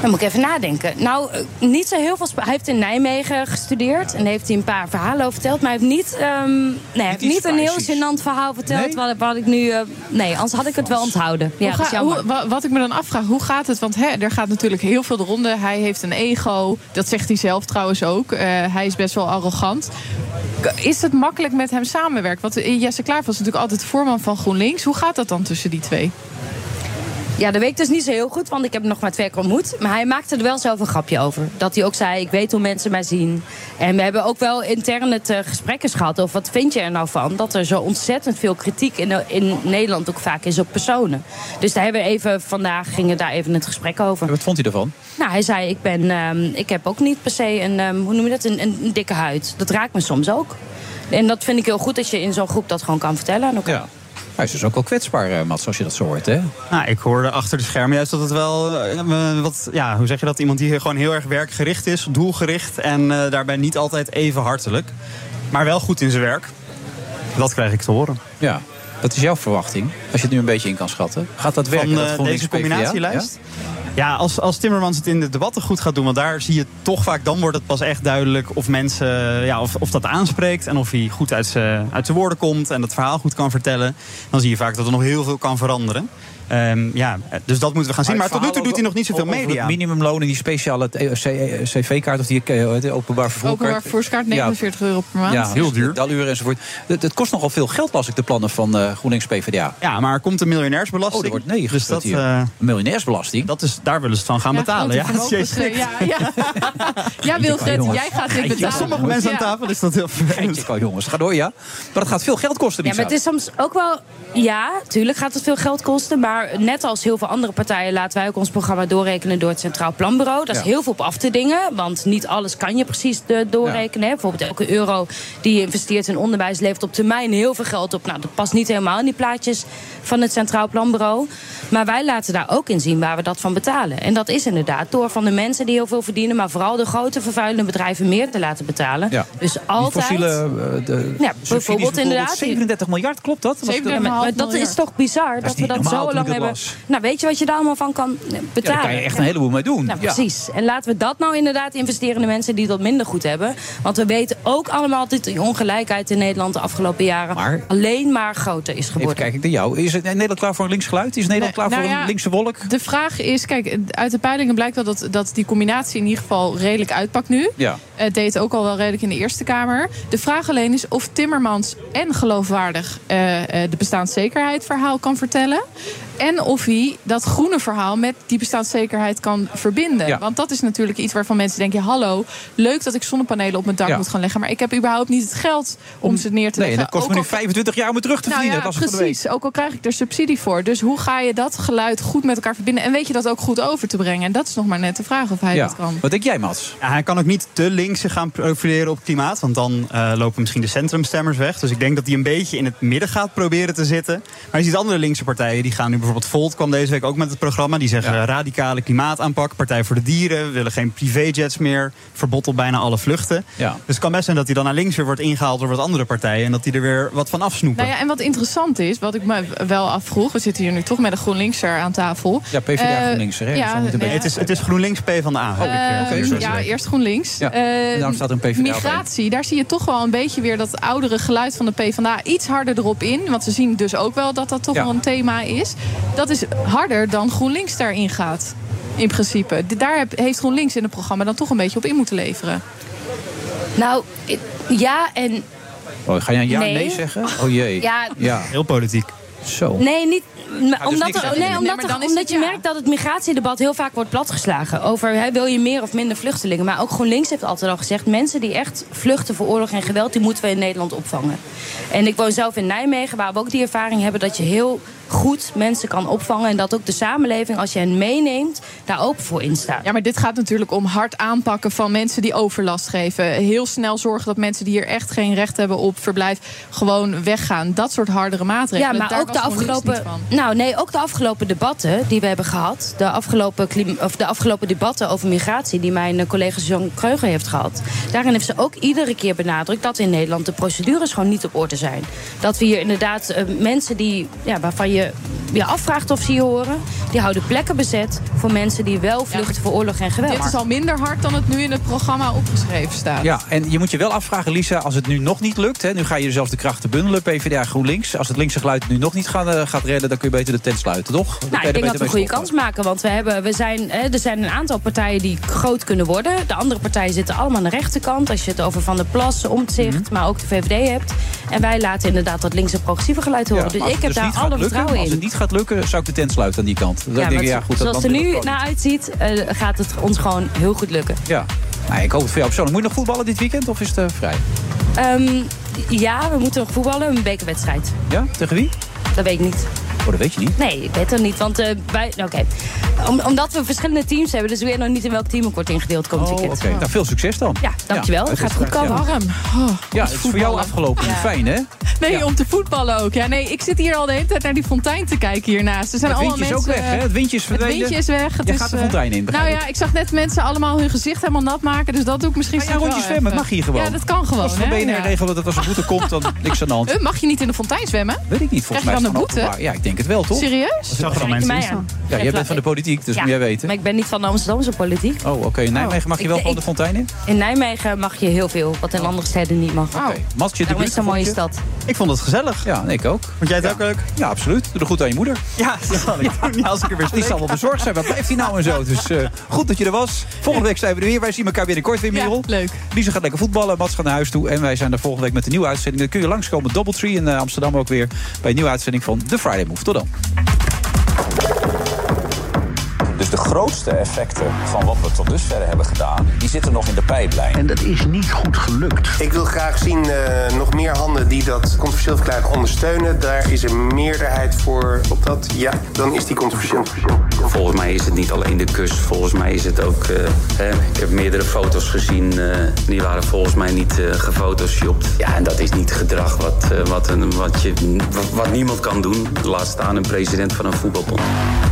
[SPEAKER 21] Dan moet ik even nadenken. Nou, eh, niet zo heel veel. spa- Hij heeft in Nijmegen gestudeerd en heeft hij een paar verhalen over verteld. Maar hij heeft niet, ehm, nee, hij heeft
[SPEAKER 7] iets
[SPEAKER 21] niet een heel
[SPEAKER 7] spicy's.
[SPEAKER 21] gênant verhaal verteld.
[SPEAKER 7] Nee?
[SPEAKER 21] Wat, wat ik nu. eh, nee, anders had ik het wel onthouden. Ja,
[SPEAKER 7] Hoe
[SPEAKER 21] dat is
[SPEAKER 7] ga-
[SPEAKER 21] jammer.
[SPEAKER 7] hoe- wa- wat ik me dan afvraag, hoe gaat het? Want hè, er gaat natuurlijk heel veel de ronde. Hij heeft een ego. Dat zegt hij zelf trouwens ook. Eh, hij is best wel arrogant. K- Is het makkelijk met hem samenwerken? Want eh, Jesse Klaver was natuurlijk altijd voorman van GroenLinks. Hoe gaat dat dan tussen die twee?
[SPEAKER 21] Ja, dat weet ik dus niet zo heel goed, want ik heb hem nog maar twee keer ontmoet. Maar hij maakte er wel zelf een grapje over. Dat hij ook zei, ik weet hoe mensen mij zien. En we hebben ook wel intern het eh, gesprek eens gehad over wat vind je er nou van? Dat er zo ontzettend veel kritiek in, eh, in Nederland ook vaak is op personen. Dus daar hebben we even, vandaag gingen daar even het gesprek over.
[SPEAKER 6] Wat vond hij ervan?
[SPEAKER 21] Nou, hij zei, ik, ben, ehm, ik heb ook niet per se een, ehm, hoe noem je dat, een, een, een dikke huid. Dat raakt me soms ook. En dat vind ik heel goed dat je in zo'n groep dat gewoon kan vertellen aan elkaar.
[SPEAKER 6] Ja. Hij is dus ook wel kwetsbaar, eh, Mats, als je dat zo hoort, hè?
[SPEAKER 20] Nou, ik hoorde achter de schermen juist dat het wel, eh, eh, wat, ja, hoe zeg je dat? Iemand die gewoon heel erg werkgericht is, doelgericht en eh, daarbij niet altijd even hartelijk, maar wel goed in zijn werk. Dat krijg ik te horen.
[SPEAKER 6] Ja. Wat is jouw verwachting? Als je het nu een beetje in kan schatten. Gaat dat werken?
[SPEAKER 20] Van
[SPEAKER 6] dat
[SPEAKER 20] eh,
[SPEAKER 6] GroenLinks
[SPEAKER 20] deze combinatielijst?
[SPEAKER 6] PvdA?
[SPEAKER 20] Ja, als, als Timmermans het in de debatten goed gaat doen, want daar zie je toch vaak, dan wordt het pas echt duidelijk of mensen, ja, of, of dat aanspreekt en of hij goed uit zijn uit zijn woorden komt en het verhaal goed kan vertellen. Dan zie je vaak dat er nog heel veel kan veranderen. Ehm, ja, dus dat moeten we gaan zien. Maar tot nu toe doet hij nog niet zoveel
[SPEAKER 6] Over
[SPEAKER 20] media.
[SPEAKER 6] Het minimumloon en die speciale eh, C- eh, cv-kaart of die eh, hoe heet het, openbaar vervoerkaart.
[SPEAKER 7] Openbaar vervoerskaart, 49 euro per maand.
[SPEAKER 6] Ja, heel duur. Daluren Dus enzovoort. Dat, dat kost nogal veel geld, las ik de plannen van eh, GroenLinks PvdA.
[SPEAKER 20] Ja, maar komt de miljonairsbelasting?
[SPEAKER 6] Oh, er wordt nee
[SPEAKER 20] Dus
[SPEAKER 6] dat,
[SPEAKER 20] dat,
[SPEAKER 6] hier.
[SPEAKER 20] eh,
[SPEAKER 6] miljonairsbelasting?
[SPEAKER 20] Dat is, daar willen ze het van gaan betalen. Ja,
[SPEAKER 7] grote
[SPEAKER 20] jezus.
[SPEAKER 7] vermogens, eh, ja, ja. ja Wilfred,
[SPEAKER 6] jongens.
[SPEAKER 7] jij gaat dit
[SPEAKER 6] Geintje.
[SPEAKER 7] betalen.
[SPEAKER 6] Sommige mensen aan
[SPEAKER 7] Ja.
[SPEAKER 20] tafel is dat heel vervelend.
[SPEAKER 6] Oh, jongens, ga door, ja. Maar dat gaat veel geld kosten.
[SPEAKER 21] Ja, maar het is soms ook wel. Ja, tuurlijk gaat het veel geld kosten. Maar net als heel veel andere partijen laten wij ook ons programma doorrekenen door het Centraal Planbureau. Daar is
[SPEAKER 8] Ja.
[SPEAKER 21] heel veel op af te dingen. Want niet alles kan je precies eh, doorrekenen. hè. Bijvoorbeeld elke euro die je investeert in onderwijs levert op termijn heel veel geld op. Nou, dat past niet helemaal in die plaatjes van het Centraal Planbureau. Maar wij laten daar ook in zien waar we dat van betalen. En dat is inderdaad door van de mensen die heel veel verdienen, maar vooral de grote vervuilende bedrijven meer te laten betalen.
[SPEAKER 6] Ja.
[SPEAKER 21] Dus altijd.
[SPEAKER 6] Die fossiele eh, de
[SPEAKER 21] Ja,
[SPEAKER 6] subsidies
[SPEAKER 21] bijvoorbeeld inderdaad.
[SPEAKER 6] 37 miljard, klopt dat? Was het-
[SPEAKER 21] Ja, maar- maar dat is toch bizar dat,
[SPEAKER 6] is
[SPEAKER 21] we
[SPEAKER 6] niet
[SPEAKER 21] dat
[SPEAKER 6] normaal
[SPEAKER 21] zo
[SPEAKER 6] toen
[SPEAKER 21] lang
[SPEAKER 6] ik het
[SPEAKER 21] hebben.
[SPEAKER 6] las.
[SPEAKER 21] Nou, weet je wat je daar allemaal van kan eh,
[SPEAKER 6] Ja,
[SPEAKER 21] betalen?
[SPEAKER 6] daar kan je echt een heleboel mee doen.
[SPEAKER 21] Nou,
[SPEAKER 6] Ja.
[SPEAKER 21] precies. En laten we dat nou inderdaad investeren in de mensen die dat minder goed hebben. Want we weten ook allemaal dat die ongelijkheid in Nederland de afgelopen jaren alleen maar groter is geworden.
[SPEAKER 6] Even kijk ik naar jou. Is het Nederland klaar voor een links geluid? Is Nederland klaar
[SPEAKER 7] nou
[SPEAKER 6] voor
[SPEAKER 7] ja,
[SPEAKER 6] een linkse wolk?
[SPEAKER 7] De vraag is, kijk, uit de peilingen blijkt wel dat, dat die combinatie in ieder geval redelijk uitpakt nu.
[SPEAKER 6] Ja.
[SPEAKER 7] Het deed ook al wel redelijk in de Eerste Kamer. De vraag alleen is of Timmermans en geloofwaardig eh, eh, de bestaanszekerheid verhaal kan vertellen. En of hij dat groene verhaal met die bestaanszekerheid kan verbinden.
[SPEAKER 22] Ja.
[SPEAKER 7] Want dat is natuurlijk iets waarvan mensen denken... hallo, leuk dat ik zonnepanelen op mijn dak
[SPEAKER 6] Ja.
[SPEAKER 7] moet gaan leggen... maar ik heb überhaupt niet het geld om, ze neer te
[SPEAKER 6] Nee, en
[SPEAKER 7] leggen.
[SPEAKER 6] dat kost me
[SPEAKER 7] Ook
[SPEAKER 6] nu
[SPEAKER 7] al-
[SPEAKER 6] 25 jaar om het terug te
[SPEAKER 7] nou
[SPEAKER 6] verdienen.
[SPEAKER 7] ja,
[SPEAKER 6] dat is het voor de
[SPEAKER 7] precies. Ook al krijg ik er subsidie voor. Dus hoe ga je dat geluid goed met elkaar verbinden? En weet je dat ook goed over te brengen? En dat is nog maar net de vraag of hij dat kan.
[SPEAKER 6] Wat denk jij, Mats?
[SPEAKER 20] hij kan ook niet te links zich gaan profileren op klimaat. Want dan eh, lopen misschien de centrumstemmers weg. Dus ik denk dat hij een beetje in het midden gaat proberen te zitten. Maar je ziet andere linkse partijen. Die gaan nu bijvoorbeeld... Volt kwam deze week ook met het programma. Die zeggen eh, radicale klimaataanpak. Partij voor de dieren. We willen geen privéjets meer. Verbod op bijna alle vluchten.
[SPEAKER 6] Ja.
[SPEAKER 20] Dus het kan best zijn dat hij dan naar links weer wordt ingehaald... door wat andere partijen. En dat die er weer wat van afsnoepen.
[SPEAKER 7] Nou ja, en wat interessant is, wat ik me wel afvroeg... we zitten hier nu toch met een GroenLinkser aan tafel.
[SPEAKER 20] Ja,
[SPEAKER 7] Eh, Ja, nee,
[SPEAKER 20] het, is, het is GroenLinks P van de
[SPEAKER 6] Oh,
[SPEAKER 20] A.
[SPEAKER 7] Eh, ja, eerst GroenLinks.
[SPEAKER 20] Ja,
[SPEAKER 7] Eh,
[SPEAKER 20] en daarom staat er een PvdA bij.
[SPEAKER 7] Migratie, daar zie je toch wel een beetje weer dat oudere geluid van de PvdA iets harder erop in. Want ze zien dus ook wel dat dat toch
[SPEAKER 6] Ja.
[SPEAKER 7] wel een thema is. Dat is harder dan GroenLinks daarin gaat. In principe. D- Daar heb- heeft GroenLinks in het programma dan toch een beetje op in moeten leveren.
[SPEAKER 21] Nou, ik- ja en
[SPEAKER 6] Oh, ga jij een ja nee,
[SPEAKER 21] Nee.
[SPEAKER 6] zeggen? Oh jee.
[SPEAKER 21] Ja.
[SPEAKER 20] Heel politiek.
[SPEAKER 6] Zo.
[SPEAKER 21] Nee, niet. maar
[SPEAKER 6] dus
[SPEAKER 21] omdat
[SPEAKER 6] niks aan
[SPEAKER 21] er- nee,
[SPEAKER 6] doen.
[SPEAKER 21] omdat, er- omdat je merkt dat het migratiedebat heel vaak wordt platgeslagen. Over hè, wil je meer of minder vluchtelingen. Maar ook GroenLinks heeft altijd al gezegd: mensen die echt vluchten voor oorlog en geweld, die moeten we in Nederland opvangen. En ik woon zelf in Nijmegen, waar we ook die ervaring hebben dat je heel goed mensen kan opvangen. En dat ook de samenleving, als je hen meeneemt, daar open voor instaat.
[SPEAKER 7] Ja, maar dit gaat natuurlijk om hard aanpakken van mensen die overlast geven. Heel snel zorgen dat mensen die hier echt geen recht hebben op verblijf gewoon weggaan. Dat soort hardere maatregelen.
[SPEAKER 21] Ja, maar
[SPEAKER 7] Daar
[SPEAKER 21] ook
[SPEAKER 7] was
[SPEAKER 21] de
[SPEAKER 7] GroenLinks
[SPEAKER 21] afgelopen.
[SPEAKER 7] niet van.
[SPEAKER 21] Nou, nee, ook de afgelopen debatten die we hebben gehad. De afgelopen, klim- of de afgelopen debatten over migratie. die mijn eh, collega Jean Kreuger heeft gehad. Daarin heeft ze ook iedere keer benadrukt dat in Nederland de procedures gewoon niet op orde zijn. Dat we hier inderdaad eh, mensen die. Ja, waarvan je je afvraagt of ze hier horen. die houden plekken bezet voor mensen die wel vluchten voor oorlog en geweld.
[SPEAKER 7] Dit is al minder hard dan het nu in het programma opgeschreven staat.
[SPEAKER 6] Ja, en je moet je wel afvragen, Lisa, als het nu nog niet lukt. Hè, nu ga je zelfs de krachten bundelen, PvdA GroenLinks. Als het linkse geluid nu nog niet gaat, eh, gaat redden, dan kun je beter de tent sluiten, toch? Dan kun
[SPEAKER 21] Nou,
[SPEAKER 6] je
[SPEAKER 21] ik
[SPEAKER 6] er
[SPEAKER 21] denk dat
[SPEAKER 6] beter
[SPEAKER 21] we een
[SPEAKER 6] mee
[SPEAKER 21] goede kans maken. Want we hebben, we zijn, hè, er zijn een aantal partijen die groot kunnen worden. De andere partijen zitten allemaal aan de rechterkant. Als je het over Van der Plas, Omtzigt,
[SPEAKER 6] Mhm.
[SPEAKER 21] maar ook de VVD hebt. En wij laten inderdaad dat linkse progressieve geluid horen.
[SPEAKER 6] Ja,
[SPEAKER 21] dus
[SPEAKER 6] maar als
[SPEAKER 21] ik
[SPEAKER 6] het
[SPEAKER 21] heb daar
[SPEAKER 6] niet gaat
[SPEAKER 21] alle
[SPEAKER 6] lukken,
[SPEAKER 21] vertrouwen
[SPEAKER 6] Als het
[SPEAKER 21] in.
[SPEAKER 6] niet gaat lukken, zou ik de tent sluiten aan die kant. Dan denk ik,
[SPEAKER 21] want
[SPEAKER 6] ja, goed, dat
[SPEAKER 21] zoals het er
[SPEAKER 6] land-
[SPEAKER 21] nu naar uitziet, eh, gaat het ons gewoon heel goed lukken.
[SPEAKER 6] Ja. Nou, ik hoop het voor jou persoonlijk. Moet je nog voetballen dit weekend of is het eh, vrij?
[SPEAKER 21] Ehm, ja, we moeten nog voetballen, een bekerwedstrijd.
[SPEAKER 6] Ja? Tegen wie?
[SPEAKER 21] Dat weet ik niet.
[SPEAKER 6] Oh, dat weet je niet.
[SPEAKER 21] Nee, ik weet het niet. Want eh, wij. nou, Oké. Om- omdat we verschillende teams hebben, dus we weten nog niet in welk team ik word ingedeeld komend
[SPEAKER 6] Oh, oké.
[SPEAKER 21] weekend.
[SPEAKER 6] Nou, veel succes dan.
[SPEAKER 21] Ja, dankjewel.
[SPEAKER 6] Ja,
[SPEAKER 21] het gaat goed
[SPEAKER 6] uiteraard,
[SPEAKER 21] komen.
[SPEAKER 6] ja. Ja, het is voor jou afgelopen. Fijn, hè?
[SPEAKER 7] oh, Nee, om te voetballen ook. Ja, nee, ik zit hier al de hele tijd naar die fontein te kijken hiernaast. Er zijn
[SPEAKER 6] Het
[SPEAKER 7] allemaal
[SPEAKER 6] windje is ook
[SPEAKER 7] mensen,
[SPEAKER 6] weg, hè? Het windje is verdwenen.
[SPEAKER 7] Het windje is weg. Het
[SPEAKER 6] Jij
[SPEAKER 7] is,
[SPEAKER 6] gaat de
[SPEAKER 7] eh,
[SPEAKER 6] fontein in, begrijp
[SPEAKER 7] Nou
[SPEAKER 6] ik.
[SPEAKER 7] ja, ik zag net mensen allemaal hun gezicht helemaal nat maken. Dus dat doe ik misschien
[SPEAKER 6] Ja,
[SPEAKER 7] straks
[SPEAKER 6] rondje
[SPEAKER 7] wel
[SPEAKER 6] zwemmen.
[SPEAKER 7] even.
[SPEAKER 6] Mag hier gewoon.
[SPEAKER 7] Ja, dat kan gewoon.
[SPEAKER 6] Als van
[SPEAKER 7] hè?
[SPEAKER 6] BNR
[SPEAKER 7] Ja.
[SPEAKER 6] regelen dat als er boete komt, dan niks aan de hand.
[SPEAKER 7] Huh, mag je niet in de fontein zwemmen?
[SPEAKER 6] Weet ik niet, volgens mij
[SPEAKER 7] Krijg je
[SPEAKER 6] is
[SPEAKER 7] dan een
[SPEAKER 6] het gewoon
[SPEAKER 7] boete?
[SPEAKER 6] openbaar. Ja, ik denk het wel, toch?
[SPEAKER 7] Serieus?
[SPEAKER 6] Als het
[SPEAKER 7] Zag er al
[SPEAKER 6] openbaar
[SPEAKER 7] mensen
[SPEAKER 6] is.
[SPEAKER 7] in staan?
[SPEAKER 6] Ja, jij
[SPEAKER 21] Ja,
[SPEAKER 6] bent van de politiek, dus
[SPEAKER 21] Ja,
[SPEAKER 6] moet jij weten.
[SPEAKER 21] Maar ik ben niet van de Amsterdamse politiek.
[SPEAKER 6] Oh, oké. In Nijmegen mag je
[SPEAKER 21] Ik denk-
[SPEAKER 6] wel gewoon de fontein in?
[SPEAKER 21] In Nijmegen mag je heel veel, wat in andere steden niet mag.
[SPEAKER 6] Oh. Matje, de
[SPEAKER 21] Daarom Nou, is het een mooie
[SPEAKER 6] buurt,
[SPEAKER 21] stad.
[SPEAKER 20] Ik vond het gezellig.
[SPEAKER 6] Ja, en ik ook. Vond
[SPEAKER 20] jij het ook leuk?
[SPEAKER 6] Ja, absoluut. Doe er goed aan je moeder.
[SPEAKER 20] Ja, dat zal ik doen. Als ik er weer
[SPEAKER 6] Die zal
[SPEAKER 20] spreek.
[SPEAKER 6] wel bezorgd zijn. Wat blijft hij nou en zo? Dus eh, goed dat je er was. Volgende week zijn we er weer. Wij zien elkaar binnenkort weer, Merel.
[SPEAKER 7] leuk.
[SPEAKER 6] Lisa gaat lekker voetballen. Mats gaat naar huis toe. En wij zijn er volgende week met een nieuwe uitzending. Dan kun je langskomen. Doubletree in eh, Amsterdam ook weer. Bij een nieuwe uitzending van The Friday Move. Tot dan.
[SPEAKER 8] Dus de grootste effecten van wat we tot dusver hebben gedaan, die zitten nog in de pijplijn.
[SPEAKER 14] En dat is niet goed gelukt. Ik wil graag zien eh, nog meer handen die dat controversieel verklaring ondersteunen. Daar is een meerderheid voor op dat. Ja, dan is die controversieel.
[SPEAKER 5] Volgens mij is het niet alleen de kus, volgens mij is het ook... eh, hè, ik heb meerdere foto's gezien, eh, die waren volgens mij niet eh gefotoshopt. Ja, en dat is niet gedrag wat, eh, wat, een, wat, je, wat, wat niemand kan doen. Laat staan een president van een voetbalbond.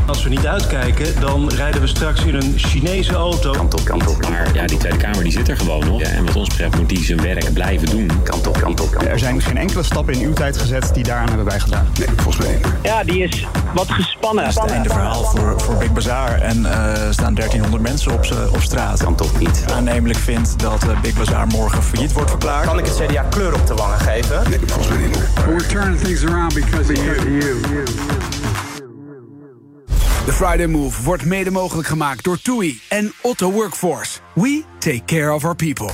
[SPEAKER 4] Als we niet uitkijken, dan rijden we straks in een Chinese auto. Kan
[SPEAKER 8] toch,
[SPEAKER 4] kan toch.
[SPEAKER 22] Maar ja, die Tweede Kamer die zit er gewoon nog. Ja, en wat ons betreft moet die zijn werk blijven doen. Kan toch, kan toch.
[SPEAKER 20] Er zijn geen enkele stappen in uw tijd gezet die daaraan hebben bijgedragen. Nee, volgens mij
[SPEAKER 3] Ja, die is wat gespannen.
[SPEAKER 19] Dat is het einde verhaal voor, voor Big Bazaar. En eh, er staan 1300 mensen op, z'n- op straat. Kan toch niet. Aannemelijk vindt dat eh, Big Bazaar morgen failliet wordt verklaard. Kan ik het CDA kleur op de wangen geven? Nee, volgens mij niet.
[SPEAKER 10] We're turning things around because of you. The Friday Move wordt mede mogelijk gemaakt door TUI en Otto Workforce. We take care of our people.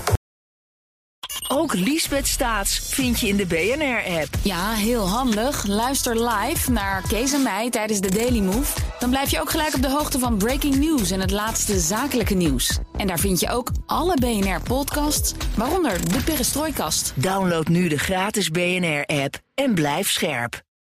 [SPEAKER 9] Ook Liesbeth Staats vind je in de BNR-app. Ja, heel handig. Luister live naar Kees en mij tijdens de Daily Move. Dan blijf je ook gelijk op de hoogte van breaking news en het laatste zakelijke nieuws. En daar vind je ook alle BNR-podcasts, waaronder de Perestrooikast.
[SPEAKER 1] Download nu de gratis BNR-app en blijf scherp.